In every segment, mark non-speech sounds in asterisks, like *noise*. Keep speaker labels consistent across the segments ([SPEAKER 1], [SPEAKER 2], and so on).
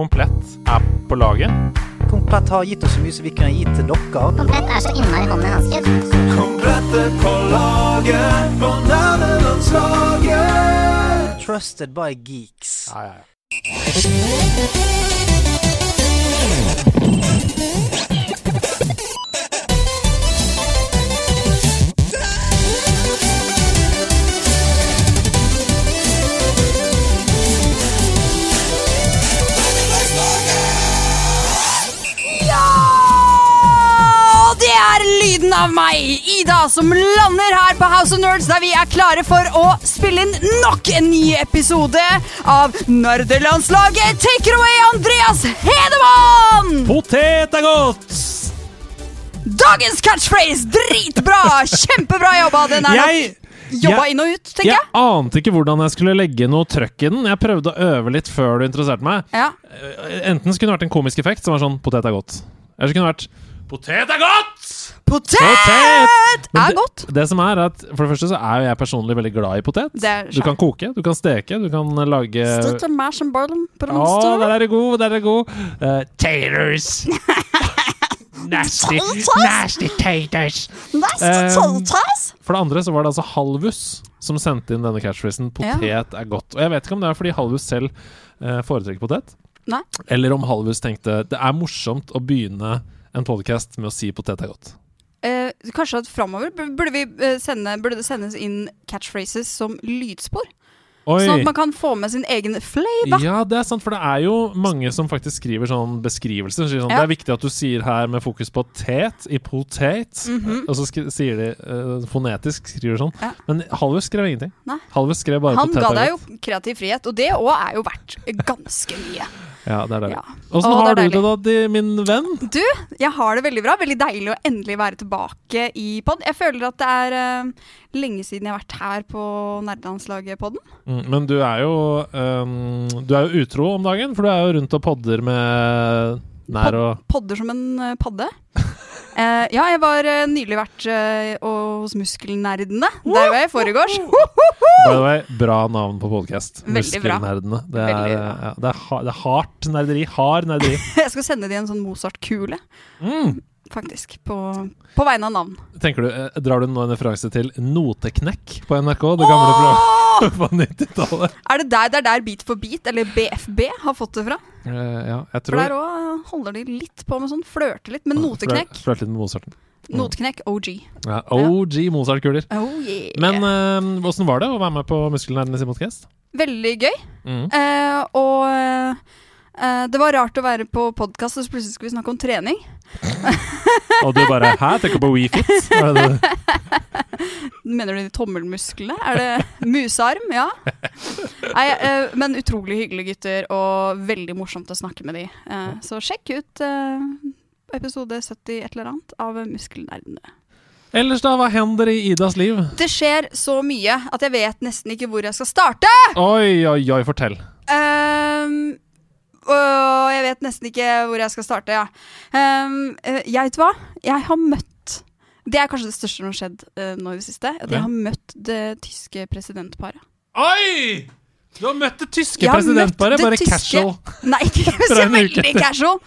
[SPEAKER 1] Komplett er på laget.
[SPEAKER 2] Komplett har gitt oss så mye som vi kunne gi til dere.
[SPEAKER 3] Komplett er så innmari hånd i hanske.
[SPEAKER 4] Komplette på laget på nerdelandslaget.
[SPEAKER 2] Trusted by geeks.
[SPEAKER 1] Ja, ja, ja.
[SPEAKER 5] Og det er lyden av meg, Ida, som lander her på House of Nerds, der vi er klare for å spille inn nok en ny episode av Nerdelandslaget. Take it away, Andreas Hedemann!
[SPEAKER 1] Potet er godt!
[SPEAKER 5] Dagens catchphrase, dritbra! Kjempebra jobba. Den er nok
[SPEAKER 1] Jeg,
[SPEAKER 5] jobba
[SPEAKER 1] jeg-
[SPEAKER 5] inn og ut, tenker
[SPEAKER 1] jeg
[SPEAKER 5] jeg.
[SPEAKER 1] ante ikke hvordan jeg skulle legge noe trøkk i den. Jeg prøvde å øve litt før du interesserte meg.
[SPEAKER 5] Ja.
[SPEAKER 1] Enten så kunne det vært en komisk effekt som var sånn 'potet er godt', eller så kunne det vært 'potet er godt'!
[SPEAKER 5] Potet
[SPEAKER 1] Men
[SPEAKER 5] er
[SPEAKER 1] det-
[SPEAKER 5] godt.
[SPEAKER 1] Det som er at For det første så er jo jeg personlig veldig glad i potet.
[SPEAKER 5] Det er
[SPEAKER 1] Du kan koke, du kan steke, du kan lage
[SPEAKER 5] Støtter meg som barlum på det
[SPEAKER 1] Å,
[SPEAKER 5] minste.
[SPEAKER 1] der er det god, der er det god. Eh,
[SPEAKER 5] *laughs*
[SPEAKER 1] taters. nasty, nasty taters. Um, For det andre så var det altså Halvus som sendte inn denne catchphrasen 'potet er godt'. Og jeg vet ikke om det er fordi Halvus selv eh, foretrekker potet,
[SPEAKER 5] Nei.
[SPEAKER 1] eller om Halvus tenkte det er morsomt å begynne en podkast med å si 'potet er godt'.
[SPEAKER 5] Eh, kanskje at framover bur- burde, vi, eh, sende, burde det sendes inn catchphrases som lydspor.
[SPEAKER 1] Oi.
[SPEAKER 5] Sånn at man kan få med sin egen flavor.
[SPEAKER 1] Ja, det er sant, for det er jo mange som faktisk skriver sånn beskrivelser. Sier sånn, Det
[SPEAKER 5] Ja.
[SPEAKER 1] er viktig at du sier her med fokus på tet i potet, og så skri sier de eh, fonetisk skriver sånn.
[SPEAKER 5] Mhm. Ja.
[SPEAKER 1] Men Halvus skrev ingenting.
[SPEAKER 5] Nei.
[SPEAKER 1] Halvus skrev bare
[SPEAKER 5] Han
[SPEAKER 1] potet.
[SPEAKER 5] ga
[SPEAKER 1] er
[SPEAKER 5] deg
[SPEAKER 1] godt.
[SPEAKER 5] jo kreativ frihet, og det òg er jo verdt ganske mye.
[SPEAKER 1] Ja, *laughs* det er det.
[SPEAKER 5] Ja.
[SPEAKER 1] Åssen
[SPEAKER 5] Å,
[SPEAKER 1] har
[SPEAKER 5] det
[SPEAKER 1] du
[SPEAKER 5] er
[SPEAKER 1] det da, di- min venn?
[SPEAKER 5] Du, jeg har det veldig bra. Veldig deilig å endelig være tilbake i pod. Jeg føler at det er eh, lenge siden jeg har vært her på Nerdelandslaget-podden.
[SPEAKER 1] Mm, men du er jo ehm, Du er jo utro om dagen, for du er jo rundt og podder med nær og
[SPEAKER 5] Podder som en eh, padde.
[SPEAKER 1] *laughs*
[SPEAKER 5] Eh, ja, jeg var eh, nylig vært eh, og, hos Muskelnerdene. Der var jeg i forgårs.
[SPEAKER 1] By the way, bra navn på podkast.
[SPEAKER 5] Veldig bra.
[SPEAKER 1] Muskelnerdene. Det er,
[SPEAKER 5] Veldig bra.
[SPEAKER 1] ja, det er, ha- det er hardt nerderi. Hard nerderi.
[SPEAKER 5] *laughs* Jeg skal sende de en sånn Mozart-kule,
[SPEAKER 1] Mm.
[SPEAKER 5] faktisk. På, på vegne av navn.
[SPEAKER 1] Tenker du, eh, Drar du nå en referanse til Noteknekk på NRK? Det gamle programmet *laughs* på 90-tallet?
[SPEAKER 5] Er det der, det er der Beat for beat, eller BFB, har fått det fra?
[SPEAKER 1] Eh, ja, jeg
[SPEAKER 5] For
[SPEAKER 1] tror
[SPEAKER 5] der òg holder de litt på med sånn, flørter litt. Men
[SPEAKER 1] Flør-
[SPEAKER 5] noteknekk,
[SPEAKER 1] Flørte litt med Mozarten.
[SPEAKER 5] noteknekk, OG.
[SPEAKER 1] Ja, OG Mozart-kuler.
[SPEAKER 5] Oh yeah.
[SPEAKER 1] Men eh, åssen var det å være med på Muskelnerdenes podcast?
[SPEAKER 5] Veldig gøy.
[SPEAKER 1] Mm.
[SPEAKER 5] Eh, og eh, det var rart å være på podkast, og så plutselig skulle vi snakke om trening.
[SPEAKER 1] Og du bare Hæ, tenker på WeFit?
[SPEAKER 5] *laughs*
[SPEAKER 1] Hva er det-
[SPEAKER 5] Mener du de tommelmusklene? Er det musearm? Ja. Nei, eh, men utrolig hyggelige gutter, og veldig morsomt å snakke med de. Eh, så sjekk ut eh, episode 70 et eller annet av Muskelnerdene.
[SPEAKER 1] Ellers, da? Hva hender i Idas liv?
[SPEAKER 5] Det skjer så mye at jeg vet nesten ikke hvor jeg skal starte.
[SPEAKER 1] Oi, oi, oi, fortell.
[SPEAKER 5] Ehm, og jeg vet nesten ikke hvor jeg skal starte, ja. Ehm, eh, jeg vet hva? Jeg har møtt Det er kanskje det største som har skjedd eh, nå i det siste. At
[SPEAKER 1] Ja.
[SPEAKER 5] jeg har møtt det tyske presidentparet.
[SPEAKER 1] Oi! Du har møtt det tyske
[SPEAKER 5] Jeg har møtt
[SPEAKER 1] presidentparet,
[SPEAKER 5] det
[SPEAKER 1] bare
[SPEAKER 5] tyske-
[SPEAKER 1] casual.
[SPEAKER 5] Nei, ikke *laughs*
[SPEAKER 1] *laughs*
[SPEAKER 5] så
[SPEAKER 1] Fra en uke
[SPEAKER 5] veldig
[SPEAKER 1] etter.
[SPEAKER 5] casual.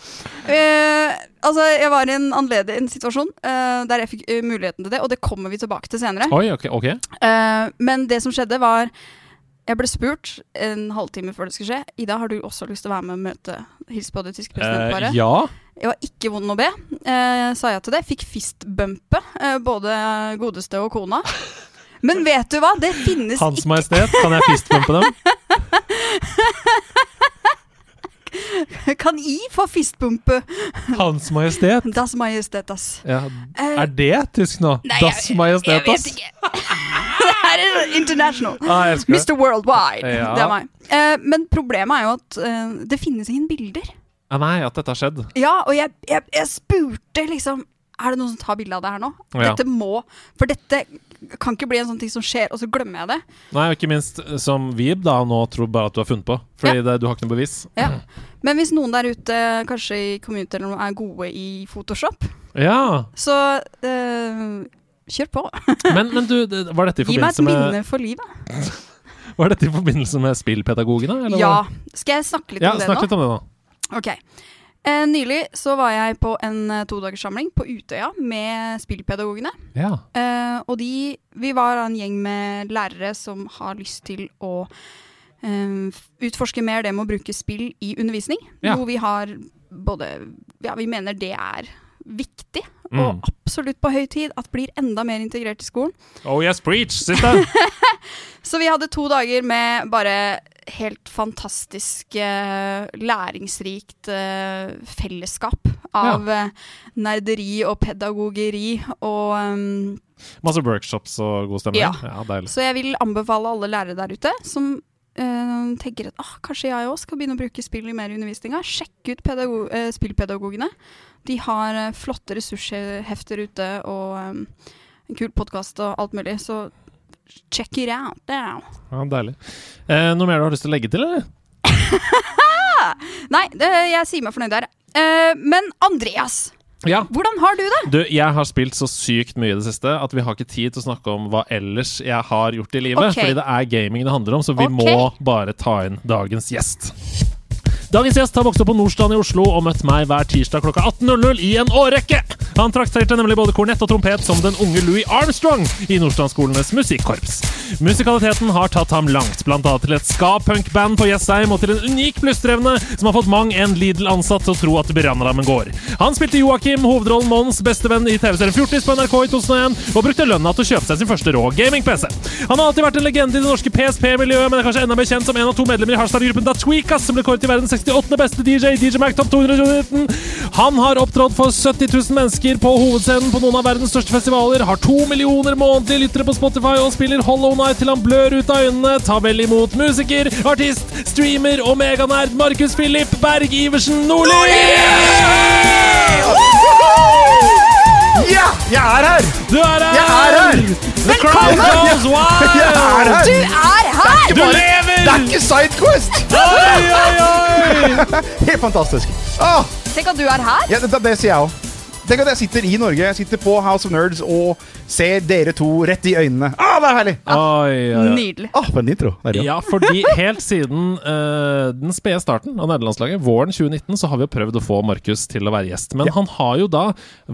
[SPEAKER 5] Eh, altså, jeg var i en annerledes en situasjon eh, der jeg fikk eh, muligheten til det, og det kommer vi tilbake til senere.
[SPEAKER 1] Oi, ok, ok.
[SPEAKER 5] Eh, men det som skjedde, var Jeg ble spurt en halvtime før det skulle skje. Ida, har du også lyst til å være med og møte Hils på det tyske
[SPEAKER 1] Eh,
[SPEAKER 5] presidentparet?
[SPEAKER 1] ja.
[SPEAKER 5] Jeg var ikke vond å be, eh, sa jeg til det. Fikk fistbumpe, eh, både godeste og kona. Men vet du hva? Det finnes
[SPEAKER 1] Hans Majestet, kan jeg fistpumpe dem?
[SPEAKER 5] *laughs* ikke Kan I få fistbumpe?
[SPEAKER 1] Hans Majestet.
[SPEAKER 5] Das Majestetas.
[SPEAKER 1] Ja,
[SPEAKER 5] Eh,
[SPEAKER 1] Er det tysk nå?
[SPEAKER 5] Nei,
[SPEAKER 1] das
[SPEAKER 5] jeg-
[SPEAKER 1] Majestetas?
[SPEAKER 5] Jeg vet ikke. *laughs* det her er international.
[SPEAKER 1] Ah, jeg elsker det.
[SPEAKER 5] Mr. Worldwide.
[SPEAKER 1] Ja.
[SPEAKER 5] Det er meg. Eh, men problemet er jo at eh, det finnes ingen bilder.
[SPEAKER 1] Ah, nei, at dette har skjedd.
[SPEAKER 5] Ja, og jeg, jeg, jeg spurte liksom Er det noen som tar bilde av det her nå?
[SPEAKER 1] Ja.
[SPEAKER 5] Dette må For dette kan ikke bli en sånn ting som skjer, og så glemmer jeg det.
[SPEAKER 1] Nei, og ikke minst som Vib da nå tror bare at du har funnet på. Fordi det, du har ikke noe bevis.
[SPEAKER 5] Ja. Men hvis noen der ute, kanskje i community eller noe, er gode i Photoshop,
[SPEAKER 1] Ja,
[SPEAKER 5] så eh, kjør på.
[SPEAKER 1] Men, men du, det- var dette, i
[SPEAKER 5] Gi meg
[SPEAKER 1] forbindelse
[SPEAKER 5] et
[SPEAKER 1] med,
[SPEAKER 5] minne for livet.
[SPEAKER 1] var dette i forbindelse med spillpedagogene? eller hva?
[SPEAKER 5] Ja. Skal jeg snakke litt
[SPEAKER 1] ja
[SPEAKER 5] om det nå?
[SPEAKER 1] Snakk litt om det nå.
[SPEAKER 5] Ok. Eh, nylig så var jeg på en eh, todagerssamling på Utøya med spillpedagogene.
[SPEAKER 1] Ja.
[SPEAKER 5] Eh, og de Vi var en gjeng med lærere som har lyst til å eh, f- utforske mer det med å bruke spill i undervisning.
[SPEAKER 1] Ja.
[SPEAKER 5] Noe vi har både Ja, vi mener det er viktig,
[SPEAKER 1] Mm.
[SPEAKER 5] og absolutt på høy tid at blir enda mer integrert i skolen.
[SPEAKER 1] Oh yes, preach,
[SPEAKER 5] *laughs*
[SPEAKER 1] sister!
[SPEAKER 5] Så vi hadde to dager med bare helt fantastisk eh, læringsrikt eh, fellesskap av eh, nerderi og pedagogeri. Og, ehm,
[SPEAKER 1] Masse workshops og god stemning.
[SPEAKER 5] Ja.
[SPEAKER 1] ja deilig.
[SPEAKER 5] så jeg vil anbefale alle lærere der ute som eh, tenker at ah, kanskje jeg òg skal begynne å bruke spill i mer i undervisninga. Sjekk ut pedago eh, spillpedagogene. De har eh, flotte ressurshefter ute og ehm, en kul podkast og alt mulig. Så check it out. now.
[SPEAKER 1] Ja, deilig. Eh, noe mer du har lyst til å legge til, eller?
[SPEAKER 5] Nei, det, jeg sier meg fornøyd der. Eh, men Andreas,
[SPEAKER 1] Ja.
[SPEAKER 5] hvordan har du det?
[SPEAKER 1] Du, jeg har spilt så sykt mye i det siste at vi har ikke tid til å snakke om hva ellers jeg har gjort i livet.
[SPEAKER 5] Ok.
[SPEAKER 1] Fordi det er gaming det handler om, så vi
[SPEAKER 5] Ok.
[SPEAKER 1] må bare ta inn dagens gjest. Dagens gjest har vokst opp på Nordstrand i Oslo og møtt meg hver tirsdag klokka 18.00 i en årrekke. Han trakterte nemlig både kornett og trompet som den unge Louis Armstrong i Nordstrandskolenes musikkorps. Musikaliteten har tatt ham langt, bl.a. til et ska-punk-band på Jessheim og til en unik blussdrevne som har fått mang en Lidl-ansatt til å tro at Brannrammen går. Han spilte Joakim, hovedrollen Mons, bestevenn i TV-serien Fjortis på NRK i 2001, og brukte lønna til å kjøpe seg sin første rå gaming-PC. Han har alltid vært en legende i det norske PSP-miljøet, men er kanskje enda mer kjent som en av to medlemmer i hardstyle-gruppen Da Tweakas, som ble kåret til verdens 68. beste DJ i DJ Mac Top 219. Han har opptrådt for 70 000 mennesker på hovedscenen på noen av verdens største festivaler, har to millioner månedlige lyttere på Spotify og spiller Hollow Night til han blør ut av øynene. Ta vel imot musiker, artist, streamer og meganerd Markus Philip Berg Iversen Nordli!
[SPEAKER 6] Ja, jeg er her!
[SPEAKER 1] Du er her!
[SPEAKER 6] Jeg er her!
[SPEAKER 1] The crowd goes wild!
[SPEAKER 6] *laughs* Jeg er her!
[SPEAKER 5] Du er her!
[SPEAKER 1] Du lever!
[SPEAKER 6] Det er ikke
[SPEAKER 5] *laughs*
[SPEAKER 6] Sidequest!
[SPEAKER 1] Oi, oi, oi!
[SPEAKER 6] Helt fantastisk. Åh,
[SPEAKER 5] Tenk at du er her.
[SPEAKER 6] ja, det, det sier jeg òg. Tenk at jeg sitter i Norge, jeg sitter på House of Nerds og ser dere to rett i øynene. Åh, det er herlig!
[SPEAKER 1] Oi, oi, oi.
[SPEAKER 5] Nydelig.
[SPEAKER 6] Åh, for en intro. Der, ja.
[SPEAKER 1] Ja, fordi helt siden eh, den spede starten av nederlandslaget, våren 2019, så har vi jo prøvd å få Markus til å være gjest. Men han har jo da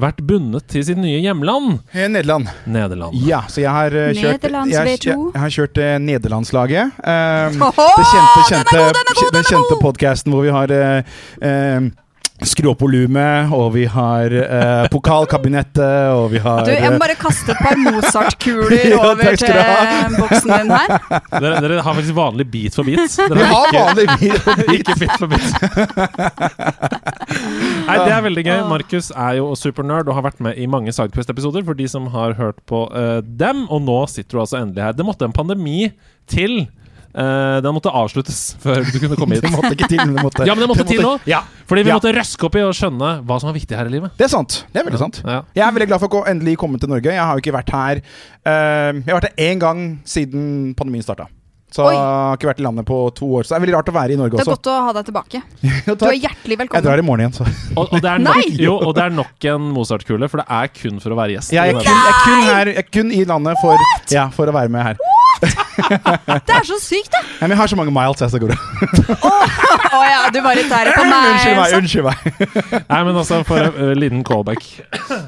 [SPEAKER 1] vært bundet til sitt nye hjemland,
[SPEAKER 6] Eh, Nederland.
[SPEAKER 1] Nederland.
[SPEAKER 6] Ja, så jeg har eh, kjørt
[SPEAKER 5] Nederlands
[SPEAKER 6] jeg,
[SPEAKER 5] V2.
[SPEAKER 6] jeg, jeg har kjørt eh, Nederlandslaget. Eh,
[SPEAKER 5] Åhå,
[SPEAKER 6] det kjente,
[SPEAKER 5] den er
[SPEAKER 6] kjente,
[SPEAKER 5] god, den er god, den er
[SPEAKER 6] den kjente
[SPEAKER 5] god!
[SPEAKER 6] podcasten hvor vi har eh, eh, Skru opp volumet, og vi har eh,
[SPEAKER 5] *laughs*
[SPEAKER 6] pokalkabinettet, og vi har
[SPEAKER 5] Du, jeg
[SPEAKER 6] eh,
[SPEAKER 5] må bare kaste
[SPEAKER 6] *laughs*
[SPEAKER 5] et par Mozart-kuler
[SPEAKER 6] Ja,
[SPEAKER 5] over
[SPEAKER 6] takk skal
[SPEAKER 5] til eh,
[SPEAKER 6] du ha.
[SPEAKER 5] boksen din her.
[SPEAKER 1] Dere, dere har faktisk vanlig bit for bit.
[SPEAKER 6] Vi
[SPEAKER 1] Dere
[SPEAKER 6] har
[SPEAKER 1] *laughs*
[SPEAKER 6] vanlig bil.
[SPEAKER 1] Ikke bit for bit. Nei, det er veldig gøy. Markus er jo supernerd og har vært med i mange Sidequest-episoder for de som har hørt på eh, dem. Og nå sitter du altså endelig her. Det måtte en pandemi til. Eh, den måtte avsluttes før du kunne komme hit.
[SPEAKER 6] Det måtte ikke til, men det måtte.
[SPEAKER 1] Ja, men det måtte til nå.
[SPEAKER 6] Ja,
[SPEAKER 1] Fordi vi
[SPEAKER 6] Ja.
[SPEAKER 1] måtte røske opp i å skjønne hva som var viktig her i livet.
[SPEAKER 6] det er sant. Det er veldig sant.
[SPEAKER 1] Ja.
[SPEAKER 6] Jeg er veldig glad for å gå- endelig komme til Norge. Jeg har jo ikke vært her eh, Jeg har vært her én gang siden pandemien starta. Så
[SPEAKER 5] Oi.
[SPEAKER 6] jeg har ikke vært i landet på to år. Så det er veldig rart å være i Norge
[SPEAKER 5] Det er
[SPEAKER 6] også.
[SPEAKER 5] godt å ha deg tilbake.
[SPEAKER 6] Jo,
[SPEAKER 5] Du
[SPEAKER 6] takk.
[SPEAKER 5] er hjertelig
[SPEAKER 6] *laughs* jeg
[SPEAKER 5] velkommen.
[SPEAKER 6] drar i morgen igjen, så.
[SPEAKER 1] Og, og, det er nok,
[SPEAKER 5] Nei!
[SPEAKER 1] jo, og det er nok en Mozart-kule, for det er kun for å være gjest.
[SPEAKER 6] Jeg er kun, jeg er kun, her, jeg er kun i landet for, ja, for å være med her.
[SPEAKER 5] Det er så sykt, da!
[SPEAKER 6] Ja, men jeg har så mange miles, jeg, så går det.
[SPEAKER 5] Å ja, du var litt der på
[SPEAKER 6] *laughs* Unnskyld meg.
[SPEAKER 5] meg. altså.
[SPEAKER 6] unnskyld
[SPEAKER 5] *laughs*
[SPEAKER 6] meg
[SPEAKER 1] Nei, men altså, for en eh, liten callback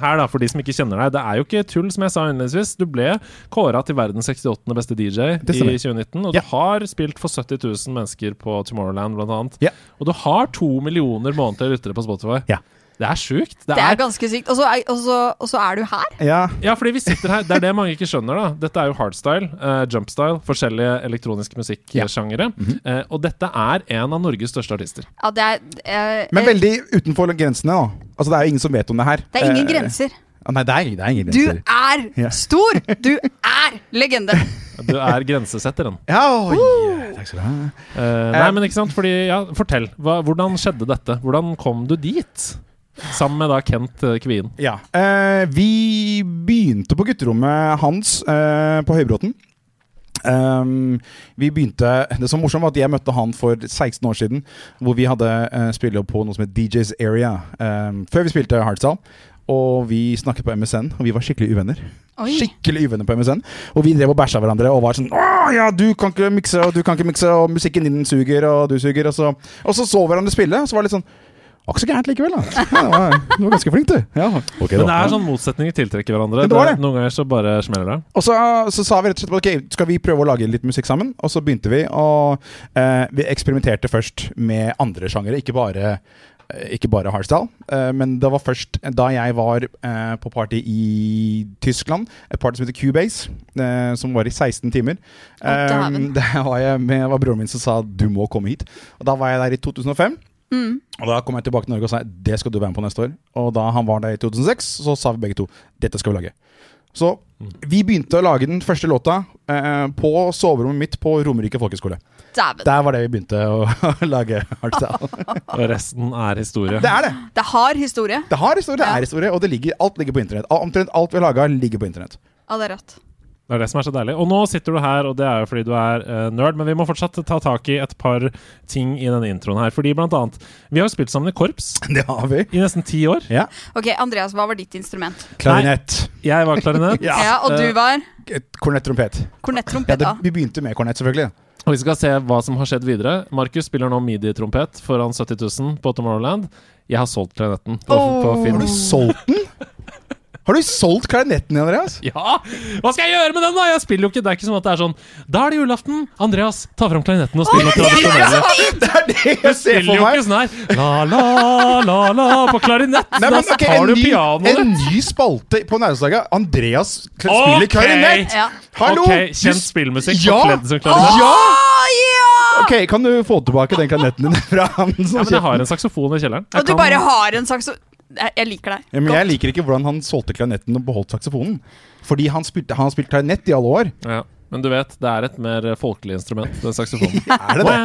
[SPEAKER 1] her, da, for de som ikke kjenner deg. Det er jo ikke tull, som jeg sa innledningsvis. Du ble kåra til verdens 68. beste DJ
[SPEAKER 6] Det
[SPEAKER 1] i
[SPEAKER 6] stemmer.
[SPEAKER 1] 2019, og
[SPEAKER 6] Ja.
[SPEAKER 1] du har spilt for 70 000 mennesker på Tomorrowland, blant annet.
[SPEAKER 6] Ja.
[SPEAKER 1] Og du har to millioner månedlige lyttere på Spotify.
[SPEAKER 6] Ja.
[SPEAKER 1] Det er sjukt. Det
[SPEAKER 5] Det
[SPEAKER 1] er-
[SPEAKER 5] er ganske sykt. Og så er, og så- og så er du her.
[SPEAKER 6] Ja,
[SPEAKER 1] Ja, fordi vi sitter her. Det er det mange ikke skjønner. da Dette er jo hardstyle, eh, jumpstyle, forskjellige elektroniske musikksjangere.
[SPEAKER 6] Mhm.
[SPEAKER 1] Eh, og dette er en av Norges største artister.
[SPEAKER 5] Ja, det er eh,
[SPEAKER 6] Men
[SPEAKER 5] eh,
[SPEAKER 6] veldig utenfor grensene, da. Altså, det er jo ingen som vet om det her.
[SPEAKER 5] Det er ingen
[SPEAKER 6] Eh,
[SPEAKER 5] grenser.
[SPEAKER 6] ah, Nei, det er, det er ingen
[SPEAKER 5] Du
[SPEAKER 6] grenser.
[SPEAKER 5] er
[SPEAKER 6] Ja.
[SPEAKER 5] stor! Du er
[SPEAKER 6] *laughs*
[SPEAKER 5] legende!
[SPEAKER 1] Du er grensesetteren.
[SPEAKER 6] Ja, oi, takk skal du ha.
[SPEAKER 1] Eh, nei, men ikke sant? Fordi, ja, Fortell. Hva, hvordan skjedde dette? Hvordan kom du dit? Sammen med da Kent eh, Kvien.
[SPEAKER 6] Ja. Eh, vi begynte på gutterommet hans eh, på Høybråten. Ehm, vi begynte Det som var morsomt, var at jeg møtte han for 16 år eh, siden. Hvor vi hadde uh, spillejobb på noe som het DJs Area. ehm, før vi spilte Hardstyle. Og vi snakket på MSN, og vi var skikkelig uvenner.
[SPEAKER 5] Oi.
[SPEAKER 6] Skikkelig uvenner på MSN. Og vi drev og bæsja hverandre og var sånn Åh, ja, du kan ikke mikse, og du kan ikke mikse, og musikken din suger, og du suger, og så Og så så hverandre spille, og så var det litt sånn Var ikke så gærent likevel,
[SPEAKER 1] *laughs*
[SPEAKER 6] da. Ja, det var, du var ganske flink, du. Ja, ok,
[SPEAKER 1] Men det
[SPEAKER 6] da.
[SPEAKER 1] er sånn motsetninger tiltrekker hverandre.
[SPEAKER 6] Men det var
[SPEAKER 1] Det-
[SPEAKER 6] det.
[SPEAKER 1] Noen ganger så bare smeller det.
[SPEAKER 6] Og så, så sa vi rett og slett ok, skal vi prøve å lage litt musikk sammen. Og så begynte vi, og eh, vi eksperimenterte først med andre sjangere, ikke bare eh, ikke bare hardstyle, eh, men det var først da jeg var eh, på party i Tyskland. Et party som heter Cubase, eh, som var i 16 timer.
[SPEAKER 5] Å, dæven.
[SPEAKER 6] Eh, *laughs* der var jeg med, var broren min som sa 'du må komme hit'. Og Da var jeg der i 2005.
[SPEAKER 5] Mm.
[SPEAKER 6] Og Da kom jeg tilbake til Norge og sa det skal du være med på neste år. Og da han var der i 2006, så sa vi begge to dette skal vi lage. Så vi begynte å lage den første låta eh, på soverommet mitt på Romerike folkehøgskole.
[SPEAKER 5] Dæven.
[SPEAKER 6] Der var det vi begynte å *laughs* lage
[SPEAKER 1] *laughs*
[SPEAKER 6] hardstyle.
[SPEAKER 1] Og resten er historie.
[SPEAKER 6] Det er det!
[SPEAKER 5] Det er hard historie.
[SPEAKER 6] Det har historie, det
[SPEAKER 5] Ja.
[SPEAKER 6] er historie, og det ligger, alt ligger på internett. Al- Omtrent alt vi har laga, ligger på internett. *laughs*
[SPEAKER 5] Ja, det er rett.
[SPEAKER 1] Det er det som er så deilig. Og nå sitter du her, og det er jo fordi du er eh, nerd, men vi må fortsatt ta tak i et par ting i denne introen her. Fordi blant annet, vi har jo spilt sammen i korps
[SPEAKER 6] Det har vi.
[SPEAKER 1] i nesten ti år.
[SPEAKER 6] Ja.
[SPEAKER 5] Ok, Andreas, hva var ditt instrument?
[SPEAKER 6] Klarinett.
[SPEAKER 1] Jeg var
[SPEAKER 6] *laughs*
[SPEAKER 1] klarinett.
[SPEAKER 5] Ja, Og du var
[SPEAKER 6] Kornett, trompet. eh, Ja,
[SPEAKER 5] kornett-trompet.
[SPEAKER 6] det,
[SPEAKER 5] Ja,
[SPEAKER 6] vi begynte med kornett, selvfølgelig.
[SPEAKER 1] Og vi skal se hva som har skjedd videre. Markus spiller nå midi-trompet foran 70 000 på Tomorrowland. Jeg har solgt klarinetten på, på
[SPEAKER 5] Oh.
[SPEAKER 1] Finn.
[SPEAKER 6] Har du solgt den? Har du solgt klarinetten, Andreas?
[SPEAKER 1] *laughs* Ja! Hva skal jeg gjøre med den, da? Jeg spiller jo ikke. Det er ikke som at det er sånn Da er det julaften. Andreas, ta fram klarinetten og spill noe tradisjonelle.
[SPEAKER 6] *laughs* Det er det jeg
[SPEAKER 1] Spiller
[SPEAKER 6] ser for
[SPEAKER 1] jo
[SPEAKER 6] meg.
[SPEAKER 1] ikke sånn her la, la, la, la på klarinett.
[SPEAKER 6] Nei, men,
[SPEAKER 1] da
[SPEAKER 6] ok,
[SPEAKER 1] tar
[SPEAKER 6] en,
[SPEAKER 1] du
[SPEAKER 6] ny,
[SPEAKER 1] pianoet.
[SPEAKER 6] en ny spalte på Nærmestdaga. Andreas kl-
[SPEAKER 1] Ok.
[SPEAKER 6] spiller klarinett!
[SPEAKER 5] ja.
[SPEAKER 6] Hallo!
[SPEAKER 1] Ok,
[SPEAKER 6] Du
[SPEAKER 1] Kjent
[SPEAKER 6] s-
[SPEAKER 1] spillmusikk
[SPEAKER 6] ja.
[SPEAKER 1] forkledd som klarinett.
[SPEAKER 6] Ja!
[SPEAKER 5] Å, ja!
[SPEAKER 6] Ok, Kan du få tilbake den klarinetten din fra han
[SPEAKER 1] Ja,
[SPEAKER 6] som
[SPEAKER 1] men jeg har en saksofon i kjelleren. Jeg
[SPEAKER 5] Og du
[SPEAKER 1] kan-
[SPEAKER 5] bare har en saks... Jeg jeg liker deg.
[SPEAKER 6] ja, men Jeg liker ikke hvordan han solgte klarinetten og beholdt saksofonen. Fordi han, spilte, han har spilt klarinett i alle år.
[SPEAKER 1] ja. Men du vet, det er et mer eh, folkelig instrument, den saksofonen.
[SPEAKER 6] *laughs* Er det det?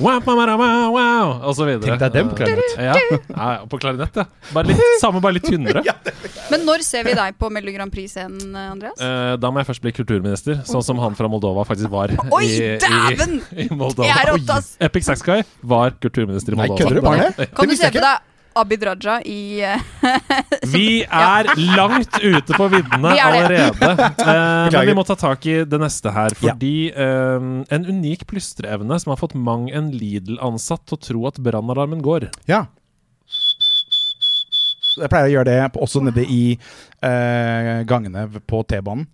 [SPEAKER 1] Wow, wow, wow, wow, wow, wow, og så videre.
[SPEAKER 6] Tenk deg den på klarinett.
[SPEAKER 1] Ja, ja, ja, på klarinett, ja. Bare litt, samme, bare litt
[SPEAKER 6] *laughs*
[SPEAKER 1] tynnere.
[SPEAKER 5] Men når ser vi deg på Melodi Grand Prix-scenen, Andreas?
[SPEAKER 1] Eh, da må jeg først bli kulturminister, sånn som han fra Moldova faktisk var.
[SPEAKER 5] Oi,
[SPEAKER 1] i- i-
[SPEAKER 5] dæven!
[SPEAKER 1] *laughs* I Moldova.
[SPEAKER 5] Jeg er rått, ass!
[SPEAKER 1] Epic Sax Guy var kulturminister i
[SPEAKER 6] Nei,
[SPEAKER 1] Moldova.
[SPEAKER 6] kødder du? Var det?
[SPEAKER 5] Kan
[SPEAKER 6] Det
[SPEAKER 5] du
[SPEAKER 6] visste
[SPEAKER 5] se på
[SPEAKER 6] jeg ikke.
[SPEAKER 5] deg Abid Raja i eh,
[SPEAKER 1] Vi er langt ute på viddene
[SPEAKER 5] *laughs* Vi er det.
[SPEAKER 1] allerede. Eh, men
[SPEAKER 6] Beklager.
[SPEAKER 1] vi må ta tak i det neste her, fordi eh, en unik plystreevne som har fått mang en Lidl-ansatt til å tro at brannalarmen går.
[SPEAKER 6] Ja. Jeg pleier å gjøre det på- også nede i eh, gangene v- på T-banen.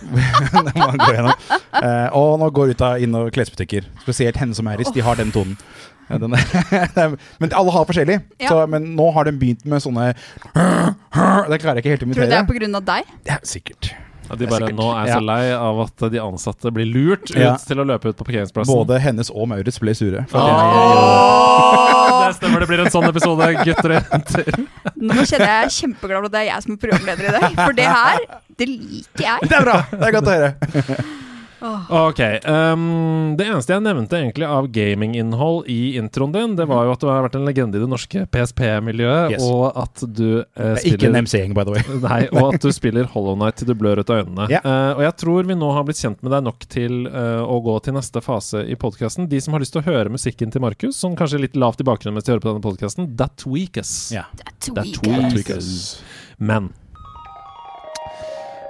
[SPEAKER 6] *laughs* Når man går gjennom. Eh, og nå går ut av inn- og klesbutikker. Spesielt henne som er rist. De har den tonen. Ja, den er- *laughs* men alle har forskjellig.
[SPEAKER 5] Ja.
[SPEAKER 6] Så, men nå har de begynt med sånne Det klarer jeg ikke helt å
[SPEAKER 5] Tror du det er
[SPEAKER 6] imitere.
[SPEAKER 5] pga. deg?
[SPEAKER 6] Ja, sikkert.
[SPEAKER 1] Ja, De bare
[SPEAKER 6] Sikkert.
[SPEAKER 1] nå er jeg så
[SPEAKER 6] Ja.
[SPEAKER 1] lei av at de ansatte blir lurt ut
[SPEAKER 6] Ja.
[SPEAKER 1] til å løpe ut på parkeringsplassen.
[SPEAKER 6] Både hennes og Maurits ble sure. For at jeg-
[SPEAKER 1] Åh, Det stemmer, det blir en sånn episode, gutter og jenter.
[SPEAKER 5] Nå kjenner jeg jeg er kjempeglad for at det er jeg som er programleder i dag. For det her, det liker jeg.
[SPEAKER 6] Det er bra! Det er godt å høre.
[SPEAKER 1] Ok. ehm, det eneste jeg nevnte egentlig av gaminginnhold i introen din, det var jo at du har vært en legende i det norske PSP-miljøet,
[SPEAKER 6] Yes.
[SPEAKER 1] og at du eh,
[SPEAKER 6] Ikke en
[SPEAKER 1] spiller
[SPEAKER 6] MC-gjeng, by the way.
[SPEAKER 1] *laughs* Nei, og at du spiller Hollow Knight til du blør ut av øynene.
[SPEAKER 6] Ja.
[SPEAKER 1] Eh, og jeg tror vi nå har blitt kjent med deg nok til eh, å gå til neste fase i podkasten. De som har lyst til å høre musikken til Markus, som kanskje er litt lavt i bakgrunnen mens de hører på denne podkasten, that weakes.
[SPEAKER 6] Ja.
[SPEAKER 1] Det er to weakes. Men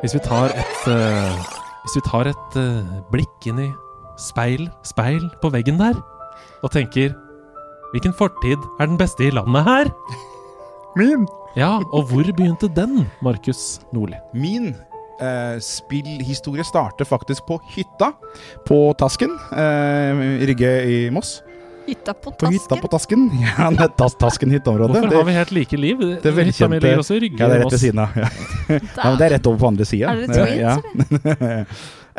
[SPEAKER 1] hvis vi tar et eh, Hvis vi tar et eh, blikk inn i speil, speil på veggen der, og tenker Hvilken fortid er den beste i landet her?
[SPEAKER 6] Min
[SPEAKER 1] Ja, og hvor begynte den, Markus Nordli?
[SPEAKER 6] Min eh, spillhistorie starter faktisk på hytta på Tasken. Eh, i Rygge i Moss.
[SPEAKER 5] Hytta på
[SPEAKER 6] På hytta
[SPEAKER 5] tasken.
[SPEAKER 6] på Tasken. *laughs* Ja, det er tas Tasken hytteområde.
[SPEAKER 1] Hvorfor har vi helt like liv?
[SPEAKER 6] det er veldig
[SPEAKER 1] Hytta mi
[SPEAKER 6] kjente-
[SPEAKER 1] ligger også i Rygge
[SPEAKER 6] ja, det er
[SPEAKER 1] hos
[SPEAKER 6] rett ved
[SPEAKER 1] oss.
[SPEAKER 6] siden av. Ja. *laughs* Ja, men det er rett over på andre sida.
[SPEAKER 5] Er dere twins,
[SPEAKER 6] *laughs*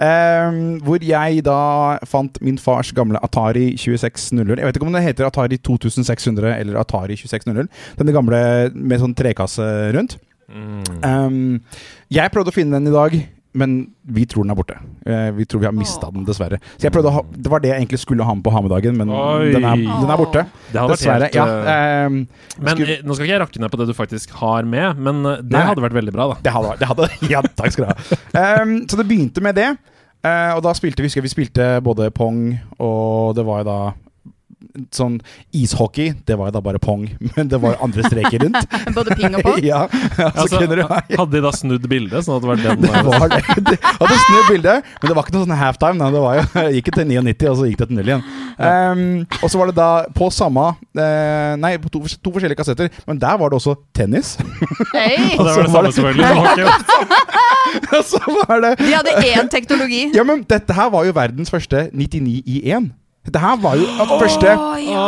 [SPEAKER 6] Ehm, hvor jeg da fant min fars gamle Atari 2600. Jeg vet ikke om det heter Atari 2600 eller Atari 2600. Denne gamle med sånn trekasse rundt.
[SPEAKER 1] Mm.
[SPEAKER 6] Ehm, jeg prøvde å finne den i dag, men vi tror den er borte. Eh, vi tror vi har mista den, dessverre. Så jeg prøvde å ha, Det var det jeg egentlig skulle ha med på hamedagen, men
[SPEAKER 1] Oi.
[SPEAKER 6] den er, den er borte.
[SPEAKER 1] Det hadde vært
[SPEAKER 6] Dessverre.
[SPEAKER 1] helt,
[SPEAKER 6] Ja,
[SPEAKER 1] eh,
[SPEAKER 6] ehm,
[SPEAKER 1] men
[SPEAKER 6] skulle-
[SPEAKER 1] eh, Nå skal ikke jeg rakke ned på det du faktisk har med, men eh, det
[SPEAKER 6] Nei.
[SPEAKER 1] hadde vært veldig bra, da.
[SPEAKER 6] Det hadde vært det hadde, *laughs* Ja, takk skal du ha. Ehm, så det begynte med det. eh, og da spilte vi husker jeg vi spilte både Pong og det var jo da sånn ishockey, det var jo da bare pong, *laughs* men det var jo andre streker rundt.
[SPEAKER 5] Både ping og
[SPEAKER 6] *laughs*
[SPEAKER 5] pong.
[SPEAKER 6] ja, ja, så
[SPEAKER 1] Altså,
[SPEAKER 6] kunne du
[SPEAKER 1] *laughs*
[SPEAKER 6] ha *laughs*
[SPEAKER 1] hadde de da snudd bildet, sånn at det var den
[SPEAKER 6] det var det. *laughs* De hadde snudd bildet, men det var ikke noe sånn halftime. Nei, det var jo, *laughs* gikk til 99, og så gikk det til 0 igjen. Ehm, og så var det da på samme eh, Nei, på to, to forskjellige kassetter, men der var det også tennis. *laughs*
[SPEAKER 5] Hey.
[SPEAKER 1] Og det var det samme, selvfølgelig. som hockey.
[SPEAKER 6] Og så var det
[SPEAKER 5] De hadde én teknologi.
[SPEAKER 6] Ja, men dette her var jo verdens første 99 i 1. Dette her var jo at første
[SPEAKER 5] Å, ja.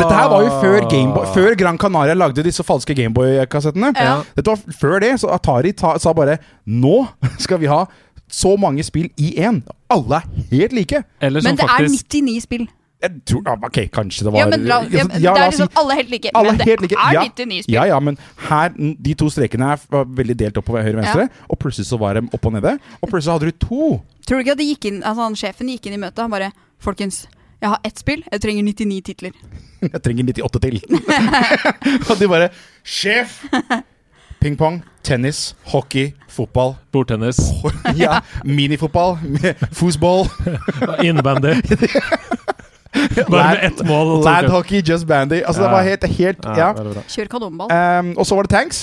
[SPEAKER 6] Dette her var jo før, Gameboy, før Gran Canaria lagde disse falske Gameboy-kassettene.
[SPEAKER 5] Ja.
[SPEAKER 6] Dette var f- før det, så Atari ta, sa bare Nå skal vi ha så mange spill i én. Alle er helt like.
[SPEAKER 1] Eller som
[SPEAKER 5] Men det er
[SPEAKER 1] sånn faktisk
[SPEAKER 5] 99 spill.
[SPEAKER 6] Jeg tror, ja, ok, kanskje det var
[SPEAKER 5] Ja, men la, ja, men
[SPEAKER 6] Ja,
[SPEAKER 5] det er
[SPEAKER 6] la oss si-
[SPEAKER 5] liksom alle er helt like.
[SPEAKER 6] alle
[SPEAKER 5] men det
[SPEAKER 6] helt like.
[SPEAKER 5] er
[SPEAKER 6] Ja.
[SPEAKER 5] 99 spill.
[SPEAKER 6] Ja, ja, men her, n- de to strekene her var veldig delt opp på høyre og venstre, og plutselig så var de opp og nede. Og plutselig hadde du to.
[SPEAKER 5] Tror du ikke at det gikk inn, altså han, sjefen gikk inn i møtet? Han bare Folkens, jeg har ett spill. Jeg trenger 99 titler.
[SPEAKER 6] Jeg trenger 98 til. *laughs* og de bare Sjef! Ping-pong, tennis, hockey, fotball.
[SPEAKER 1] bordtennis,
[SPEAKER 6] *laughs* Ja, minifotball, *laughs*
[SPEAKER 1] *laughs*
[SPEAKER 6] fotball,
[SPEAKER 1] innebandy
[SPEAKER 6] *laughs*
[SPEAKER 1] Bare med ett mål. og to
[SPEAKER 6] lad
[SPEAKER 1] kutt.
[SPEAKER 6] hockey, just bandy. Altså, det var helt, helt
[SPEAKER 1] Ja,
[SPEAKER 6] Ja.
[SPEAKER 1] veldig bra.
[SPEAKER 5] Kjør kanonball.
[SPEAKER 6] Um, og så var det tanks,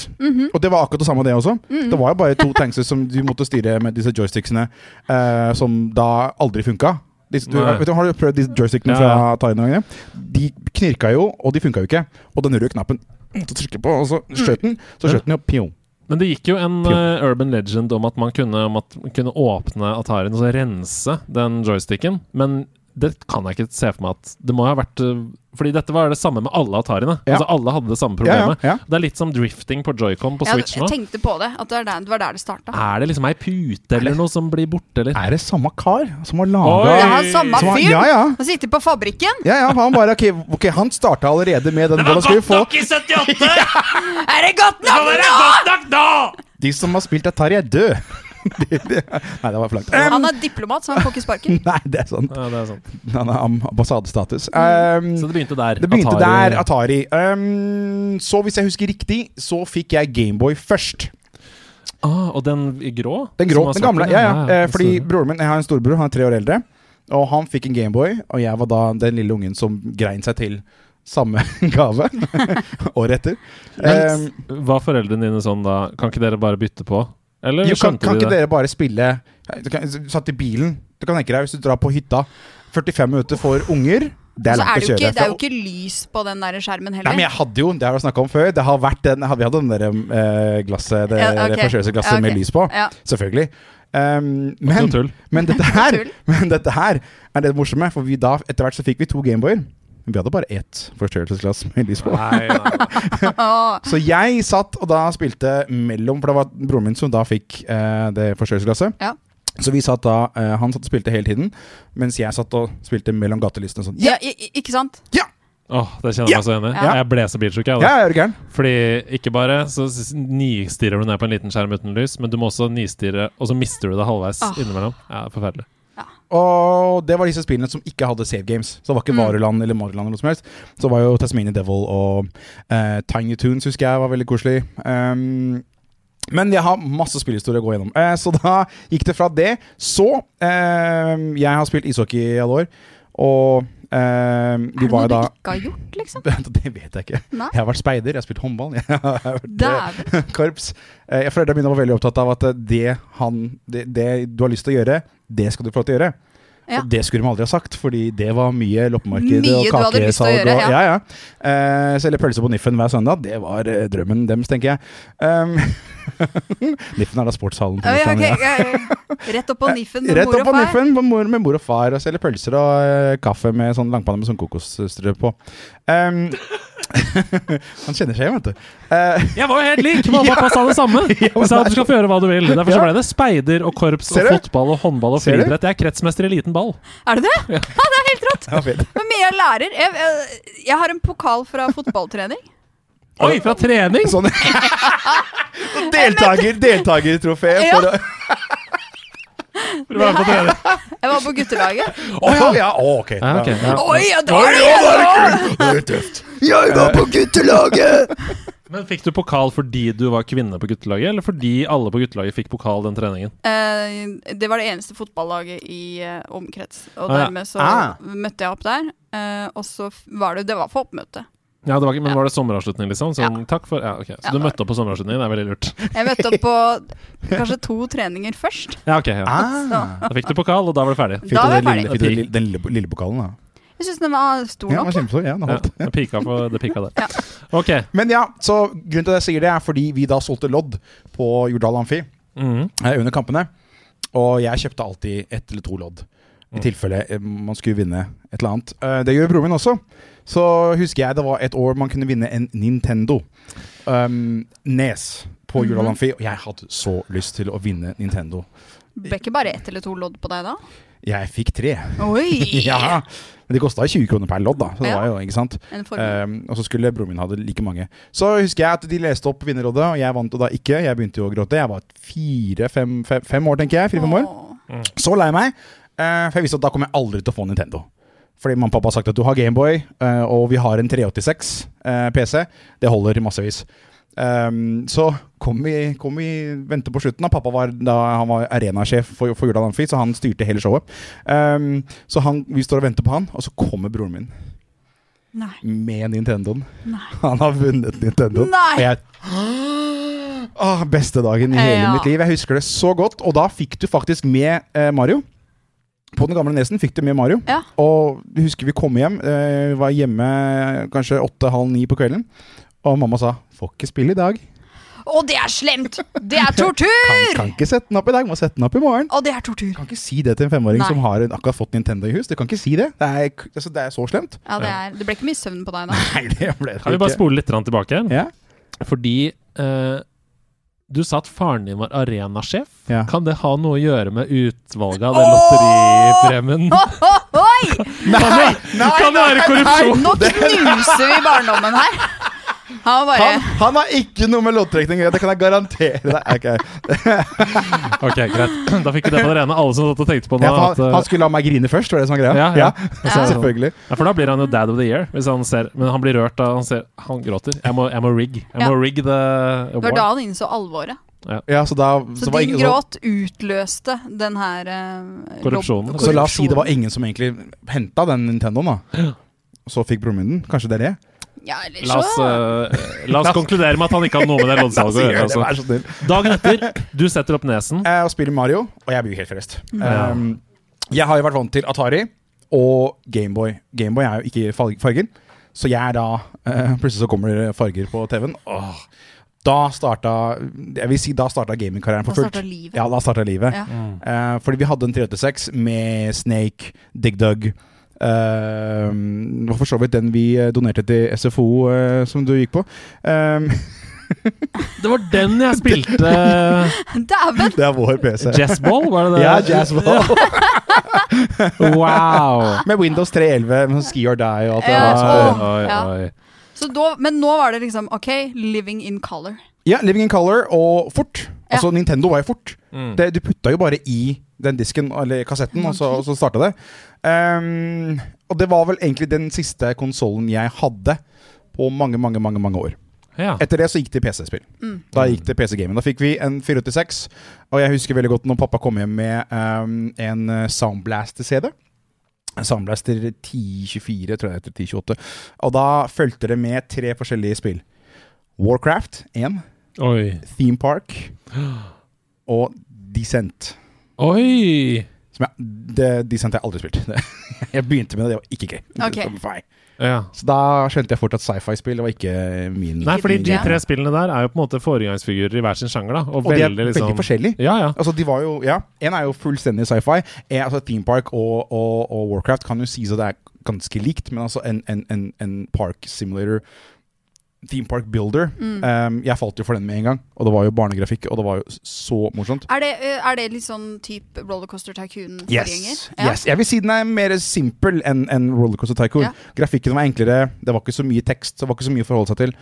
[SPEAKER 6] og det var akkurat det samme det også. Det var jo bare to tanks som du måtte styre med disse joysticksene, eh, som da aldri funka. Disse, du,
[SPEAKER 1] Nei.
[SPEAKER 6] vet du, har du prøvd disse joystickene
[SPEAKER 1] Ja,
[SPEAKER 6] fra
[SPEAKER 1] ja.
[SPEAKER 6] Atari noen ganger? De knirka jo, og de funka jo ikke. Og den røde knappen så trykker jeg på, og så skjøt den. Så skjøt den jo pjong.
[SPEAKER 1] Men det gikk jo en
[SPEAKER 6] Jo.
[SPEAKER 1] eh, urban legend om at man kunne, om at man kunne åpne Atarien og så rense den joysticken, men det kan jeg ikke se for meg at Det må ha vært eh, Fordi dette var det samme med alle Atariene.
[SPEAKER 6] Ja.
[SPEAKER 1] Altså Alle hadde det samme
[SPEAKER 6] Ja,
[SPEAKER 1] problemet.
[SPEAKER 6] ja, ja.
[SPEAKER 1] Det er litt som drifting på Joycom på
[SPEAKER 5] Ja,
[SPEAKER 1] Switch nå.
[SPEAKER 5] jeg tenkte på det. At det er der- det var der det starta.
[SPEAKER 1] Er det liksom ei pute eller noe som blir borte, eller?
[SPEAKER 6] Er det samme kar som har
[SPEAKER 1] Oi!
[SPEAKER 6] laga
[SPEAKER 5] Det er samme
[SPEAKER 6] Som han-
[SPEAKER 5] fyr!
[SPEAKER 6] ja, ja.
[SPEAKER 5] Han sitter på fabrikken.
[SPEAKER 6] ja, ja, han bare Ok, ok, han starta allerede med den. Hvordan skal vi få
[SPEAKER 1] *laughs* i 78!
[SPEAKER 5] Er det godt nok nå?!
[SPEAKER 1] nok nå!
[SPEAKER 6] De som har spilt Atari, er døde. *laughs* De- de- Nei, det var for langt.
[SPEAKER 5] Han er diplomat, så han får ikke sparken.
[SPEAKER 6] Nei, det er sant.
[SPEAKER 1] Ja, det er sant.
[SPEAKER 6] Han har am- ambassadestatus. Um,
[SPEAKER 1] Så det begynte der.
[SPEAKER 6] det begynte
[SPEAKER 1] Atari.
[SPEAKER 6] der, Atari. Um, så hvis jeg husker riktig, så fikk jeg Gameboy først.
[SPEAKER 1] Ah, og den i grå?
[SPEAKER 6] Den grå,
[SPEAKER 1] Som var
[SPEAKER 6] den gamle.
[SPEAKER 1] svarten,
[SPEAKER 6] Ja, ja. Eh, fordi
[SPEAKER 1] så-
[SPEAKER 6] broren min, Jeg har en storebror, han er tre år eldre. Og han fikk en Gameboy, og jeg var da den lille ungen som grein seg til samme *laughs* gave året etter. Um,
[SPEAKER 1] Men var foreldrene dine sånn da Kan ikke dere bare bytte på? Eller
[SPEAKER 6] jo, kan,
[SPEAKER 1] skjønte
[SPEAKER 6] kan
[SPEAKER 1] de
[SPEAKER 6] ikke
[SPEAKER 1] det?
[SPEAKER 6] dere bare spille eh, du kan, Satt i bilen Du kan tenke deg, hvis du drar på hytta 45 minutter for unger *laughs* Det er
[SPEAKER 5] Så
[SPEAKER 6] langt
[SPEAKER 5] Altså, er det,
[SPEAKER 6] å
[SPEAKER 5] jo
[SPEAKER 6] kjøre
[SPEAKER 5] ikke, det er jo
[SPEAKER 6] for-
[SPEAKER 5] ikke lys på den der skjermen
[SPEAKER 6] Nei, men
[SPEAKER 5] heller.
[SPEAKER 6] jeg hadde jo, det har vi snakket om før Det har vært den, vi hadde den der eh, glasset Det
[SPEAKER 5] Ja, ok.
[SPEAKER 6] forstørrelsesglasset
[SPEAKER 5] Ja, ok.
[SPEAKER 6] med lys på
[SPEAKER 5] Ja.
[SPEAKER 6] Selvfølgelig Ehm,
[SPEAKER 1] Ikke
[SPEAKER 6] men,
[SPEAKER 1] noe tull.
[SPEAKER 6] men, dette her,
[SPEAKER 5] Tull.
[SPEAKER 6] *laughs* men dette her er det morsomme For vi da, etter hvert så fikk vi to Gameboyer Men vi hadde bare ett forstørrelsesglass med lys på
[SPEAKER 1] Nei, nei.
[SPEAKER 5] Åh,
[SPEAKER 6] Så jeg satt og da spilte mellom For det var broren min som da fikk eh, det forstørrelsesglasset.
[SPEAKER 5] Ja.
[SPEAKER 6] Så vi satt da, eh, han satt og spilte hele tiden, mens jeg satt og spilte mellom gatelistene sånn.
[SPEAKER 5] Ja, i- i- ikke sant?
[SPEAKER 6] Ja!
[SPEAKER 1] *laughs* Åh, det kjenner jeg meg så enig i.
[SPEAKER 5] Ja.
[SPEAKER 1] Jeg ble så bilsjuk, jeg.
[SPEAKER 6] Ja,
[SPEAKER 1] da.
[SPEAKER 6] er du gæren?
[SPEAKER 1] Fordi ikke bare så s- nistirrer du ned på en liten skjerm uten lys, men du må også nistirre, og så mister du det halvveis
[SPEAKER 5] Ah.
[SPEAKER 1] innimellom. Ja, det er forferdelig.
[SPEAKER 6] Og det var disse spillene som ikke hadde save games. Så det var ikke
[SPEAKER 5] Mm.
[SPEAKER 6] Varuland eller Mariland eller noe som helst. Så var jo Tasmania Devil og eh, Tiny Tunes husker jeg var veldig koselig. Ehm, men jeg har masse spillhistorie å gå gjennom. Eh, så da gikk det fra det. Så ehm, Jeg har spilt ishockey i alle år, og ehm,
[SPEAKER 5] Er
[SPEAKER 6] vi
[SPEAKER 5] det
[SPEAKER 6] var
[SPEAKER 5] noe
[SPEAKER 6] jo da
[SPEAKER 5] du ikke har gjort,
[SPEAKER 6] *laughs*
[SPEAKER 5] liksom?
[SPEAKER 6] Det vet jeg ikke.
[SPEAKER 5] Nei.
[SPEAKER 6] Jeg har vært speider, jeg har spilt håndball, jeg har vært eh,
[SPEAKER 5] Dæven.
[SPEAKER 6] *laughs* korps. Eh, Foreldrene mine var veldig opptatt av at eh, det, han, det, det du har lyst til å gjøre, det skal du få lov til å gjøre.
[SPEAKER 5] Ja.
[SPEAKER 6] Og det skulle de aldri ha sagt, fordi det var mye loppemarked
[SPEAKER 5] Mye
[SPEAKER 6] og
[SPEAKER 5] du hadde lyst til å
[SPEAKER 6] kakesalg.
[SPEAKER 5] gjøre,
[SPEAKER 6] og-
[SPEAKER 5] ja.
[SPEAKER 6] ja, ja. Eh, Selge pølser på Niffen hver søndag, det var eh, drømmen deres, tenker jeg. Um, *laughs* Niffen er da sportshallen. på
[SPEAKER 5] Ja, ja,
[SPEAKER 6] Niffen,
[SPEAKER 5] ok,
[SPEAKER 6] ja.
[SPEAKER 5] ja, ja. Rett opp på niffen med
[SPEAKER 6] Rett
[SPEAKER 5] mor og
[SPEAKER 6] opp på
[SPEAKER 5] far.
[SPEAKER 6] Niffen med mor, med mor og far, og selge pølser og eh, kaffe med sånn langpanne med sånn kokosstrø på. Um, *laughs* han kjenner seg igjen, vet du. Eh, *laughs*
[SPEAKER 1] Jeg var jo helt *laughs* lik! Mamma passa det samme. Hun sa at du skal få gjøre hva du vil. Derfor så
[SPEAKER 6] sånn. Ja.
[SPEAKER 1] ble det speider og korps
[SPEAKER 6] Ser
[SPEAKER 1] og
[SPEAKER 6] du?
[SPEAKER 1] fotball og håndball og
[SPEAKER 6] Ser du?
[SPEAKER 1] friidrett. Jeg er kretsmester i liten ball.
[SPEAKER 5] Er det det? Ja, det er helt rått!
[SPEAKER 6] det var fint.
[SPEAKER 5] Hvor mye jeg lærer. Jeg, jeg, jeg har en pokal fra fotballtrening.
[SPEAKER 1] Oi, fra trening!
[SPEAKER 6] *laughs* Sånn. Deltaker, deltakertrofé.
[SPEAKER 5] Ja.
[SPEAKER 6] for å-
[SPEAKER 1] Du var på trening.
[SPEAKER 5] Jeg var på guttelaget.
[SPEAKER 6] Å ja! ja. å, ok.
[SPEAKER 1] Ja, Ah, ok, ja.
[SPEAKER 5] Oi, ja, da er det igjen!
[SPEAKER 6] Eh. Det er tøft. Jeg var på guttelaget!
[SPEAKER 1] Men fikk du pokal fordi du var kvinne på guttelaget, eller fordi alle på guttelaget fikk pokal den treningen?
[SPEAKER 5] Eh, det var det eneste fotballaget i eh, omkrets, og
[SPEAKER 1] Ah, ja.
[SPEAKER 5] dermed så
[SPEAKER 6] Ah.
[SPEAKER 5] møtte jeg opp der. eh, og så f- var det Det var for oppmøte.
[SPEAKER 1] Ja, det var ikke, Men
[SPEAKER 5] Ja.
[SPEAKER 1] var det sommeravslutning, liksom? Sånn, takk for Ja, ok. Så
[SPEAKER 5] Ja,
[SPEAKER 1] du
[SPEAKER 5] det var
[SPEAKER 1] møtte opp på sommeravslutningen, det er veldig lurt.
[SPEAKER 5] Jeg møtte opp på kanskje to treninger først.
[SPEAKER 1] Ja, ok. Ja.
[SPEAKER 6] Ah.
[SPEAKER 1] Da fikk du pokal, og da var det ferdig.
[SPEAKER 5] Da
[SPEAKER 6] Fikk du
[SPEAKER 5] var
[SPEAKER 6] det
[SPEAKER 5] jeg ferdig.
[SPEAKER 6] lille, fikk du det lille- den lille, lille pokalen, da?
[SPEAKER 5] Jeg syns den var stor
[SPEAKER 6] Ja, den
[SPEAKER 5] nok.
[SPEAKER 6] var kjempestor. Ja, den
[SPEAKER 1] Ja,
[SPEAKER 6] holdt.
[SPEAKER 1] det pika for det pika der.
[SPEAKER 5] Ja.
[SPEAKER 1] Ok.
[SPEAKER 6] Men ja, så grunnen til at jeg sier det, er fordi vi da solgte lodd på Jordal Amfi eh,
[SPEAKER 1] Mhm.
[SPEAKER 6] under kampene. Og jeg kjøpte alltid ett eller to lodd, i tilfelle eh, man skulle vinne et eller annet. Eh, Det gjør broren min også. Så husker jeg det var et år man kunne vinne en Nintendo um, Nes på Jordal Amfi. Og jeg hadde så lyst til å vinne Nintendo.
[SPEAKER 5] Ble ikke bare ett eller to lodd på deg da?
[SPEAKER 6] Jeg fikk tre.
[SPEAKER 5] *laughs* Oi!
[SPEAKER 6] *laughs* ja. Men det kosta 20 kroner per lodd, da. Så det
[SPEAKER 5] Ja.
[SPEAKER 6] var jo, ikke sant.
[SPEAKER 5] En formue.
[SPEAKER 6] Um, og så skulle broren min ha det like mange. Så husker jeg at de leste opp vinnerrådet, og jeg vant jo da ikke. Jeg begynte jo å gråte. Jeg var fire, fem, fem, fem år, tenker jeg. Fire, fem år.
[SPEAKER 5] Åh.
[SPEAKER 6] Så lei meg, eh, for jeg visste at da kommer jeg aldri til å få Nintendo. Fordi mamma og pappa har sagt at du har Gameboy, eh, og vi har en 386 eh, PC. Det holder massevis. Ehm, så kom vi, kom vi vente på slutten. da. Pappa var, da, han var arenasjef for, for Jordal Amfi, så han styrte hele showet. Ehm, så han, vi står og venter på han, og så kommer broren min
[SPEAKER 5] Nei.
[SPEAKER 6] med Nintendoen.
[SPEAKER 5] Nei.
[SPEAKER 6] Han har vunnet Nintendo.
[SPEAKER 5] Nei.
[SPEAKER 6] Og jeg Åh, Beste dagen i hele
[SPEAKER 5] Ja.
[SPEAKER 6] mitt liv. Jeg husker det så godt. Og da fikk du faktisk med eh, Mario. På den gamle nesen fikk du med Mario.
[SPEAKER 5] Ja.
[SPEAKER 6] Og vi husker vi kom hjem. Eh, var hjemme kanskje åtte-halv ni på kvelden. Og mamma sa 'får ikke spille i dag'.
[SPEAKER 5] Og det er slemt! Det er tortur!
[SPEAKER 6] Kan, kan ikke sette den opp i dag, må sette den opp i morgen.
[SPEAKER 5] Og det er tortur.
[SPEAKER 6] Kan ikke si det til en femåring
[SPEAKER 5] Nei.
[SPEAKER 6] som har en- akkurat fått Nintendo i hus. Du kan ikke si det. Det er, k- altså, det er så slemt. *laughs*
[SPEAKER 5] Ja, det, er, det ble ikke mye søvn på deg da.
[SPEAKER 6] Nei, det ble det
[SPEAKER 1] Kan vi bare spole litt grann tilbake?
[SPEAKER 6] Ja.
[SPEAKER 1] Fordi eh, du sa at faren din var arenasjef.
[SPEAKER 6] Ja.
[SPEAKER 1] Kan det ha noe å gjøre med utvalget av den lotteripremien?
[SPEAKER 5] Oi!
[SPEAKER 6] Nei! Nei!
[SPEAKER 1] Kan det være korrupsjon?
[SPEAKER 5] Nå knuser vi barndommen her. Han var bare
[SPEAKER 6] Han, han har ikke noe med loddtrekning å gjøre, det kan jeg garantere deg.
[SPEAKER 1] *laughs*
[SPEAKER 6] Ok.
[SPEAKER 1] Ok, greit. *clears throat* Da fikk vi det på det rene. Alle som satt og tenkte på det.
[SPEAKER 6] Ja, for
[SPEAKER 1] at, eh,
[SPEAKER 6] han, han skulle la meg grine først, var det som var greia?
[SPEAKER 1] Ja, ja.
[SPEAKER 5] Ja.
[SPEAKER 6] *laughs* Selvfølgelig.
[SPEAKER 1] Ja, for da blir han jo dad of the year. Hvis han ser, men han blir rørt da han ser Han gråter. Jeg må, jeg må rig. Jeg
[SPEAKER 5] Ja.
[SPEAKER 1] må rig the
[SPEAKER 5] Det var da
[SPEAKER 1] award.
[SPEAKER 5] han innså alvoret.
[SPEAKER 6] Ja, så da,
[SPEAKER 5] Så,
[SPEAKER 6] så, var
[SPEAKER 5] din
[SPEAKER 6] ingen, så,
[SPEAKER 5] gråt utløste den her eh,
[SPEAKER 1] Korrupsjonen.
[SPEAKER 5] lobb-
[SPEAKER 6] så la oss si det var ingen som egentlig henta den Nintendoen, da. Så fikk broren min den. Kanskje det er det?
[SPEAKER 5] Ja, eller
[SPEAKER 1] La oss,
[SPEAKER 5] så
[SPEAKER 1] eh, la oss konkludere med at han ikke hadde noe med det loddsalget å gjøre. Altså.
[SPEAKER 6] vær så snill.
[SPEAKER 1] Dagen etter, du setter opp nesen.
[SPEAKER 6] Eh, og spiller Mario, og jeg blir jo helt frelst.
[SPEAKER 1] Mm. Ja.
[SPEAKER 6] Um, jeg har jo vært vant til Atari og Gameboy. Gameboy er jo ikke fal- farger, så jeg er da eh, Plutselig så kommer det farger på TV-en. Åh. Da starta Jeg vil si da starta gamingkarrieren for
[SPEAKER 5] Da
[SPEAKER 6] fullt.
[SPEAKER 5] starta livet.
[SPEAKER 6] Ja, da starta livet.
[SPEAKER 5] Ja.
[SPEAKER 6] Eh, fordi vi hadde en 386 med Snake, Dig Dug eh, Og for så vidt den vi eh, donerte til SFO, eh, som du gikk på. Eh,
[SPEAKER 1] Det var den jeg spilte
[SPEAKER 5] *laughs*
[SPEAKER 6] *laughs*
[SPEAKER 5] Dæven!
[SPEAKER 6] *laughs* det er vår PC.
[SPEAKER 1] jazzball, var det det?
[SPEAKER 6] Ja, Jazzball.
[SPEAKER 1] Wow.
[SPEAKER 6] *laughs* Med Windows 311, med sånn Ski or Die og alt
[SPEAKER 5] *laughs*
[SPEAKER 6] det
[SPEAKER 5] Ja,
[SPEAKER 6] der.
[SPEAKER 5] åh. Ja. Så da- Men nå var det liksom OK, living in color.
[SPEAKER 6] Ja, Living in Color og fort.
[SPEAKER 5] Ja.
[SPEAKER 6] Altså, Nintendo var jo fort.
[SPEAKER 1] Mm.
[SPEAKER 6] Det, du putta jo bare i den disken, eller kassetten, og så, og så starta det. Ehm, og det var vel egentlig den siste konsollen jeg hadde på mange, mange, mange, mange år.
[SPEAKER 1] Ja.
[SPEAKER 6] Etter det så gikk det i PC-spill. Da gikk det PC-gaming. Da fikk vi en 486, og jeg husker veldig godt når pappa kom hjem med ehm, en eh, Soundblaster-CD. En Soundblaster 1024, tror jeg det heter. 1028. Og da fulgte det med tre forskjellige spill. Warcraft 1,
[SPEAKER 1] Oi.
[SPEAKER 6] Theme Park og Descent.
[SPEAKER 1] Oi!
[SPEAKER 6] Som jeg, det, Descent har jeg aldri spilt. *laughs* Jeg begynte med det, det var ikke gøy.
[SPEAKER 5] Ok.
[SPEAKER 6] For meg.
[SPEAKER 1] Ja.
[SPEAKER 6] Så da skjønte jeg fort at sci-fi-spill det var ikke min
[SPEAKER 1] Nei, fordi
[SPEAKER 6] min
[SPEAKER 1] de
[SPEAKER 6] greie.
[SPEAKER 1] tre spillene der er jo på en måte foregangsfigurer i hver sin sjanger, da. Og,
[SPEAKER 6] Og de er
[SPEAKER 1] veldig, liksom
[SPEAKER 6] veldig forskjellige.
[SPEAKER 1] Ja, ja.
[SPEAKER 6] Altså, de var jo, ja, En er jo fullstendig sci-fi. En- Altså, Theme Park og, og, og Warcraft kan jo sies at det er ganske likt, men altså en, en, en, en park simulator Theme Park Builder. ehm, jeg falt jo for den med en gang. Og det var jo barnegrafikk, og det var jo s- så morsomt.
[SPEAKER 5] Er det, eh, er det litt sånn type Rollercoaster Tycoon-forgjenger?
[SPEAKER 6] Yes. yes. Jeg vil si den er mer simpel enn enn Rollercoaster Tycoon.
[SPEAKER 5] Ja.
[SPEAKER 6] Grafikken var enklere, det var ikke så mye tekst, det var ikke så mye å forholde seg til.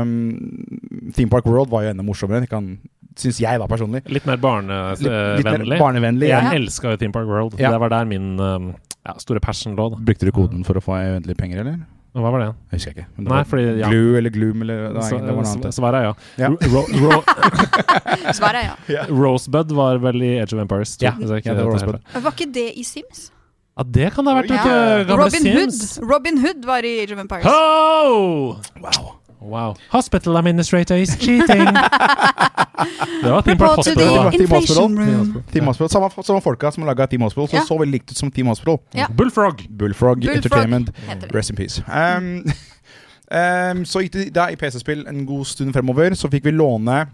[SPEAKER 6] Ehm, Theme Park World var jo enda morsommere, det kan, syns jeg da personlig.
[SPEAKER 1] Litt mer Altså,
[SPEAKER 6] Litt, litt mer
[SPEAKER 1] barnevennlig.
[SPEAKER 6] barnevennlig. ja.
[SPEAKER 1] Jeg elska jo Theme Park World.
[SPEAKER 6] Ja.
[SPEAKER 1] Det var der min um, ja, store passion lå. da
[SPEAKER 6] Brukte du koden for å få endelig penger, eller?
[SPEAKER 1] Og Hva var det?
[SPEAKER 6] Jeg husker ikke. Men
[SPEAKER 1] Nei, fordi ja.
[SPEAKER 6] Glue eller gloom eller det var,
[SPEAKER 1] Så-
[SPEAKER 6] ingen- det var noe
[SPEAKER 1] så-
[SPEAKER 6] annet. altså.
[SPEAKER 1] Svaret er ja.
[SPEAKER 6] Ja.
[SPEAKER 1] Ro ro *laughs*
[SPEAKER 5] Svaret er ja.
[SPEAKER 1] Rosebud var vel i Age of Empires 2.
[SPEAKER 6] Ja,
[SPEAKER 1] hvis jeg ikke
[SPEAKER 6] ja, det
[SPEAKER 1] tar
[SPEAKER 6] var
[SPEAKER 1] helt
[SPEAKER 6] Rosebud.
[SPEAKER 1] feil.
[SPEAKER 5] Var ikke det i Sims?
[SPEAKER 1] Ja, det kan det ha vært, vet du. Gamle
[SPEAKER 5] Robin
[SPEAKER 1] Sims.
[SPEAKER 5] Hood Robin Hood var i Age of Empires.
[SPEAKER 1] Ho!
[SPEAKER 6] Wow.
[SPEAKER 1] Wow. Hospital administrator is
[SPEAKER 6] *laughs*
[SPEAKER 1] cheating. det var Team Park
[SPEAKER 5] Report to
[SPEAKER 6] Det var
[SPEAKER 1] Hospital.
[SPEAKER 5] the
[SPEAKER 6] Team
[SPEAKER 5] inflation
[SPEAKER 6] Hospital.
[SPEAKER 5] room.
[SPEAKER 6] Team Hospital. Samme, samme folka som laga Team Hospital, så
[SPEAKER 5] Ja.
[SPEAKER 6] så veldig likt ut som Team Hospital.
[SPEAKER 5] Ja.
[SPEAKER 1] Bullfrog.
[SPEAKER 6] Bullfrog,
[SPEAKER 5] Bullfrog.
[SPEAKER 6] Entertainment,
[SPEAKER 5] Heter det.
[SPEAKER 6] rest in peace. Um, *laughs* um, så gikk det da i PC-spill en god stund fremover, så fikk vi låne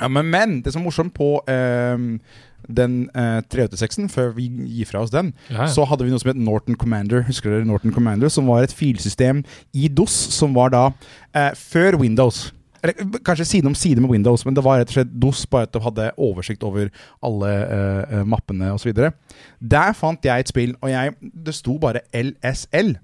[SPEAKER 6] ja, men, men det som er morsomt på um, den uh, 386-en, før vi gir fra oss den,
[SPEAKER 1] Ja, ja.
[SPEAKER 6] så hadde vi noe som het Norton Commander. Husker dere Norton Commander? Som var et filsystem i DOS, som var da eh, før Windows. Eller eh, kanskje side om side med Windows, men det var rett og slett DOS, bare at du hadde oversikt over alle eh, eh, mappene osv. Der fant jeg et spill, og jeg, det sto bare LSL.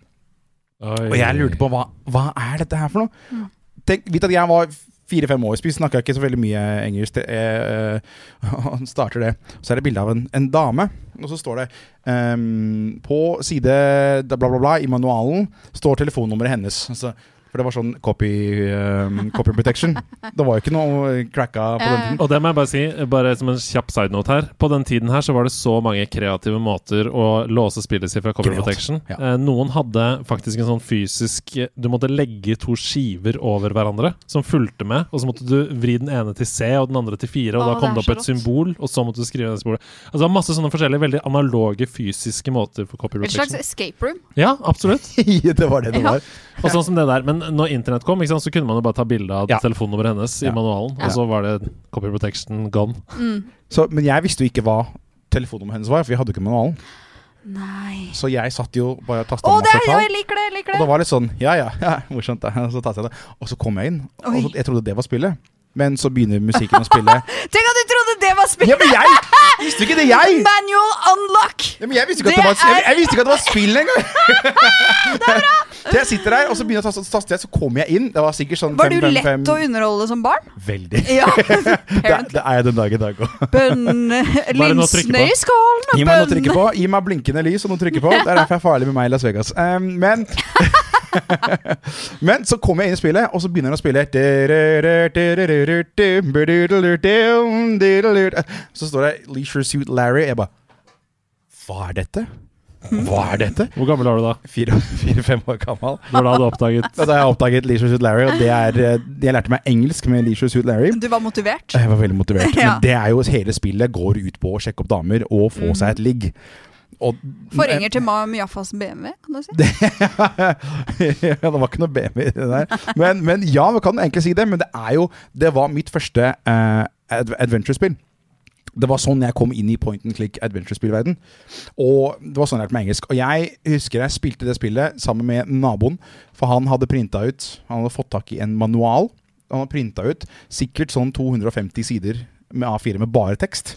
[SPEAKER 1] Oi.
[SPEAKER 6] Og jeg lurte på hva, hva er dette her for noe? Tenk, Vit at jeg var fire-fem år, snakka ikke så veldig mye engelsk. det- eh, eh, *laughs* Han starter det. Så er det bilde av en, en dame, og så står det ehm, På side da bla, bla, bla i manualen står telefonnummeret hennes. Altså, for det var sånn copy, ehm, copy protection. Det var jo ikke noe cracka på den tiden.
[SPEAKER 1] Og det må jeg bare si, bare som en kjapp sidenote her. På den tiden her så var det så mange kreative måter å låse spillet sitt fra cover
[SPEAKER 6] Kreativt,
[SPEAKER 1] protection.
[SPEAKER 6] ja.
[SPEAKER 1] Eh, noen hadde faktisk en sånn fysisk Du måtte legge to skiver over hverandre som fulgte med, og så måtte du vri den ene til C og den andre til 4, og
[SPEAKER 5] Å,
[SPEAKER 1] da kom det
[SPEAKER 5] det
[SPEAKER 1] opp et
[SPEAKER 5] er så rått.
[SPEAKER 1] symbol, og så måtte du skrive det symbolet. Altså det var masse sånne forskjellige veldig analoge fysiske måter for copy
[SPEAKER 5] Et slags
[SPEAKER 1] protection.
[SPEAKER 5] escape room.
[SPEAKER 1] Ja, absolutt.
[SPEAKER 6] *laughs* det var det det
[SPEAKER 5] Ja.
[SPEAKER 6] var.
[SPEAKER 1] Og sånn som det der. Men når internett kom, ikke sant, så kunne man jo bare ta bilde av
[SPEAKER 6] Ja.
[SPEAKER 1] telefonnummeret hennes i
[SPEAKER 6] Ja.
[SPEAKER 1] manualen,
[SPEAKER 6] Ja.
[SPEAKER 1] og så var det copy protection gone.
[SPEAKER 6] Så, men jeg visste jo ikke hva telefonnummeret hennes var, for vi hadde jo ikke manualen.
[SPEAKER 5] Nei
[SPEAKER 6] Så jeg satt jo bare og tasta
[SPEAKER 5] Å, det
[SPEAKER 6] masse
[SPEAKER 5] er,
[SPEAKER 6] tall.
[SPEAKER 5] jeg liker det! jeg liker
[SPEAKER 6] Og det
[SPEAKER 5] det
[SPEAKER 6] var litt sånn Ja, ja, ja morsomt. da. Og Så tastet jeg det. Og så kom jeg inn, og så,
[SPEAKER 5] Oi.
[SPEAKER 6] jeg trodde det var spillet. Men så begynner musikken å spille. *laughs*
[SPEAKER 5] Tenk at du trodde det var spill!
[SPEAKER 6] Ja, men jeg visste ikke det, jeg!
[SPEAKER 5] Manual unlock!
[SPEAKER 6] Ja, men jeg visste ikke at det var,
[SPEAKER 5] Det er-
[SPEAKER 6] jeg, jeg visste ikke at det var spill engang!
[SPEAKER 5] *laughs*
[SPEAKER 6] Så jeg sitter der, og så begynner jeg å taste, så taster jeg, så kommer jeg inn. Det var sikkert sånn
[SPEAKER 5] Var
[SPEAKER 6] fem,
[SPEAKER 5] du
[SPEAKER 6] fem,
[SPEAKER 5] lett
[SPEAKER 6] fem.
[SPEAKER 5] å underholde som
[SPEAKER 6] *laughs*
[SPEAKER 5] barn? *laughs*
[SPEAKER 6] Veldig.
[SPEAKER 5] Ja.
[SPEAKER 6] Det, det er jeg den dag i dag òg.
[SPEAKER 5] Bønne,
[SPEAKER 1] Hva er det nå å trykke på?
[SPEAKER 5] linsene i skålen og
[SPEAKER 6] Gi meg noe å trykke
[SPEAKER 5] bønne.
[SPEAKER 6] på. Gi meg blinkende lys og noe å trykke på. Det er derfor jeg er farlig med meg i Las Vegas. Um, men *laughs* Men så kommer jeg inn i spillet, og så begynner han å spille Så står det Leisure Suit Larry. Jeg bare Hva er dette? Hva er dette?
[SPEAKER 1] Hvor gammel var du da?
[SPEAKER 6] Fire-fem år gammel.
[SPEAKER 1] Når da hadde du oppdaget
[SPEAKER 6] Da har jeg oppdaget Leisure Suit Larry, og det er eh, Jeg lærte meg engelsk med Leisure Suit Larry.
[SPEAKER 5] Du var motivert?
[SPEAKER 6] Jeg var veldig motivert.
[SPEAKER 5] Ja.
[SPEAKER 6] Men det er jo hele spillet går ut på å sjekke opp damer og få seg et ligg. Og- eh,
[SPEAKER 5] Forgjenger til Mam Jaffas BMW, kan du si?
[SPEAKER 6] *laughs* ja, det var ikke noe BMW i det der. Men, men ja, vi kan egentlig si det. Men det er jo Det var mitt første eh, ad adventure-spill. Det var sånn jeg kom inn i point and click adventure-spillverden. Og det var sånn jeg lærte meg engelsk. Og jeg husker jeg spilte det spillet sammen med naboen, for han hadde printa ut Han hadde fått tak i en manual. Han hadde printa ut sikkert sånn 250 sider med A4 med bare tekst.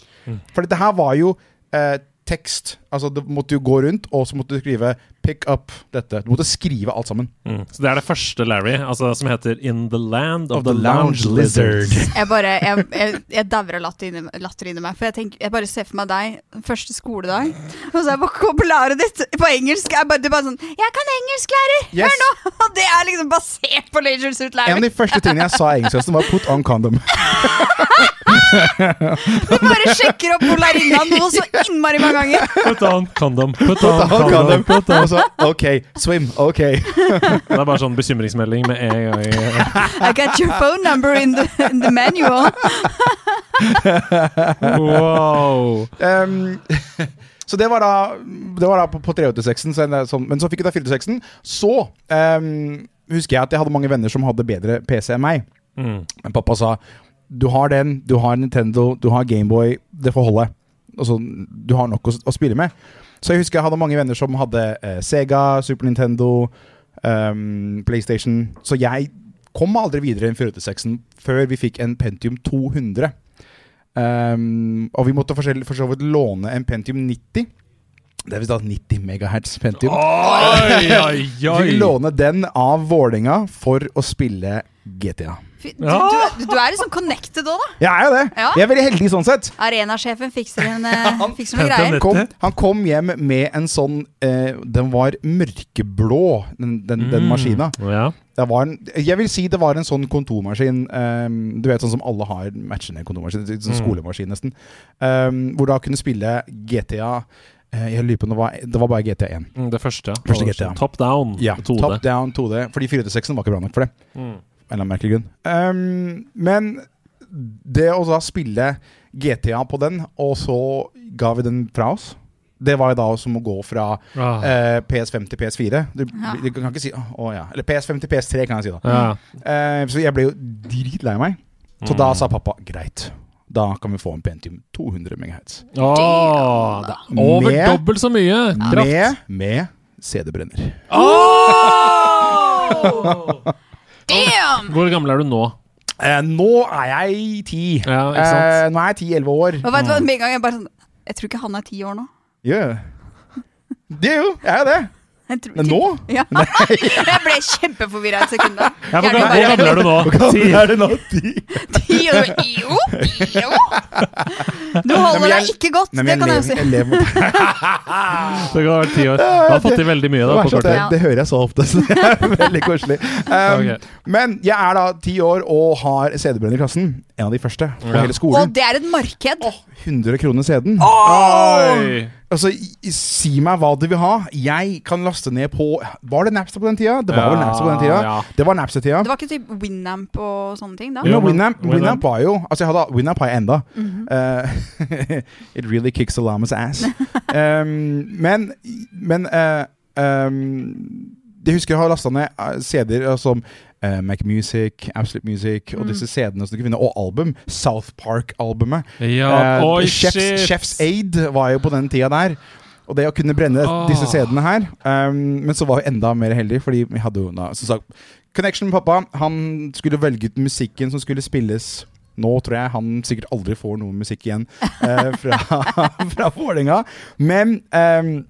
[SPEAKER 6] For dette her var jo eh, tekst. Altså, du måtte jo gå rundt, og så måtte du skrive 'pick up' dette. Du måtte skrive alt sammen.
[SPEAKER 1] *laughs* mm. Så det er det første Larry, altså, som heter In the land of,
[SPEAKER 6] Of
[SPEAKER 1] the,
[SPEAKER 6] the
[SPEAKER 1] lounge,
[SPEAKER 6] lounge
[SPEAKER 1] lizard. *laughs*
[SPEAKER 6] lizard.
[SPEAKER 5] Jeg bare, jeg, jeg, jeg dauer av latter inni, latter inni meg. For jeg, tenker, jeg bare ser for meg deg første skoledag, og så er vokabularet ditt på engelsk er bare, Du bare sånn 'Jeg kan engelsk, lærer!
[SPEAKER 6] Yes.
[SPEAKER 5] Hør nå!' *laughs* Og det er liksom basert på Leisure Suit
[SPEAKER 6] En av
[SPEAKER 5] Larry.
[SPEAKER 6] de første tingene jeg sa i engelskklassen, var 'put on condom'.
[SPEAKER 5] Du bare sjekker opp polarinnaen noe så innmari mange ganger.
[SPEAKER 1] Put on condom, *laughs* put
[SPEAKER 6] Put *laughs*
[SPEAKER 1] on condom. Put on.
[SPEAKER 6] Og så, OK, swim. OK. *laughs*
[SPEAKER 1] Det er bare sånn bekymringsmelding med en gang. *laughs*
[SPEAKER 5] I got your phone number in the, in the manual.
[SPEAKER 1] Wow.
[SPEAKER 6] Um, *laughs* så det var da, det var da på, på 386-en, så det er sånn, men så fikk jeg da 486-en. Så um, husker jeg at jeg hadde mange venner som hadde bedre PC enn meg.
[SPEAKER 1] Mm.
[SPEAKER 6] Men pappa sa Du har den, du har Nintendo, du har Gameboy, det får holde. Altså, du har nok å, å spille med. Så jeg husker jeg hadde mange venner som hadde eh, Sega, Super Nintendo, ehm, PlayStation. Så jeg kom aldri videre enn 486-en før vi fikk en Pentium 200. Ehm, og vi måtte for så for så vidt låne en Pentium 90. Det vil si da 90 megahertz Pentium.
[SPEAKER 1] Oi, oi,
[SPEAKER 6] Vi
[SPEAKER 1] oi!
[SPEAKER 6] låner den av Vålinga for å spille GTA.
[SPEAKER 5] Fy- Du, du, du er liksom connected òg, da.
[SPEAKER 6] Jeg er jo det!
[SPEAKER 5] Ja.
[SPEAKER 6] Jeg er veldig heldig sånn sett.
[SPEAKER 5] Arenasjefen fikser, en, eh, fikser noen
[SPEAKER 1] henter en
[SPEAKER 5] greier.
[SPEAKER 1] nett.
[SPEAKER 6] Kom,
[SPEAKER 1] Dette?
[SPEAKER 6] han kom hjem med en sånn eh, Den var mørkeblå, den, den, den maskina.
[SPEAKER 1] Mm. Ja.
[SPEAKER 6] Det var en, jeg vil si det var en sånn kontormaskin ehm, Du vet sånn som alle har matchende kontormaskin Sånn skolemaskin nesten ehm, Hvor da kunne spille GTA eh, Jeg lurer på om det var, det var bare GTA 1
[SPEAKER 1] Mm, Det første.
[SPEAKER 6] Første GTA.
[SPEAKER 1] Top down.
[SPEAKER 6] ja,
[SPEAKER 1] 2D.
[SPEAKER 6] Top down 2D Fordi 4D6 var ikke bra nok for det
[SPEAKER 1] Mm.
[SPEAKER 6] En eller annen merkelig grunn Ehm, Men det å da spille GTA på den Og så ga vi den fra oss Det var jo da som å gå fra
[SPEAKER 1] Ah.
[SPEAKER 6] eh, PS5 til PS4 Du,
[SPEAKER 5] Ja.
[SPEAKER 6] du kan ikke si «Å, å ja Eller PS5 til PS3 kan jeg si da
[SPEAKER 1] Ja.
[SPEAKER 6] Eh, så jeg ble jo dritlei meg. Så
[SPEAKER 1] Mm.
[SPEAKER 6] da sa pappa greit, da kan vi få en Pentium 200 MHz.
[SPEAKER 1] Åh, det er over
[SPEAKER 6] Med-
[SPEAKER 1] dobbelt så mye kraft.
[SPEAKER 6] Med, med CD-brenner.
[SPEAKER 5] Damn!
[SPEAKER 1] Hvor gammel er du nå?
[SPEAKER 6] Eh, nå er jeg ti.
[SPEAKER 1] Ja, ikke sant?
[SPEAKER 6] Eh, nå er jeg ti-elleve år.
[SPEAKER 5] Og vet
[SPEAKER 1] Mm.
[SPEAKER 5] du hva, med en gang jeg bare sånn Jeg tror ikke han er ti år nå.
[SPEAKER 6] Yeah. Det er jo, jeg er jo det.
[SPEAKER 5] Jeg tror,
[SPEAKER 6] Men nå?
[SPEAKER 5] Ja. Jeg ble kjempeforvirra et sekund der.
[SPEAKER 1] Ja, hvor,
[SPEAKER 5] Hjernen
[SPEAKER 1] gammel, hvor
[SPEAKER 5] bare,
[SPEAKER 1] gammel er du nå?
[SPEAKER 6] Hvordan
[SPEAKER 1] Ti.
[SPEAKER 6] er det nå? Ti?
[SPEAKER 5] Ti år, jo, jo. Du
[SPEAKER 6] men
[SPEAKER 5] holder
[SPEAKER 6] jeg-
[SPEAKER 5] deg ikke godt,
[SPEAKER 6] Nei,
[SPEAKER 5] det
[SPEAKER 6] men
[SPEAKER 5] kan jeg jo
[SPEAKER 6] jeg
[SPEAKER 5] si.
[SPEAKER 6] lever, jeg lever
[SPEAKER 1] *laughs*
[SPEAKER 6] det,
[SPEAKER 1] Du kan ha vært ti år. Du har fått til veldig mye da,
[SPEAKER 6] er
[SPEAKER 1] på
[SPEAKER 6] sånn
[SPEAKER 1] kort
[SPEAKER 6] at
[SPEAKER 1] tid.
[SPEAKER 6] jeg,
[SPEAKER 5] tid.
[SPEAKER 6] det hører jeg så ofte, så det er *laughs* veldig koselig. Um,
[SPEAKER 1] Ok.
[SPEAKER 6] Men jeg er da ti år og har CD-brenner i klassen. En av de første på
[SPEAKER 1] Ja.
[SPEAKER 6] hele
[SPEAKER 5] Og
[SPEAKER 6] skolen.
[SPEAKER 5] det er et marked.
[SPEAKER 6] 100 kroner CD-en.
[SPEAKER 1] Ah. Oi!
[SPEAKER 6] Altså, i- i- Si meg hva du vil ha. Jeg kan laste ned på Var det Napster på den tida? Det var vel
[SPEAKER 1] Ja,
[SPEAKER 6] Napster på den tida.
[SPEAKER 1] ja.
[SPEAKER 6] Det var Napster-tida.
[SPEAKER 5] Det var ikke typ Winamp og sånne ting da?
[SPEAKER 1] Jo,
[SPEAKER 6] Men
[SPEAKER 1] men-
[SPEAKER 6] Winamp,
[SPEAKER 1] Winamp.
[SPEAKER 6] Winamp var jo Altså, jeg hadde Winamp har jeg enda. Eh, *laughs* it really kicks a llamas ass. Um, men men eh, um, jeg husker jeg har lasta ned eh, CD-er som eh, Mac Music, Absolute Music og disse CD-ene som du kunne vinne, og album. South Park-albumet.
[SPEAKER 1] Ja,
[SPEAKER 6] Eh,
[SPEAKER 1] oi,
[SPEAKER 6] Chef's,
[SPEAKER 1] shit!
[SPEAKER 6] Chef's Aid var jo på den tida der. Og det å kunne brenne
[SPEAKER 1] Åh.
[SPEAKER 6] disse CD-ene her. ehm, men så var vi enda mer heldige, fordi vi hadde jo da, som sagt Connection med pappa. Han skulle velge ut musikken som skulle spilles. Nå tror jeg han sikkert aldri får noe musikk igjen eh, fra, *laughs* fra Vålerenga. Men ehm,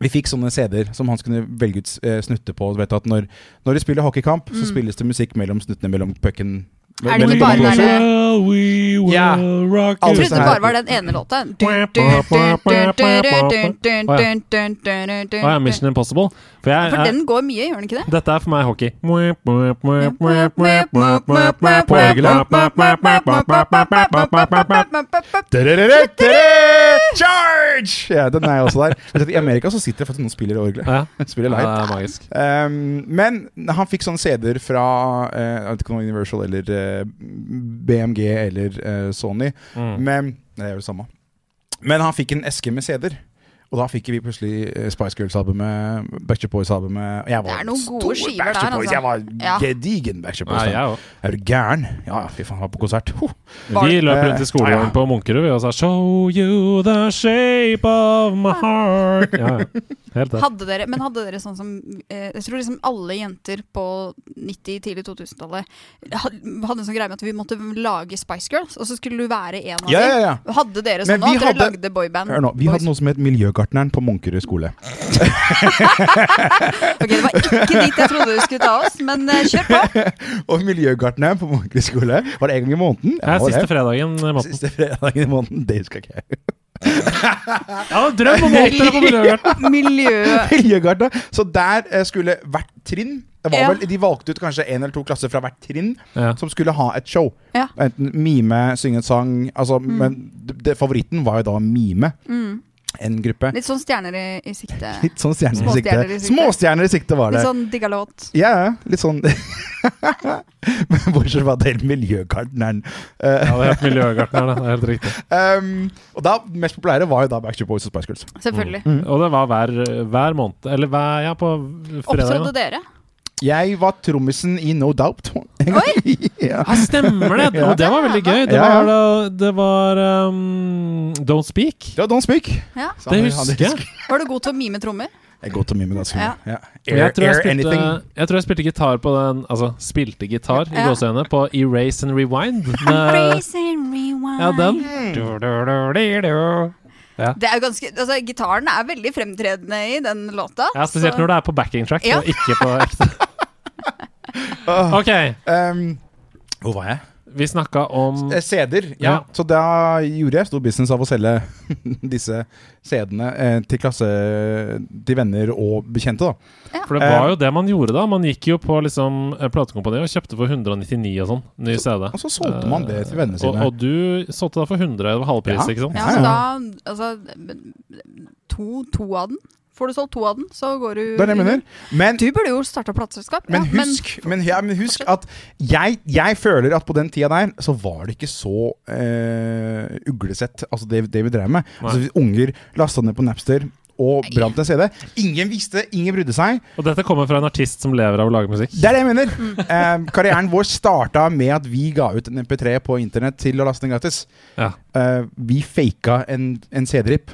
[SPEAKER 6] vi fikk sånne CD-er som han skulle velge ut eh, snutter på. Du vet at når, når de spiller hockeykamp, så spilles det musikk mellom snuttene mellom pucken.
[SPEAKER 5] Mm. Er det
[SPEAKER 6] mellom
[SPEAKER 5] ikke bare
[SPEAKER 6] kamplåser.
[SPEAKER 5] den der-
[SPEAKER 1] Well, we will
[SPEAKER 6] Ja.
[SPEAKER 1] rock
[SPEAKER 5] Jeg
[SPEAKER 6] Alle
[SPEAKER 1] you.
[SPEAKER 5] trodde
[SPEAKER 6] disse
[SPEAKER 5] det
[SPEAKER 6] her-
[SPEAKER 5] bare var den ene låta.
[SPEAKER 1] Å ja, Mission Impossible. For, jeg,
[SPEAKER 5] For
[SPEAKER 1] jeg,
[SPEAKER 5] den går mye, gjør den ikke det?
[SPEAKER 1] dette er for meg hockey. På orgelet.
[SPEAKER 5] Å
[SPEAKER 6] Charge! Ja, den er jo også der. Men I Amerika så sitter det faktisk noen og spiller orgelet.
[SPEAKER 1] Ja,
[SPEAKER 6] *laughs* Spiller
[SPEAKER 1] det
[SPEAKER 6] live.
[SPEAKER 1] er magisk.
[SPEAKER 6] Um, men han fikk sånne CD-er fra eh, jeg vet ikke om det var Universal eller eh, BMG eller eh, Sony.
[SPEAKER 1] Mm.
[SPEAKER 6] Men det er jo det samme. Men han fikk en eske med CD-er. Og da fikk vi plutselig eh, Spice Girls-albumet, Backstreet Boys-albumet og jeg
[SPEAKER 5] Det
[SPEAKER 6] var
[SPEAKER 5] er noen
[SPEAKER 6] stor
[SPEAKER 5] gode skiver der,
[SPEAKER 6] Backstreet Boys.
[SPEAKER 5] altså.
[SPEAKER 6] Jeg var
[SPEAKER 5] Ja.
[SPEAKER 6] gedigen Backstreet
[SPEAKER 1] Nei,
[SPEAKER 6] Boys.
[SPEAKER 1] jeg òg.
[SPEAKER 6] er du gæren? Ja, fy faen, jeg var på konsert. Huh.
[SPEAKER 1] Vi løp rundt i
[SPEAKER 6] Ja,
[SPEAKER 1] skolegården
[SPEAKER 6] Eh, ja.
[SPEAKER 1] på Munkerud vi, og sa 'Show you the shape of my heart'. Ja, ja. Helt det.
[SPEAKER 5] Hadde dere, men hadde dere sånn som eh, Jeg tror liksom alle jenter på 90-, tidlig 2000-tallet had- hadde en sånn greie med at vi måtte lage Spice Girls, og så skulle du være en av
[SPEAKER 6] Ja, ja, ja.
[SPEAKER 5] dem. Hadde dere
[SPEAKER 6] Men
[SPEAKER 5] sånn nå?
[SPEAKER 6] vi
[SPEAKER 5] At dere
[SPEAKER 6] hadde-
[SPEAKER 5] lagde boyband?
[SPEAKER 6] Hør nå, Vi
[SPEAKER 5] Boys-
[SPEAKER 6] hadde noe som het Miljøgartneren på Munkerud skole.
[SPEAKER 5] Ok, det var ikke dit jeg trodde du skulle ta oss, men eh, kjør
[SPEAKER 6] *laughs*
[SPEAKER 5] på.
[SPEAKER 6] Og Miljøgartneren på Munkerud skole var det en gang i måneden.
[SPEAKER 1] Det er
[SPEAKER 6] var
[SPEAKER 1] siste
[SPEAKER 6] det.
[SPEAKER 1] fredagen i måneden.
[SPEAKER 6] siste fredagen i måneden. Det husker ikke jeg.
[SPEAKER 1] Ja, drøm om alt dere på Miljøgarden!
[SPEAKER 5] Miljø...
[SPEAKER 6] Miljøgartneren. Så der eh, skulle hvert trinn det var
[SPEAKER 5] Ja.
[SPEAKER 6] vel, De valgte ut kanskje én eller to klasser fra hvert trinn
[SPEAKER 1] Ja.
[SPEAKER 6] som skulle ha et show.
[SPEAKER 5] Ja. Mm.
[SPEAKER 6] Enten mime, synge en sang altså, Men det, det, favoritten var jo da mime. En gruppe.
[SPEAKER 5] Litt sånn stjerner i, i sikte.
[SPEAKER 6] Litt sånn stjerner i
[SPEAKER 5] Småstjerner i
[SPEAKER 6] sikte.
[SPEAKER 5] sikte.
[SPEAKER 6] Småstjerner i sikte var det.
[SPEAKER 5] Litt sånn digga låt.
[SPEAKER 6] Ja, ja, litt sånn *laughs* Men Bortsett fra den miljøgartneren. Eh,
[SPEAKER 1] Ja, det het Miljøgartneren, det. det er helt riktig.
[SPEAKER 6] Um, og da, mest populære var jo da Backstreet Boys og Spice Girls.
[SPEAKER 5] Selvfølgelig.
[SPEAKER 6] Mm.
[SPEAKER 1] Og det var hver, hver måned. Eller hver, ja, på fredagen.
[SPEAKER 5] Opptrådte dere?
[SPEAKER 6] Jeg var trommisen i No Doubt.
[SPEAKER 5] Oi!
[SPEAKER 6] ja.
[SPEAKER 1] *laughs* Ja, stemmer det! Og det var veldig gøy. Det
[SPEAKER 6] Ja, ja.
[SPEAKER 1] var, da- det var um, Don't Speak.
[SPEAKER 6] Det var Don't Speak.
[SPEAKER 5] Ja.
[SPEAKER 6] Så
[SPEAKER 1] Det
[SPEAKER 6] han-
[SPEAKER 1] husker
[SPEAKER 6] han-
[SPEAKER 1] jeg.
[SPEAKER 5] Var du god til å mime trommer?
[SPEAKER 6] Jeg går til mime ganske mye.
[SPEAKER 5] Ja.
[SPEAKER 6] Ja.
[SPEAKER 1] Og
[SPEAKER 6] Air,
[SPEAKER 1] Jeg tror jeg,
[SPEAKER 6] air
[SPEAKER 1] spilte,
[SPEAKER 6] anything.
[SPEAKER 1] jeg tror jeg spilte gitar på den Altså spilte gitar i
[SPEAKER 5] Ja.
[SPEAKER 1] gåseøynene på eh, Erase and Rewind. Med,
[SPEAKER 5] Praise and rewind.
[SPEAKER 1] ja, den. Ja.
[SPEAKER 5] Det er jo ganske, altså, gitaren er veldig fremtredende i den låta.
[SPEAKER 1] Ja, Spesielt når det er på backing track
[SPEAKER 5] Ja.
[SPEAKER 1] og ikke på ekte. OK,
[SPEAKER 6] Um, hvor var jeg?
[SPEAKER 1] vi snakka om
[SPEAKER 6] Eh, CD-er.
[SPEAKER 1] Mm. Ja.
[SPEAKER 6] Ja. Så da gjorde jeg stor business av å selge *laughs* disse CD-ene eh, til klasse Til venner og bekjente, da.
[SPEAKER 1] For det
[SPEAKER 6] eh.
[SPEAKER 1] var jo det man gjorde da. Man gikk jo på liksom eh, platekompaniet og kjøpte for 199 og sånn. Ny CD.
[SPEAKER 6] Og så solgte man det til vennene
[SPEAKER 1] Og,
[SPEAKER 6] sine.
[SPEAKER 1] og du solgte da for 100, det var halvpris,
[SPEAKER 6] Ja.
[SPEAKER 1] ikke sant?
[SPEAKER 5] Ja,
[SPEAKER 6] Ja,
[SPEAKER 5] så
[SPEAKER 6] ja.
[SPEAKER 5] da, altså, to, to av den. Får du solgt to av den, så går du
[SPEAKER 6] Det er det jeg mener. Men
[SPEAKER 5] Du burde jo starta plateselskap.
[SPEAKER 6] Men
[SPEAKER 5] ja,
[SPEAKER 6] husk, men, ja, men husk at jeg, jeg føler at på den tida der så var det ikke så eh, uglesett, altså det, det vi drev med. Altså, vi unger lasta ned på Napster og brant en CD. Ingen visste, ingen brydde seg.
[SPEAKER 1] Og dette kommer fra en artist som lever av å lage musikk.
[SPEAKER 6] Det er det jeg mener!
[SPEAKER 5] Mm.
[SPEAKER 6] *laughs* Eh, karrieren vår starta med at vi ga ut en MP3 på internett til å laste ned gratis.
[SPEAKER 1] Ja.
[SPEAKER 6] Eh, vi faka en, en CD-rip.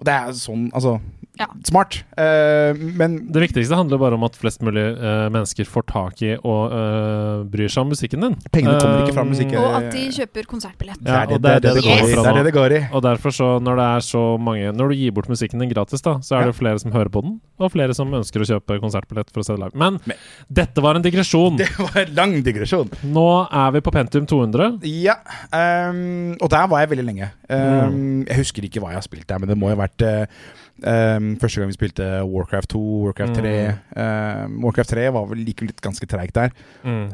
[SPEAKER 6] Og det er sånn, altså
[SPEAKER 5] Ja.
[SPEAKER 6] Smart. Eh, men
[SPEAKER 1] Det viktigste handler bare om at flest mulig eh, mennesker får tak i og eh, bryr seg om musikken din.
[SPEAKER 6] Pengene kommer ikke fra
[SPEAKER 1] Um,
[SPEAKER 6] musikken.
[SPEAKER 5] men, og at de kjøper konsertbillett. *clears throat*
[SPEAKER 1] Ja,
[SPEAKER 6] det er
[SPEAKER 1] og det er det det
[SPEAKER 6] går i.
[SPEAKER 1] kommer fra
[SPEAKER 6] Det er
[SPEAKER 1] nå.
[SPEAKER 6] det det går i. *laughs*
[SPEAKER 1] Og derfor så, når det er så mange Når du gir bort musikken din gratis, da, så er det jo flere som hører på den, og flere som ønsker å kjøpe konsertbillett for å se det live. Men,
[SPEAKER 6] Men-
[SPEAKER 1] dette var en digresjon.
[SPEAKER 6] Det var en lang digresjon.
[SPEAKER 1] Nå er vi på Pentium 200.
[SPEAKER 6] Ja, ehm, og der var jeg veldig lenge. Ehm, Jeg husker ikke hva jeg har spilt der, men det må jo ha vært eh, ehm, første gang vi spilte Warcraft 2, Warcraft 3. Ehm, Warcraft 3 var vel like litt ganske treigt der. Mm.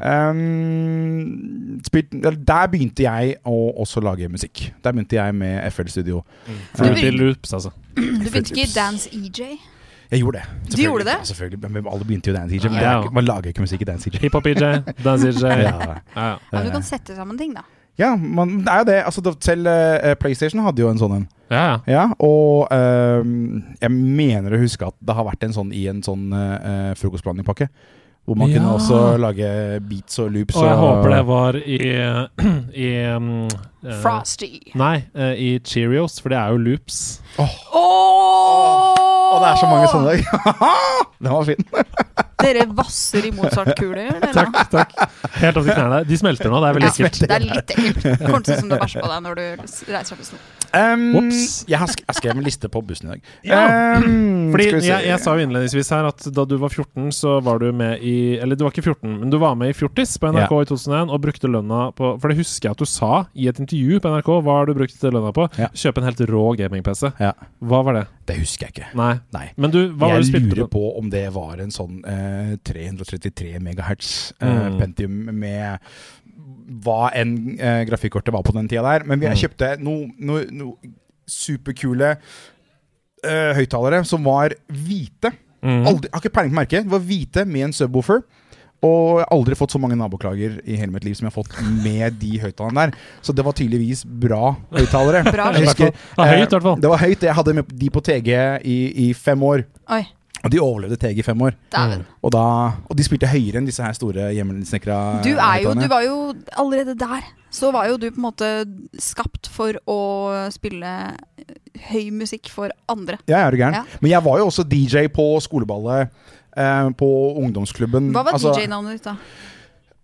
[SPEAKER 6] Ehm, spilt, eller, der begynte jeg å også lage musikk. Der begynte jeg med FL Studio.
[SPEAKER 1] Fruity Loops, altså.
[SPEAKER 5] Du begynte ikke i Dance E EJ.
[SPEAKER 6] Jeg gjorde det.
[SPEAKER 5] Du gjorde det?
[SPEAKER 6] selvfølgelig. Ja, selvfølgelig. Men alle begynte jo i Dance DJ. Men
[SPEAKER 1] Ja.
[SPEAKER 6] det er ikke- man lager ikke musikk i Dance DJ.
[SPEAKER 1] Hiphop-EJ, dance-EJ. Ja.
[SPEAKER 6] Ja.
[SPEAKER 1] Ja.
[SPEAKER 5] Ja, du kan sette sammen ting, da.
[SPEAKER 6] Ja, man, det er jo det. Altså, da- selv eh, PlayStation hadde jo en sånn en.
[SPEAKER 1] ja, ja.
[SPEAKER 6] Ja, og ehm, jeg mener å huske at det har vært en sånn i en sånn eh, eh, frokostblandingpakke. Hvor man
[SPEAKER 1] Ja.
[SPEAKER 6] kunne også lage beats og loops.
[SPEAKER 1] Og jeg håper det var i, *clears throat* i um, eh,
[SPEAKER 5] Frosty.
[SPEAKER 1] Nei, eh, i Cheerios, for det er jo loops.
[SPEAKER 6] Og det er så mange sånne. *laughs* den var fin.
[SPEAKER 5] *laughs* Dere vasser i Mozart-kuler. dere.
[SPEAKER 1] Takk, takk. Helt opp til knærne. De smelter nå, det er veldig
[SPEAKER 5] Ja,
[SPEAKER 1] ekkelt.
[SPEAKER 5] det er litt ekkelt. Kommer til å se ut som du bæsjer på deg når du reiser deg på snor.
[SPEAKER 6] Ehm,
[SPEAKER 1] Ops.
[SPEAKER 6] jeg, har sk jeg skrev en liste på bussen i dag.
[SPEAKER 1] Ja.
[SPEAKER 6] Ehm,
[SPEAKER 1] Fordi
[SPEAKER 6] skal vi se.
[SPEAKER 1] jeg, jeg sa jo innledningsvis her at da du var 14, så var du med i Eller du var ikke 14, men du var med i Fjortis på NRK i 2001 og brukte lønna på For det husker jeg at du sa i et intervju på NRK. Hva har du brukt lønna på?
[SPEAKER 6] Ja.
[SPEAKER 1] Kjøpe en helt rå gaming-PC.
[SPEAKER 6] Ja,
[SPEAKER 1] Hva var det?
[SPEAKER 6] det husker jeg ikke.
[SPEAKER 1] Nei.
[SPEAKER 6] Nei.
[SPEAKER 1] Men du, hva var det du
[SPEAKER 6] jeg
[SPEAKER 1] spilte
[SPEAKER 6] lurer
[SPEAKER 1] på?
[SPEAKER 6] på om det var en sånn eh, 333 megahertz eh,
[SPEAKER 1] Mm.
[SPEAKER 6] Pentium med hva enn eh, grafikkortet var på den tida der. Men
[SPEAKER 1] Mm.
[SPEAKER 6] vi, jeg kjøpte noen no, no superkule eh, høyttalere som var hvite.
[SPEAKER 1] Mm.
[SPEAKER 6] Aldri, jeg har ikke peiling på merket. De var hvite med en subwoofer. Og jeg har aldri fått så mange naboklager i hele mitt liv som jeg har fått med de høyttalerne der. Så det var tydeligvis bra høyttalere.
[SPEAKER 5] Bra
[SPEAKER 1] høyt.
[SPEAKER 6] Jeg husker,
[SPEAKER 1] Ja, høyt i hvert
[SPEAKER 6] eh,
[SPEAKER 1] fall.
[SPEAKER 6] Det var høyt. Jeg hadde med de på TG i, i fem år.
[SPEAKER 5] Oi,
[SPEAKER 6] Og de overlevde TG i fem år.
[SPEAKER 5] dæven.
[SPEAKER 6] Og, da, og de spilte høyere enn disse her store hjemmesnekra
[SPEAKER 5] Du er jo Du var jo allerede der. Så var jo du på en måte skapt for å spille eh, høy musikk for andre.
[SPEAKER 6] Ja, jeg er du gæren.
[SPEAKER 5] Ja.
[SPEAKER 6] Men jeg var jo også DJ på skoleballet. eh, på ungdomsklubben.
[SPEAKER 5] Hva var
[SPEAKER 6] Altså,
[SPEAKER 5] DJ-navnet ditt, da?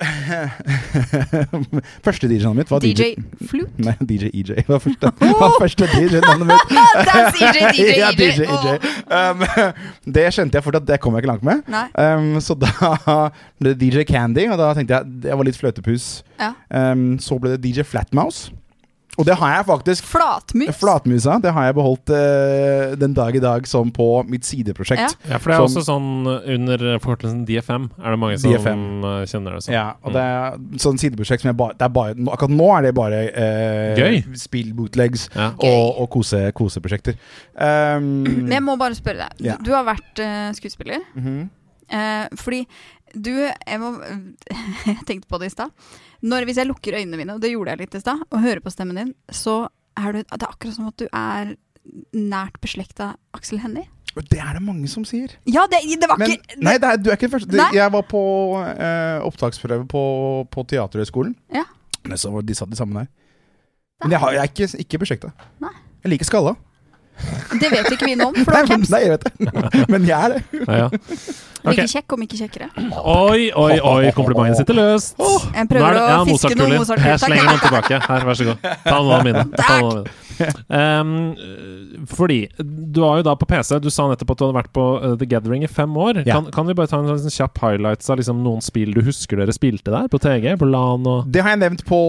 [SPEAKER 6] *laughs* første DJ-navnet mitt var DJ,
[SPEAKER 5] DJ Flute?
[SPEAKER 6] *laughs*
[SPEAKER 5] *laughs*
[SPEAKER 6] Nei, DJ EJ. Det var første,
[SPEAKER 5] Oh!
[SPEAKER 6] var første DJ-navnet mitt.
[SPEAKER 5] That's EJ, DJ,
[SPEAKER 6] *laughs* ja, DJ,
[SPEAKER 5] Åh. Oh!
[SPEAKER 6] Um, *laughs* det skjønte jeg fort at det kom jeg ikke langt med.
[SPEAKER 5] Nei.
[SPEAKER 6] Um, så da *laughs* ble det DJ Candy, og da tenkte jeg jeg var litt fløtepus.
[SPEAKER 5] Ja.
[SPEAKER 6] Um, så ble det DJ Flatmouse. Og det har jeg faktisk
[SPEAKER 5] Flatmus.
[SPEAKER 6] Flatmusa, det har jeg beholdt eh, den dag i dag som på mitt sideprosjekt.
[SPEAKER 1] Ja, for det er
[SPEAKER 6] Som-
[SPEAKER 1] også sånn under forkortelsen DFM. Er det mange som
[SPEAKER 6] DFM.
[SPEAKER 1] eh, kjenner det
[SPEAKER 6] Ja,
[SPEAKER 1] sånn?
[SPEAKER 6] og det er sånn sideprosjekt som jeg bare, det er bare nå- Akkurat nå er det bare eh,
[SPEAKER 1] Gøy.
[SPEAKER 6] spill, bootlegs
[SPEAKER 1] Ja.
[SPEAKER 6] og, og kose, koseprosjekter.
[SPEAKER 5] *clears throat*
[SPEAKER 6] Um,
[SPEAKER 5] Men jeg må bare spørre deg. Du-
[SPEAKER 6] Ja.
[SPEAKER 5] Du har vært eh, skuespiller.
[SPEAKER 6] mhm.
[SPEAKER 5] Eh, fordi du Jeg, må, *laughs* jeg tenkte på det i stad. Når- Hvis jeg lukker øynene mine, og det gjorde jeg litt i stad, og hører på stemmen din, så er du Det er akkurat som at du er nært beslekta Aksel Hennie.
[SPEAKER 6] Og Det er det mange som sier.
[SPEAKER 5] Ja, det, det var
[SPEAKER 6] Men,
[SPEAKER 5] ikke
[SPEAKER 6] nei, det er, du er ikke den første. Det,
[SPEAKER 5] Nei.
[SPEAKER 6] jeg var på eh, opptaksprøve på, på Teaterhøgskolen.
[SPEAKER 5] Ja.
[SPEAKER 6] Men så var- De satt de sammen der. Men jeg, har, jeg er ikke, ikke beslekta.
[SPEAKER 5] Nei.
[SPEAKER 6] Jeg liker skalla.
[SPEAKER 5] Det vet ikke vi noe om, for det
[SPEAKER 6] Nei,
[SPEAKER 5] var
[SPEAKER 6] men,
[SPEAKER 5] caps.
[SPEAKER 6] nei, jeg vet det. Men jeg er det.
[SPEAKER 1] Ja, ja. Ok.
[SPEAKER 5] Like kjekk, om ikke kjekkere.
[SPEAKER 1] Oi, oi, oi, komplimenten sitter løst.
[SPEAKER 5] Jeg prøver
[SPEAKER 1] Nå er det-
[SPEAKER 5] å fiske
[SPEAKER 1] Mozart-kuler.
[SPEAKER 5] noen Mozart-kuler.
[SPEAKER 1] Jeg
[SPEAKER 5] Takk.
[SPEAKER 1] slenger den tilbake. Her, vær så god. Ta noen av mine. Ta noen av
[SPEAKER 6] *laughs*
[SPEAKER 1] mine. Um, fordi du var jo da på PC. Du sa nettopp at du hadde vært på uh, The Gathering i fem år.
[SPEAKER 6] Ja.
[SPEAKER 1] Kan, kan vi bare ta en sånn liten kjapp highlights av liksom noen spill du husker dere spilte der? På TG? På LAN og
[SPEAKER 6] Det har jeg nevnt på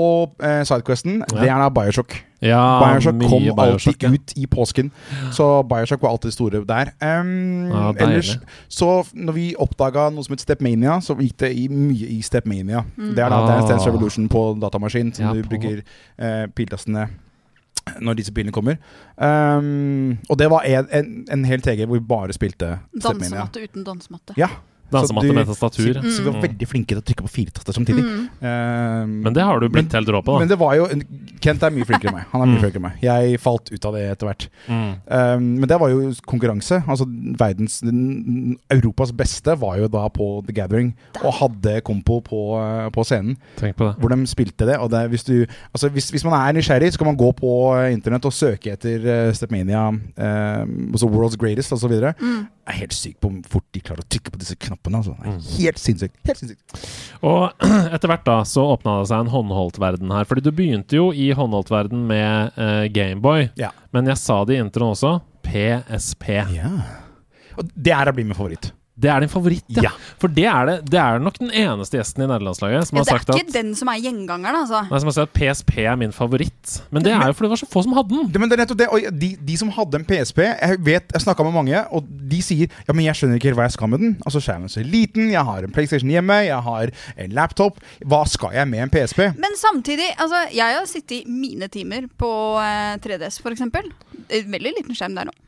[SPEAKER 6] eh, Sidequesten. Det er da Bioshock.
[SPEAKER 1] Ja,
[SPEAKER 6] Bioshock
[SPEAKER 1] Ah, mye
[SPEAKER 6] kom
[SPEAKER 1] Bioshock,
[SPEAKER 6] alltid
[SPEAKER 1] ja.
[SPEAKER 6] ut i påsken, så Bioshock var alltid store der. Um,
[SPEAKER 1] Ja, Ah, deilig.
[SPEAKER 6] ellers, så når vi oppdaga noe som het Stepmania, så gikk det i, mye i Stepmania. Det er da
[SPEAKER 1] Ah.
[SPEAKER 6] Dance Dance Revolution på datamaskin, som
[SPEAKER 1] Ja,
[SPEAKER 6] du
[SPEAKER 1] på-
[SPEAKER 6] bruker eh, piltastene når disse pilene kommer. Um, og det var en, en, en hel TG hvor vi bare spilte Stepmania.
[SPEAKER 5] Dansematte uten dansematte.
[SPEAKER 6] Ja.
[SPEAKER 1] Dansematte
[SPEAKER 6] Så du-
[SPEAKER 1] med tastatur.
[SPEAKER 5] Mm.
[SPEAKER 6] Så vi var veldig flinke til å trykke på fire taster samtidig. Um,
[SPEAKER 1] Mm. Men det har du blitt helt rå på,
[SPEAKER 6] men
[SPEAKER 1] da.
[SPEAKER 6] det var jo Kent er mye flinkere enn meg. Han er mye flinkere enn meg. Jeg falt ut av det etter hvert.
[SPEAKER 1] Mm.
[SPEAKER 6] Um, men det var jo konkurranse. Altså verdens n- Europas beste var jo da på The Gathering og hadde kompo på, eh, på scenen.
[SPEAKER 1] Tenk på det.
[SPEAKER 6] Hvor de spilte det. Og det, er hvis, du, altså hvis, hvis man er nysgjerrig, så kan man gå på eh, internett og søke etter eh, Stepmania, eh, altså World's Greatest osv. videre Jeg er helt syk på hvor fort de klarer å trykke på disse knappene. Altså. Det er Helt sinnssykt. Helt sinnssykt.
[SPEAKER 1] Og *clears throat* etter hvert da så åpna det seg en håndholdt verden her. Fordi du begynte jo i håndholdt verden med eh, Gameboy.
[SPEAKER 6] Ja.
[SPEAKER 1] Men jeg sa det i introen også. PSP.
[SPEAKER 6] Ja. Og det er å bli min favoritt.
[SPEAKER 1] Det er din favoritt, ja.
[SPEAKER 6] Ja.
[SPEAKER 1] For det er, det, det er nok den eneste gjesten i nederlandslaget som
[SPEAKER 5] Ja,
[SPEAKER 1] har
[SPEAKER 5] det er
[SPEAKER 1] sagt
[SPEAKER 5] ikke
[SPEAKER 1] at
[SPEAKER 5] den som er gjengangeren, altså.
[SPEAKER 1] Nei, som har sagt at PSP er min favoritt. Men det er jo fordi det var så få som hadde den.
[SPEAKER 6] Det, men det er nettopp det, og de, de som hadde en PSP Jeg vet, jeg snakka med mange, og de sier Ja, men jeg skjønner ikke helt hva jeg skal med den. Altså, skjermen er så liten, jeg har en PlayStation hjemme, jeg har en laptop. Hva skal jeg med en PSP?
[SPEAKER 5] Men samtidig, altså, jeg har sittet i mine timer på eh, 3DS, for eksempel. Eh, Veldig liten skjerm der nå.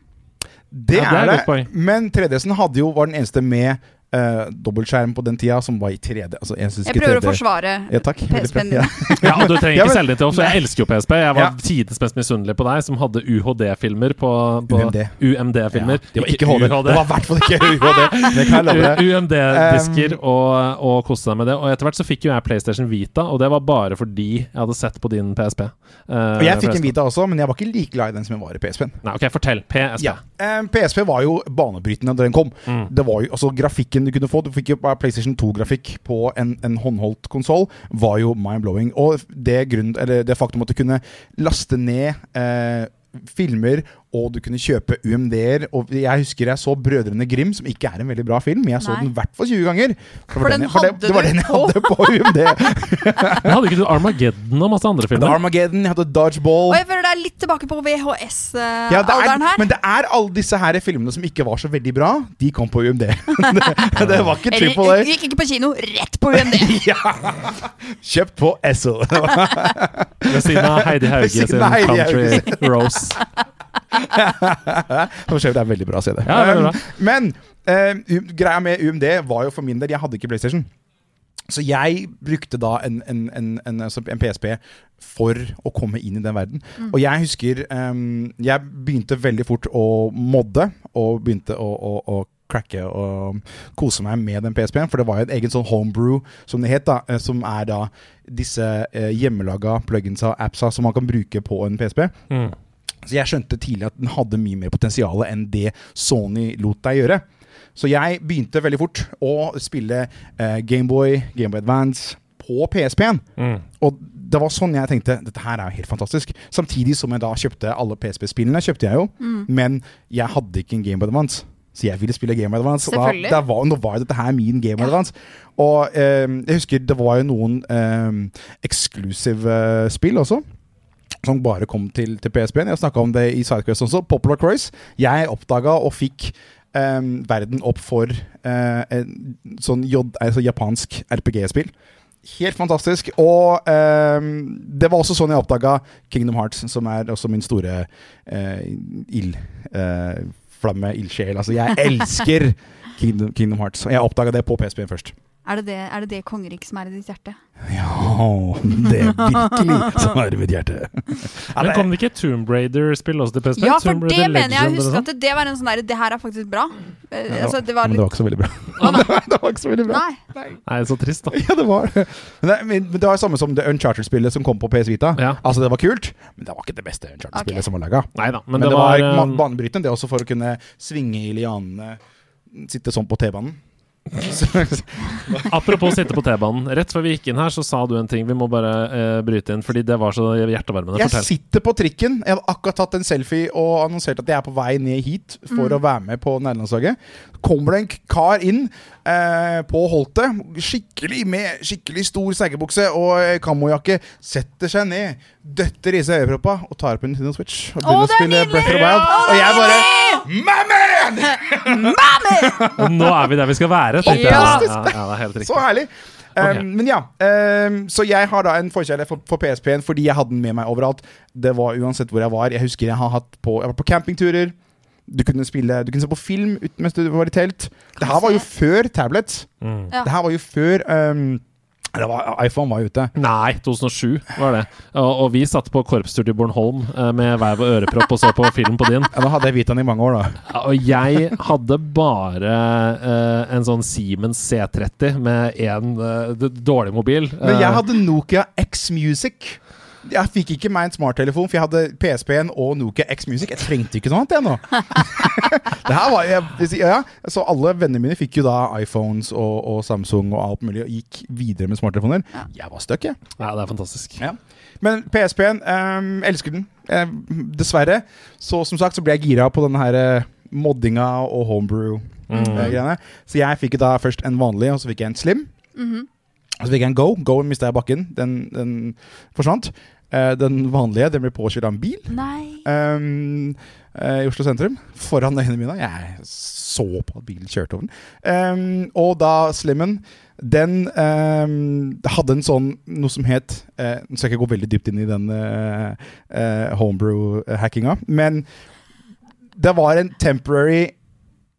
[SPEAKER 6] Det
[SPEAKER 1] Ja, det er
[SPEAKER 6] er
[SPEAKER 1] et
[SPEAKER 6] det,
[SPEAKER 1] godt poeng.
[SPEAKER 6] men 3DS-en hadde jo, var den eneste med eh, dobbeltskjerm på den tida som var i 3D. Altså, jeg synes
[SPEAKER 5] Jeg
[SPEAKER 6] ikke
[SPEAKER 5] prøver å
[SPEAKER 6] 3D
[SPEAKER 5] forsvare
[SPEAKER 6] ja, takk. Veldig bra.
[SPEAKER 5] PSP-en din.
[SPEAKER 6] Ja.
[SPEAKER 1] Ja, og Du trenger
[SPEAKER 6] *laughs*
[SPEAKER 1] ikke
[SPEAKER 6] Ja, men-
[SPEAKER 1] selge det til oss, for jeg elsker jo PSP. Jeg var
[SPEAKER 6] Ja.
[SPEAKER 1] tidenes mest misunnelig på deg som hadde UHD-filmer på, på
[SPEAKER 6] UMD.
[SPEAKER 1] UMD-filmer.
[SPEAKER 6] Ja, det var ikke HD.
[SPEAKER 1] UHD.
[SPEAKER 6] Det var i hvert
[SPEAKER 1] *laughs*
[SPEAKER 6] fall ikke *laughs* UHD. Det kan jeg love deg. Um,
[SPEAKER 1] UMD-disker og, og koste deg med det. Og etter hvert så fikk jo jeg PlayStation Vita, og det var bare fordi jeg hadde sett på din PSP. Eh,
[SPEAKER 6] Og jeg fikk en
[SPEAKER 1] forresten.
[SPEAKER 6] Vita også, men jeg var ikke like glad i den som jeg var i PSP-en.
[SPEAKER 1] Nei, OK, fortell. PSP.
[SPEAKER 6] Ja. Eh, PSP var jo banebrytende da den kom.
[SPEAKER 5] Mm.
[SPEAKER 6] Det var jo, altså Grafikken du kunne få Du fikk jo bare PlayStation 2-grafikk på en, en håndholdt konsoll, var jo mind-blowing. Og det, grunn, eller det faktum at du kunne laste ned eh, filmer, og du kunne kjøpe UMD-er Og jeg husker jeg så Brødrene Grim, som ikke er en veldig bra film, men jeg så
[SPEAKER 5] Nei.
[SPEAKER 6] den i hvert fall 20 ganger. Det var
[SPEAKER 5] For den
[SPEAKER 6] jeg- for det,
[SPEAKER 5] hadde
[SPEAKER 6] det var
[SPEAKER 5] du
[SPEAKER 6] den jeg hadde på
[SPEAKER 5] *laughs*
[SPEAKER 6] UMD.
[SPEAKER 1] *laughs* Men hadde ikke du Armageddon og masse andre
[SPEAKER 6] Jeg hadde
[SPEAKER 1] filmer?
[SPEAKER 6] Armageddon, jeg hadde Dodgeball.
[SPEAKER 5] Og jeg føler det er litt tilbake på
[SPEAKER 6] Ja, det er,
[SPEAKER 5] VHS-alderen eh, her.
[SPEAKER 6] men det er alle disse her filmene som ikke var så veldig bra, de kom på *laughs* UMD. det, det var ikke
[SPEAKER 5] Eller,
[SPEAKER 6] Triple A. *laughs*
[SPEAKER 5] gikk ikke på kino, rett på UMD.
[SPEAKER 6] Kjøpt på Esso.
[SPEAKER 5] *laughs*
[SPEAKER 1] Ved siden av Heidi Hauge
[SPEAKER 6] *laughs* Ved siden
[SPEAKER 1] sin
[SPEAKER 6] av Heidi
[SPEAKER 1] Country *laughs*
[SPEAKER 6] Hauge
[SPEAKER 1] Rose.
[SPEAKER 6] *laughs* Som sjef, det er veldig bra å se det.
[SPEAKER 1] Ja, det er
[SPEAKER 6] Um,
[SPEAKER 1] bra.
[SPEAKER 6] Men eh, U- greia med UMD var jo for min del Jeg hadde ikke PlayStation. Så jeg brukte da en, en, en, en, altså en PSP for å komme inn i den verden. Og jeg husker um, Jeg begynte veldig fort å modde, og begynte å, å, å cracke og kose meg med den PSP-en. For det var jo en egen sånn homebrew, som det het, da, eh, som er da disse eh, hjemmelaga pluginsa og appsa som man kan bruke på en PSP. Så jeg skjønte tidlig at den hadde mye mer potensial enn det Sony lot deg gjøre. Så jeg begynte veldig fort å spille eh, Gameboy, Gameboy Advance på PSP-en. Og det var sånn jeg tenkte dette her er jo helt fantastisk. Samtidig som jeg da kjøpte alle PSP-spillene, kjøpte jeg jo, men jeg hadde ikke en Gameboy Advance. Så jeg ville spille Game Boy Advance. Og da,
[SPEAKER 5] Selvfølgelig.
[SPEAKER 6] da var, nå var jo dette her min Game Boy Advance. Og eh, jeg husker det var jo noen eh, eksklusive eh, spill også som bare kom til, til PSP-en. Jeg snakka om det i Sidequest også. Popular Croise. Jeg oppdaga og fikk em, verden opp for eh, en sånn J, altså japansk RPG-spill. Helt fantastisk. Og em, det var også sånn jeg oppdaga Kingdom Hearts, som er også min store eh, ild... eh, flamme, ildsjel. Altså, jeg elsker Kingdom, Kingdom Hearts. Og jeg oppdaga det på PSP-en først.
[SPEAKER 5] Er det det, er det, det kongeriket som er i ditt hjerte?
[SPEAKER 6] Ja, det er virkelig som er i mitt hjerte.
[SPEAKER 1] Men kom det ikke Tomb Raider-spill også til PSP?
[SPEAKER 5] Ja, for
[SPEAKER 1] Tomb
[SPEAKER 5] det
[SPEAKER 1] Raider Legend
[SPEAKER 5] mener jeg. Jeg husker
[SPEAKER 1] eller
[SPEAKER 5] at det, det var en sånn derre Det her er faktisk bra. Eh,
[SPEAKER 6] Ja,
[SPEAKER 5] altså, det var
[SPEAKER 6] men det
[SPEAKER 5] litt
[SPEAKER 6] var ikke så veldig bra.
[SPEAKER 5] Å,
[SPEAKER 6] *laughs*
[SPEAKER 5] nei.
[SPEAKER 6] det var ikke så veldig bra.
[SPEAKER 5] Nei.
[SPEAKER 1] sånn? Nei, så trist, da.
[SPEAKER 6] Ja, det var Men det, men det var samme som det Uncharted-spillet som kom på PS Vita.
[SPEAKER 1] Ja.
[SPEAKER 6] Altså, det var kult, men det var ikke det beste Uncharted-spillet
[SPEAKER 5] Ok.
[SPEAKER 6] som var laga.
[SPEAKER 1] Nei da. Men,
[SPEAKER 6] Men, det var,
[SPEAKER 1] eh,
[SPEAKER 6] ma- banebrytende, det også, for å kunne svinge i lianene, sitte sånn på
[SPEAKER 1] *laughs*
[SPEAKER 6] T-banen.
[SPEAKER 1] Apropos sitte på
[SPEAKER 6] *laughs*
[SPEAKER 1] T-banen. Rett før vi gikk inn her, så sa du en ting. Vi må bare eh, bryte inn, fordi det var så hjertevarmende.
[SPEAKER 6] Jeg
[SPEAKER 1] Fortell.
[SPEAKER 6] sitter på trikken. Jeg hadde akkurat tatt en selfie og annonsert at jeg er på vei ned hit for
[SPEAKER 5] Mm.
[SPEAKER 6] å være med på nærlandslaget. Kommer det en k- kar inn eh, på holtet, skikkelig med skikkelig stor seggebukse og eh, kamojakke, setter seg ned, døtter i seg øyeproppa og tar opp en Nintendo Switch og begynner å
[SPEAKER 5] det er
[SPEAKER 6] spille
[SPEAKER 5] nydelig!
[SPEAKER 6] Breath of the Wild. Og jeg bare My man!
[SPEAKER 1] Og nå er vi der vi skal være. tenkte jeg.
[SPEAKER 5] Ja!
[SPEAKER 1] Ja, ja, det er helt
[SPEAKER 6] Så
[SPEAKER 1] riktig.
[SPEAKER 6] herlig. Um,
[SPEAKER 1] Ok.
[SPEAKER 6] Men ja, um, så jeg har da en forkjærlighet for, for PSP-en fordi jeg hadde den med meg overalt. Det var uansett hvor jeg var. Jeg husker jeg har hatt på, jeg var på campingturer. Du kunne, spille, du kunne se på film ut, mens du var i telt. Det her var jo før tablet.
[SPEAKER 1] Mm.
[SPEAKER 5] Ja.
[SPEAKER 6] Det her var jo før um, det var, iPhone var jo ute.
[SPEAKER 1] Nei, 2007 var det. Og, og vi satt på korpstur til Bornholm eh, med hver vår ørepropp og så på film på din.
[SPEAKER 6] Ja, da hadde jeg Vitaen i mange år, da.
[SPEAKER 1] Ja, Og jeg hadde bare eh, en sånn Siemens C30 med én dårlig mobil.
[SPEAKER 6] Men
[SPEAKER 1] Eh,
[SPEAKER 6] jeg hadde Nokia X-Music. Jeg fikk ikke meg en smarttelefon, for jeg hadde PSP-en og Nokia X-Music. Jeg trengte ikke noe annet, jeg nå. *laughs* det her var, jeg, ja, ja. Så alle vennene mine fikk jo da iPhones og, og Samsung og alt mulig, og gikk videre med smarttelefoner. Jeg var stuck, jeg.
[SPEAKER 1] Ja, det er fantastisk.
[SPEAKER 6] Men PSP-en, ehm, elsker den. Eh, dessverre. Så som sagt så ble jeg gira på denne her eh, moddinga og
[SPEAKER 1] Mm.
[SPEAKER 6] homebrew-greiene. eh, Så jeg fikk jo da først en vanlig, og så fikk jeg en slim. Og så fikk jeg en go. Go-en mista jeg i bakken. Den, den forsvant. Eh, den vanlige den ble påkjørt av en bil
[SPEAKER 5] Nei.
[SPEAKER 6] ehm, eh, i Oslo sentrum. Foran øynene mine. Jeg så på at bilen kjørte over den. Ehm, og da Slimmen, den ehm, hadde en sånn noe som het eh, Nå skal jeg ikke gå veldig dypt inn i den eh, eh, homebrew-hackinga, men det var en temporary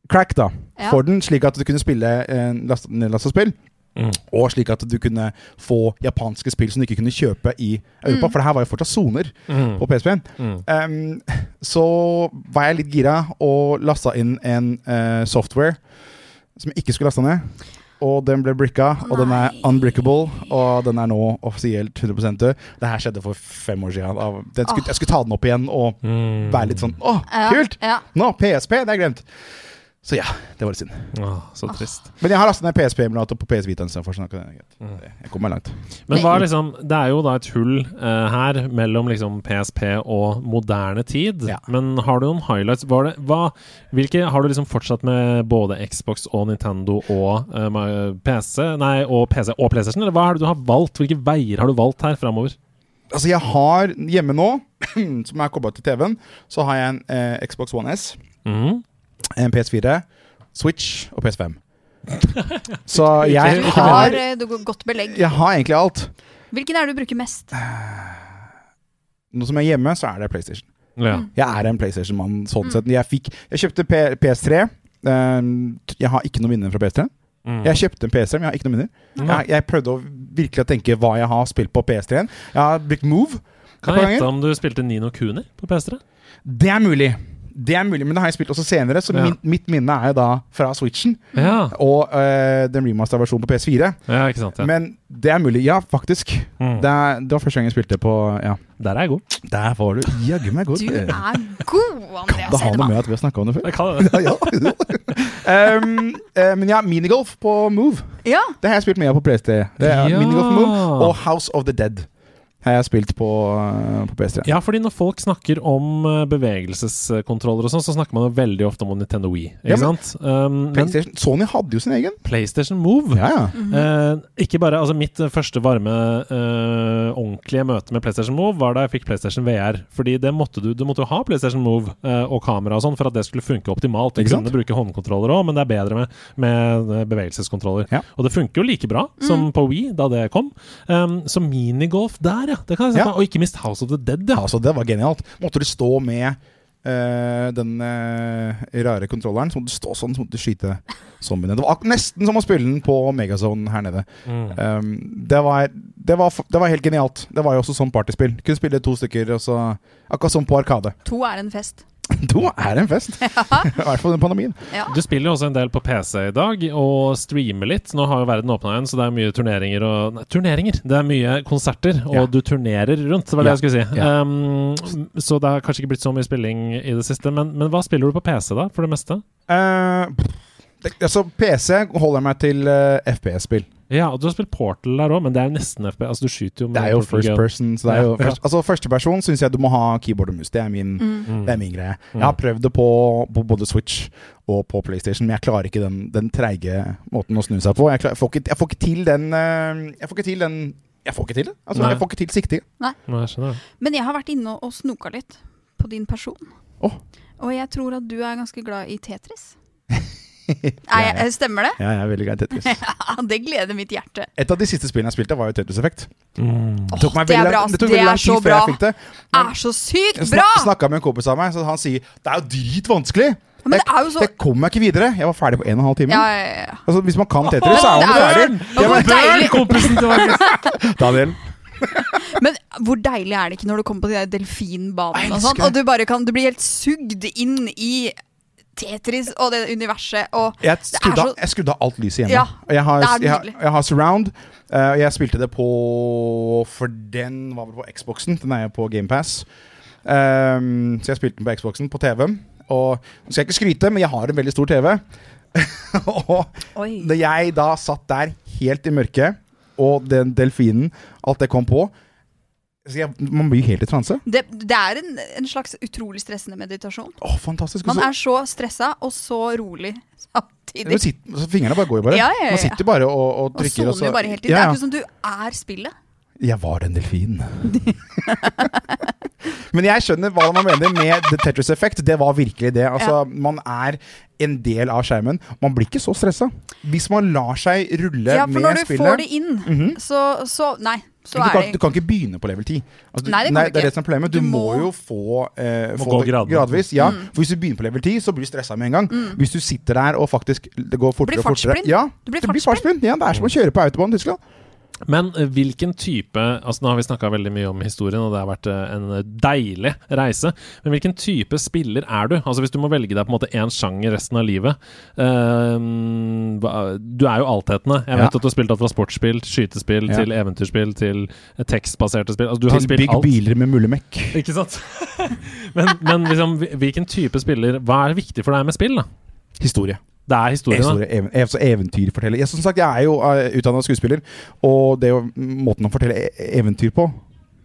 [SPEAKER 6] crack da
[SPEAKER 5] Ja.
[SPEAKER 6] for den, slik at du kunne spille eh, last- nedlasta spill.
[SPEAKER 1] Mm.
[SPEAKER 6] Og slik at du kunne få japanske spill som du ikke kunne kjøpe i
[SPEAKER 5] Mm.
[SPEAKER 6] Europa. For det her var jo fortsatt soner
[SPEAKER 1] Mm.
[SPEAKER 6] på PSP-en.
[SPEAKER 1] Mm.
[SPEAKER 6] Ehm, så var jeg litt gira og lasta inn en eh, software som jeg ikke skulle lasta ned. Og den ble bricka, og den er
[SPEAKER 5] Nei.
[SPEAKER 6] unbrickable. Og den er nå offisielt 100 død. Det her skjedde for fem år siden. Da- Den skulle, jeg skulle ta den opp igjen og
[SPEAKER 1] Mm.
[SPEAKER 6] være litt sånn Å,
[SPEAKER 5] Ja,
[SPEAKER 6] kult!
[SPEAKER 5] Ja.
[SPEAKER 6] Nå, PSP! Det har jeg glemt. Så ja, det var litt synd.
[SPEAKER 1] Åh, så trist.
[SPEAKER 6] Men jeg har lasta ned PSP-emulator på PS Vita. istedenfor, så nå kan Jeg jeg kommer meg langt.
[SPEAKER 1] Men hva er liksom, det er jo da et hull eh, her mellom liksom PSP og moderne tid.
[SPEAKER 6] Ja.
[SPEAKER 1] Men har du noen highlights? Var det, hva, hvilke, har du liksom fortsatt med både Xbox og Nintendo og eh, ma- PC Nei, og PC og PlayStation? Eller hva er det du har valgt? Hvilke veier har du valgt her framover?
[SPEAKER 6] Altså, jeg har hjemme nå, *clears throat* som er kobla til TV-en, så har jeg en eh, Xbox One S,
[SPEAKER 1] Mm.
[SPEAKER 6] en PS4, Switch og PS5. Så jeg
[SPEAKER 5] Du har
[SPEAKER 6] har
[SPEAKER 5] eh, du har godt belegg.
[SPEAKER 6] jeg har egentlig alt.
[SPEAKER 5] Hvilken er det du bruker mest?
[SPEAKER 6] Nå som jeg er hjemme, så er det PlayStation.
[SPEAKER 1] Ja.
[SPEAKER 6] Jeg er en PlayStation-mann
[SPEAKER 5] Mm.
[SPEAKER 6] sånn sett. Jeg, fikk, jeg kjøpte P PS3. Ehm, jeg har ikke noen minner fra PS3.
[SPEAKER 1] Mm.
[SPEAKER 6] Jeg kjøpte en PS3, men jeg har ikke noen minner. Jeg, jeg prøvde å virkelig å tenke hva jeg har spilt på PS3-en. Jeg har brukt Move.
[SPEAKER 1] Kan
[SPEAKER 6] et par
[SPEAKER 1] jeg
[SPEAKER 6] ganger.
[SPEAKER 1] gjette om du spilte Nino Kuni på PS3?
[SPEAKER 6] Det er mulig. Det er mulig, Men det har jeg spilt også senere, så
[SPEAKER 1] Ja.
[SPEAKER 6] min, mitt minne er jo da fra Switchen.
[SPEAKER 1] Ja,
[SPEAKER 6] Og eh, den remaster-versjonen på PS4.
[SPEAKER 1] ja ikke sant. Ja.
[SPEAKER 6] Men det er mulig. Ja, faktisk.
[SPEAKER 1] Mm.
[SPEAKER 6] Det, er, det var første gang jeg spilte på Ja.
[SPEAKER 1] Der er jeg god.
[SPEAKER 6] Der var du jaggu meg
[SPEAKER 5] Du er god,
[SPEAKER 6] Det
[SPEAKER 5] Andreas
[SPEAKER 6] har noe
[SPEAKER 5] Hedemann.
[SPEAKER 6] med at vi har snakka om det før.
[SPEAKER 1] Jeg kan det.
[SPEAKER 6] Ja, jo. *laughs* Ehm, eh, men ja, minigolf på Move.
[SPEAKER 5] Ja.
[SPEAKER 6] Det har jeg spilt mye av på PST. Det er
[SPEAKER 1] Ja.
[SPEAKER 6] Minigolf på Move Og House of the Dead har jeg spilt på, eh, på PS3.
[SPEAKER 1] Ja, fordi når folk snakker om eh, bevegelseskontroller og sånn, så snakker man jo veldig ofte om Nintendo Wii, ikke
[SPEAKER 6] Ja, men-
[SPEAKER 1] sant? Um, men
[SPEAKER 6] PlayStation. Sony hadde jo sin egen.
[SPEAKER 1] PlayStation Move
[SPEAKER 6] Ja, Mhm. ja.
[SPEAKER 1] eh, Ikke bare, altså Mitt eh, første varme, eh, ordentlige møte med PlayStation Move var da jeg fikk PlayStation VR. Fordi det måtte du du måtte jo ha PlayStation Move eh, og kamera og sånn for at det skulle funke optimalt. Du
[SPEAKER 6] Ikke sant?
[SPEAKER 1] kunne bruke håndkontroller òg, men det er bedre med, med eh, bevegelseskontroller.
[SPEAKER 6] Ja. Mhm.
[SPEAKER 1] Og det funker jo like bra som på Wii da det kom. Um, så minigolf der, ja. Det kan jeg se
[SPEAKER 6] Ja.
[SPEAKER 1] på. Og ikke minst House of the Dead, ja.
[SPEAKER 6] Altså, det var genialt. Måtte du stå med eh, den eh, rare kontrolleren, så måtte du stå sånn, så måtte du skyte zombiene. Det var ak- nesten som å spille den på Megazone her nede.
[SPEAKER 1] Mm.
[SPEAKER 6] Um, det, var, det, var, f- det var helt genialt. Det var jo også sånn partyspill. Kunne spille to stykker, og så akkurat som på Arkade.
[SPEAKER 5] To er en fest.
[SPEAKER 6] *laughs* Da er det en
[SPEAKER 5] *laughs*
[SPEAKER 6] fest! I hvert fall under pandemien.
[SPEAKER 5] Ja.
[SPEAKER 1] Du spiller jo også en del på PC i dag, og streamer litt. Nå har jo verden åpna igjen, så det er mye turneringer og Nei, turneringer! Det er mye konserter, og
[SPEAKER 6] Ja.
[SPEAKER 1] du turnerer rundt, det var det
[SPEAKER 6] Ja.
[SPEAKER 1] jeg skulle si.
[SPEAKER 6] Ja.
[SPEAKER 1] Um, så det har kanskje ikke blitt så mye spilling i det siste, men, men hva spiller du på PC, da, for det meste?
[SPEAKER 6] Eh, det, altså, PC holder jeg meg til eh, FPS-spill.
[SPEAKER 1] Ja, og du har spilt Portal der òg, men det er nesten FP. Altså, du skyter jo med
[SPEAKER 6] Det er jo
[SPEAKER 1] Portal
[SPEAKER 6] first
[SPEAKER 1] Gun.
[SPEAKER 6] person. Så det er jo
[SPEAKER 1] Ja, ja.
[SPEAKER 6] først, altså, førsteperson syns jeg du må ha keyboard og mus. Det er min,
[SPEAKER 1] Mm.
[SPEAKER 6] det er min greie. Jeg har prøvd det på, på både Switch og på PlayStation, men jeg klarer ikke den, den treige måten å snu seg på. Jeg, klar, jeg, får, ikke, jeg får ikke til den eh, Jeg får ikke til den Jeg får ikke til det. Altså,
[SPEAKER 1] Nei.
[SPEAKER 6] jeg får ikke til sikting.
[SPEAKER 1] Nei, jeg skjønner det.
[SPEAKER 5] Men jeg har vært inne og snoka litt på din person.
[SPEAKER 6] Åh.
[SPEAKER 5] Og jeg tror at du er ganske glad i
[SPEAKER 6] *laughs*
[SPEAKER 5] Tetris.
[SPEAKER 6] Ja,
[SPEAKER 5] Nei, jeg- stemmer det?
[SPEAKER 6] Ja, jeg er veldig glad i Tetris. *laughs*
[SPEAKER 5] Ja, det gleder mitt hjerte.
[SPEAKER 6] Et av de siste spillene jeg spilte, var jo Tetris Effect.
[SPEAKER 1] Mm.
[SPEAKER 5] Åh,
[SPEAKER 6] Det tok meg
[SPEAKER 5] det
[SPEAKER 6] veldig
[SPEAKER 5] er bra.
[SPEAKER 6] lang-
[SPEAKER 5] ass.
[SPEAKER 6] det tok
[SPEAKER 5] Det
[SPEAKER 6] veldig lang
[SPEAKER 5] er så
[SPEAKER 6] tid før
[SPEAKER 5] bra.
[SPEAKER 6] jeg fikk det.
[SPEAKER 5] Er så sykt
[SPEAKER 6] Jeg snak,
[SPEAKER 5] bra!
[SPEAKER 6] snakka med en kompis av meg, så han sier det er jo dritvanskelig.
[SPEAKER 5] Men det er jo så
[SPEAKER 6] Jeg kom meg ikke videre. Jeg var ferdig på en og en halv time.
[SPEAKER 5] Ja, ja, ja, ja.
[SPEAKER 6] Altså, hvis man kan Tetris, så er man
[SPEAKER 5] det er jo-
[SPEAKER 6] ferdig.
[SPEAKER 5] Men hvor deilig,
[SPEAKER 1] kompisen tilbake!
[SPEAKER 6] Daniel.
[SPEAKER 5] men hvor deilig er det ikke når du kommer på de der
[SPEAKER 6] Jeg
[SPEAKER 5] delfinbanene og
[SPEAKER 6] elsker
[SPEAKER 5] sånn,
[SPEAKER 6] det.
[SPEAKER 5] og du bare kan Du blir helt sugd inn i Tetris og det universet og
[SPEAKER 6] Jeg
[SPEAKER 5] er
[SPEAKER 6] skrudde, av-
[SPEAKER 5] så-
[SPEAKER 6] jeg skrudde av alt lyset hjemme.
[SPEAKER 5] Ja,
[SPEAKER 6] Og jeg, har,
[SPEAKER 5] det er
[SPEAKER 6] jeg, har,
[SPEAKER 5] nydelig.
[SPEAKER 6] jeg har surround. eh, Og jeg spilte det på For den var vel på Xboxen. Den er jo på GamePass. Um, så jeg spilte den på Xboxen, på TV-en. Og nå skal jeg ikke skryte, men jeg har en veldig stor TV. *laughs* og
[SPEAKER 5] Oi.
[SPEAKER 6] da jeg da satt der helt i mørket, og den delfinen, alt det kom på så jeg, Man blir helt i transe.
[SPEAKER 5] Det, det er en, en slags utrolig stressende meditasjon.
[SPEAKER 6] Å, fantastisk. Og
[SPEAKER 5] Man
[SPEAKER 6] så-
[SPEAKER 5] er så stressa og så rolig
[SPEAKER 6] Du
[SPEAKER 5] samtidig.
[SPEAKER 6] sitter, så fingrene bare går jo bare.
[SPEAKER 5] Ja, ja, ja,
[SPEAKER 6] Man
[SPEAKER 5] ja.
[SPEAKER 6] sitter bare og, og
[SPEAKER 5] Og
[SPEAKER 6] trykker.
[SPEAKER 5] soner jo bare helt inn. Det
[SPEAKER 6] Ja,
[SPEAKER 5] er
[SPEAKER 6] ja.
[SPEAKER 5] ikke som du er spillet.
[SPEAKER 6] Jeg var den delfinen. *laughs* Men jeg skjønner hva man mener med The Tetris Effect. Det var virkelig det. Altså, Man er en del av skjermen. Man blir ikke så stressa hvis man lar seg rulle
[SPEAKER 5] Ja, for
[SPEAKER 6] med
[SPEAKER 5] når du får det
[SPEAKER 6] spillet.
[SPEAKER 5] inn, så, så Nei, så
[SPEAKER 6] Men du,
[SPEAKER 5] er
[SPEAKER 6] kan, du
[SPEAKER 5] det
[SPEAKER 6] kan ikke begynne på level 10. Altså, du,
[SPEAKER 5] Nei, det kan du
[SPEAKER 6] det
[SPEAKER 5] ikke.
[SPEAKER 6] er det som er problemet. Du,
[SPEAKER 5] Du
[SPEAKER 6] må,
[SPEAKER 5] må- Mm.
[SPEAKER 6] jo få, eh,
[SPEAKER 1] Må
[SPEAKER 6] få
[SPEAKER 1] gå
[SPEAKER 6] det
[SPEAKER 1] gradvis.
[SPEAKER 6] gradvis. Ja, for Hvis du begynner på level 10, så blir du stressa med en gang. Hvis du sitter der og faktisk det går fortere og fortere
[SPEAKER 5] fartsblind.
[SPEAKER 6] ja,
[SPEAKER 5] Du blir
[SPEAKER 6] det blir
[SPEAKER 5] fartsblind.
[SPEAKER 6] fartsblind. Ja, det er som å kjøre på autobahn i Tyskland.
[SPEAKER 1] Men eh, hvilken type Altså Nå har vi snakka veldig mye om historien, og det har vært eh, en deilig reise. Men hvilken type spiller er du? Altså Hvis du må velge deg på en måte én sjanger resten av livet ehm, hva- Du er jo altetende. Jeg vet
[SPEAKER 6] Ja.
[SPEAKER 1] at du har spilt alt fra sportsspill, til skytespill,
[SPEAKER 6] Ja.
[SPEAKER 1] til eventyrspill, til eh, tekstbaserte spill. Altså Du har
[SPEAKER 6] Til
[SPEAKER 1] spilt
[SPEAKER 6] big
[SPEAKER 1] alt.
[SPEAKER 6] biler med mullemekk.
[SPEAKER 1] Ikke sant? *laughs* men men liksom, hvil- hvilken type spiller Hva er viktig for deg med spill? da?
[SPEAKER 6] Historie.
[SPEAKER 1] Det er historien. da.
[SPEAKER 6] Historie, even, ev- altså så eventyrforteller. Jeg, som sagt, jeg er jo uh, utdanna skuespiller, og det er jo måten å fortelle e- eventyr på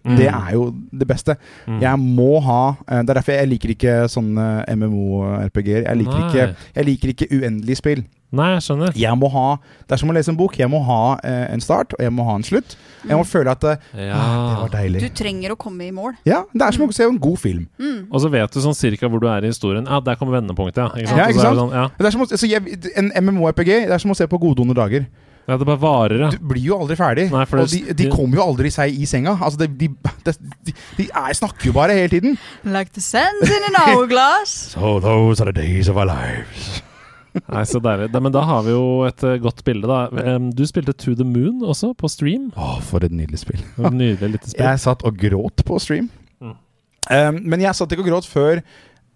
[SPEAKER 1] Mm.
[SPEAKER 6] Det er jo det beste. Jeg må ha eh, Det er derfor jeg liker ikke sånne MMO-RPG-er. Jeg, liker
[SPEAKER 1] Nei.
[SPEAKER 6] ikke- jeg liker ikke uendelige spill.
[SPEAKER 1] Nei, jeg skjønner.
[SPEAKER 6] Jeg må ha Det er som å lese en bok. Jeg må ha eh, en start, og jeg må ha en slutt. Jeg må føle at eh, Det
[SPEAKER 1] Ja.
[SPEAKER 6] var deilig.
[SPEAKER 5] Du trenger å komme i mål.
[SPEAKER 6] Ja, Det er som å se en god film.
[SPEAKER 1] Og så vet du sånn cirka hvor du er i historien. Ja, der kommer vendepunktet, ja. Ikke sant?
[SPEAKER 6] Ja,
[SPEAKER 1] Og
[SPEAKER 6] ikke
[SPEAKER 1] så er det
[SPEAKER 6] sant?
[SPEAKER 1] Sånn, ja.
[SPEAKER 6] Det er som å, altså, jeg, en MMO-RPG Det er som å se på Gode onde dager.
[SPEAKER 1] Ja, det bare varer, ja.
[SPEAKER 6] Du blir jo aldri ferdig.
[SPEAKER 1] Nei, for
[SPEAKER 6] og de,
[SPEAKER 1] det-
[SPEAKER 6] de kommer jo aldri seg i senga. Altså, de, de, de, de, de er, snakker jo bare hele tiden.
[SPEAKER 5] Like the sands in an hourglass.
[SPEAKER 6] So those are the days of our lives.
[SPEAKER 1] *laughs* Nei, så deilig. Da- Men da har vi jo et eh, godt bilde, da. Em, Du spilte To the Moon også, på stream.
[SPEAKER 6] Å, for et nydelig spill.
[SPEAKER 1] Et Nydelig lite *laughs* spill.
[SPEAKER 6] Jeg satt og gråt på stream.
[SPEAKER 1] Mm.
[SPEAKER 6] Um, men jeg satt ikke og gråt før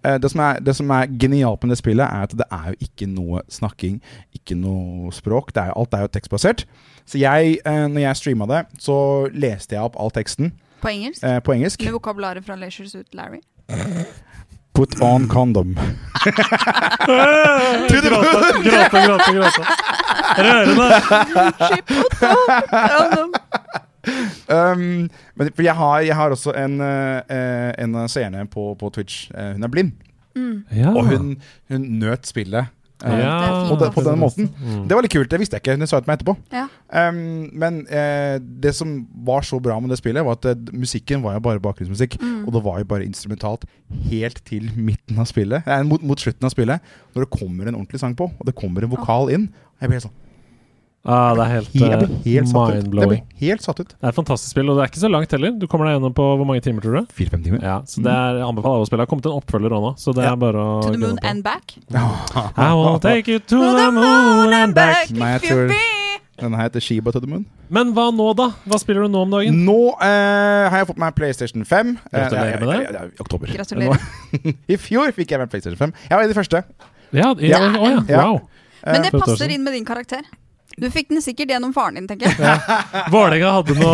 [SPEAKER 6] eh, det, som er, det som er genialt med det spillet, er at det er jo ikke noe snakking, ikke noe språk. Det er, jo- alt er jo tekstbasert. Så jeg, eh, når jeg streama det, så leste jeg opp all teksten
[SPEAKER 5] På engelsk.
[SPEAKER 6] eh, på engelsk.
[SPEAKER 5] Med vokabularet fra Leisures Ut Larry.
[SPEAKER 6] Put on condom.
[SPEAKER 1] Gråte, gråte, gråte, gråte. Rørende!
[SPEAKER 5] Altså,
[SPEAKER 6] Um, men for jeg har, jeg har også en, eh, eh, en av seerne på, på Twitch. Eh, hun er blind,
[SPEAKER 1] Ja.
[SPEAKER 6] og hun, hun nøt spillet. eh,
[SPEAKER 1] Ah. Ja. Mm.
[SPEAKER 6] På, den, på den måten. Det var litt kult, det visste jeg ikke. Hun sa det til meg etterpå.
[SPEAKER 5] Ja.
[SPEAKER 6] Um, men eh, det som var så bra med det spillet, var at eh, musikken var jo bare bakgrunnsmusikk. Og det var jo bare instrumentalt helt til midten av spillet Nei, mot, mot slutten av spillet. Når det kommer en ordentlig sang på, og det kommer en vokal inn. Jeg blir helt sånn
[SPEAKER 1] Ah, det er helt,
[SPEAKER 6] Jeg ble helt
[SPEAKER 1] helt
[SPEAKER 6] satt ut. Jeg ble
[SPEAKER 1] mind-blowing.
[SPEAKER 6] helt satt ut.
[SPEAKER 1] Det er et fantastisk spill, og det er ikke så langt heller. Du kommer deg gjennom på hvor mange timer, tror du?
[SPEAKER 6] Fire-fem timer.
[SPEAKER 1] Ja, så det er jeg anbefaler alle å spille. Det har kommet en oppfølger òg nå, så det
[SPEAKER 6] Ja.
[SPEAKER 1] er bare å
[SPEAKER 5] To the moon
[SPEAKER 1] gønne på.
[SPEAKER 5] and back.
[SPEAKER 1] I will take you to the moon and back.
[SPEAKER 6] Nei,
[SPEAKER 5] if
[SPEAKER 6] jeg
[SPEAKER 5] you
[SPEAKER 6] tror-
[SPEAKER 5] be.
[SPEAKER 6] *laughs* Den her heter Shiba to the Moon.
[SPEAKER 1] Men hva nå, da? Hva spiller du nå om dagen?
[SPEAKER 6] Nå eh, har jeg fått meg PlayStation 5. Eh,
[SPEAKER 1] Gratulerer med det.
[SPEAKER 6] ja, ja, ja, oktober.
[SPEAKER 5] Gratulerer.
[SPEAKER 6] Nå- I fjor fikk jeg meg PlayStation 5. Jeg var i det første.
[SPEAKER 1] *laughs* Ja, i,
[SPEAKER 6] Ja.
[SPEAKER 1] å ja.
[SPEAKER 6] Ja.
[SPEAKER 1] Wow.
[SPEAKER 5] Men det
[SPEAKER 1] Eh,
[SPEAKER 5] passer inn med din karakter. Du fikk den sikkert gjennom faren din, tenker jeg.
[SPEAKER 1] Vålerenga hadde noe *laughs*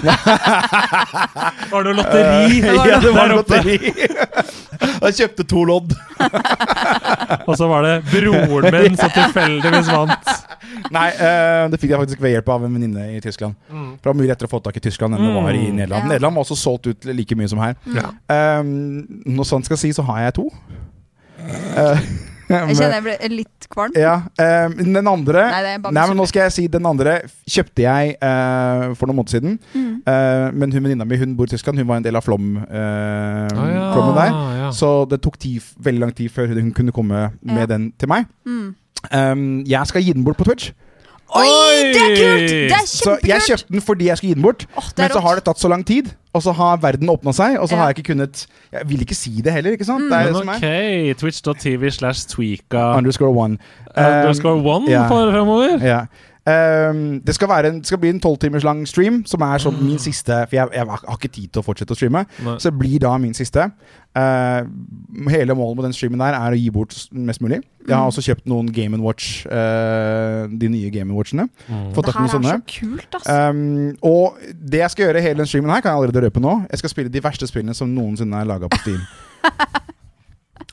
[SPEAKER 1] Var det noe lotteri?
[SPEAKER 6] Eh, *laughs* Ja, det var
[SPEAKER 1] der oppe?
[SPEAKER 6] lotteri.
[SPEAKER 1] *laughs*
[SPEAKER 6] Jeg kjøpte to lodd.
[SPEAKER 1] Og så var det broren min som tilfeldigvis vant.
[SPEAKER 6] *laughs* Nei, eh, det fikk jeg faktisk ved hjelp av en venninne i Tyskland.
[SPEAKER 1] Mm.
[SPEAKER 6] For det var mye lettere å få tak i Tyskland enn det var i Nederland.
[SPEAKER 5] Ja.
[SPEAKER 6] Nederland var også solgt ut like mye som her. Eh, når sant skal si, så har jeg to. Eh, *laughs*
[SPEAKER 5] *laughs*
[SPEAKER 6] men-
[SPEAKER 5] Jeg kjenner jeg ble litt kvalm.
[SPEAKER 6] Ja, eh, den andre
[SPEAKER 5] Nei,
[SPEAKER 6] Nei,
[SPEAKER 5] det er bare
[SPEAKER 6] men nå skal jeg si Den andre kjøpte jeg eh, for noen måneder siden.
[SPEAKER 5] Mm.
[SPEAKER 6] Eh, men hun venninna mi hun bor i Tyskland, hun var en del av Flom, eh, flommen der.
[SPEAKER 1] Ah, ja.
[SPEAKER 6] Så det tok tid, veldig lang tid før hun kunne komme med
[SPEAKER 5] Ja.
[SPEAKER 6] den til meg.
[SPEAKER 5] Mm.
[SPEAKER 6] Um, jeg skal gi den bort på Twitch.
[SPEAKER 5] Oi, det er kult! Det er
[SPEAKER 6] Så jeg
[SPEAKER 5] kjempekult!
[SPEAKER 6] kjøpte den fordi jeg skulle gi den bort.
[SPEAKER 5] Åh, det er
[SPEAKER 6] Men så
[SPEAKER 5] rått.
[SPEAKER 6] har det tatt så lang tid, og så har verden åpna seg. Og så
[SPEAKER 5] Ja. Mm.
[SPEAKER 6] har jeg ikke kunnet Jeg vil ikke si det heller, ikke sant? Det er det som
[SPEAKER 1] Men
[SPEAKER 6] er.
[SPEAKER 1] ok, twitch.tv slash Eh, tweaka
[SPEAKER 6] Underscore one.
[SPEAKER 1] underscore one
[SPEAKER 6] ja.
[SPEAKER 1] for fremover.
[SPEAKER 6] Ja. Ehm, det, skal være en, det skal bli en tolv timers lang stream, som er som min siste For jeg, jeg har ikke tid til å fortsette å streame.
[SPEAKER 1] Nei.
[SPEAKER 6] Så det blir da min siste. Ehm, hele målet med den streamen der er å gi bort s- mest mulig. Jeg
[SPEAKER 5] Mm.
[SPEAKER 6] har også kjøpt noen Game Watch, eh, de nye Game Watchene.
[SPEAKER 1] Mm.
[SPEAKER 6] Fått
[SPEAKER 5] Det
[SPEAKER 6] tak i noen
[SPEAKER 5] her er så
[SPEAKER 6] sånne.
[SPEAKER 5] kult, ass.
[SPEAKER 6] Ehm, og det jeg skal gjøre i hele den streamen her, kan jeg allerede røpe nå. Jeg skal spille de verste spillene som noensinne er laga på Steam. *laughs*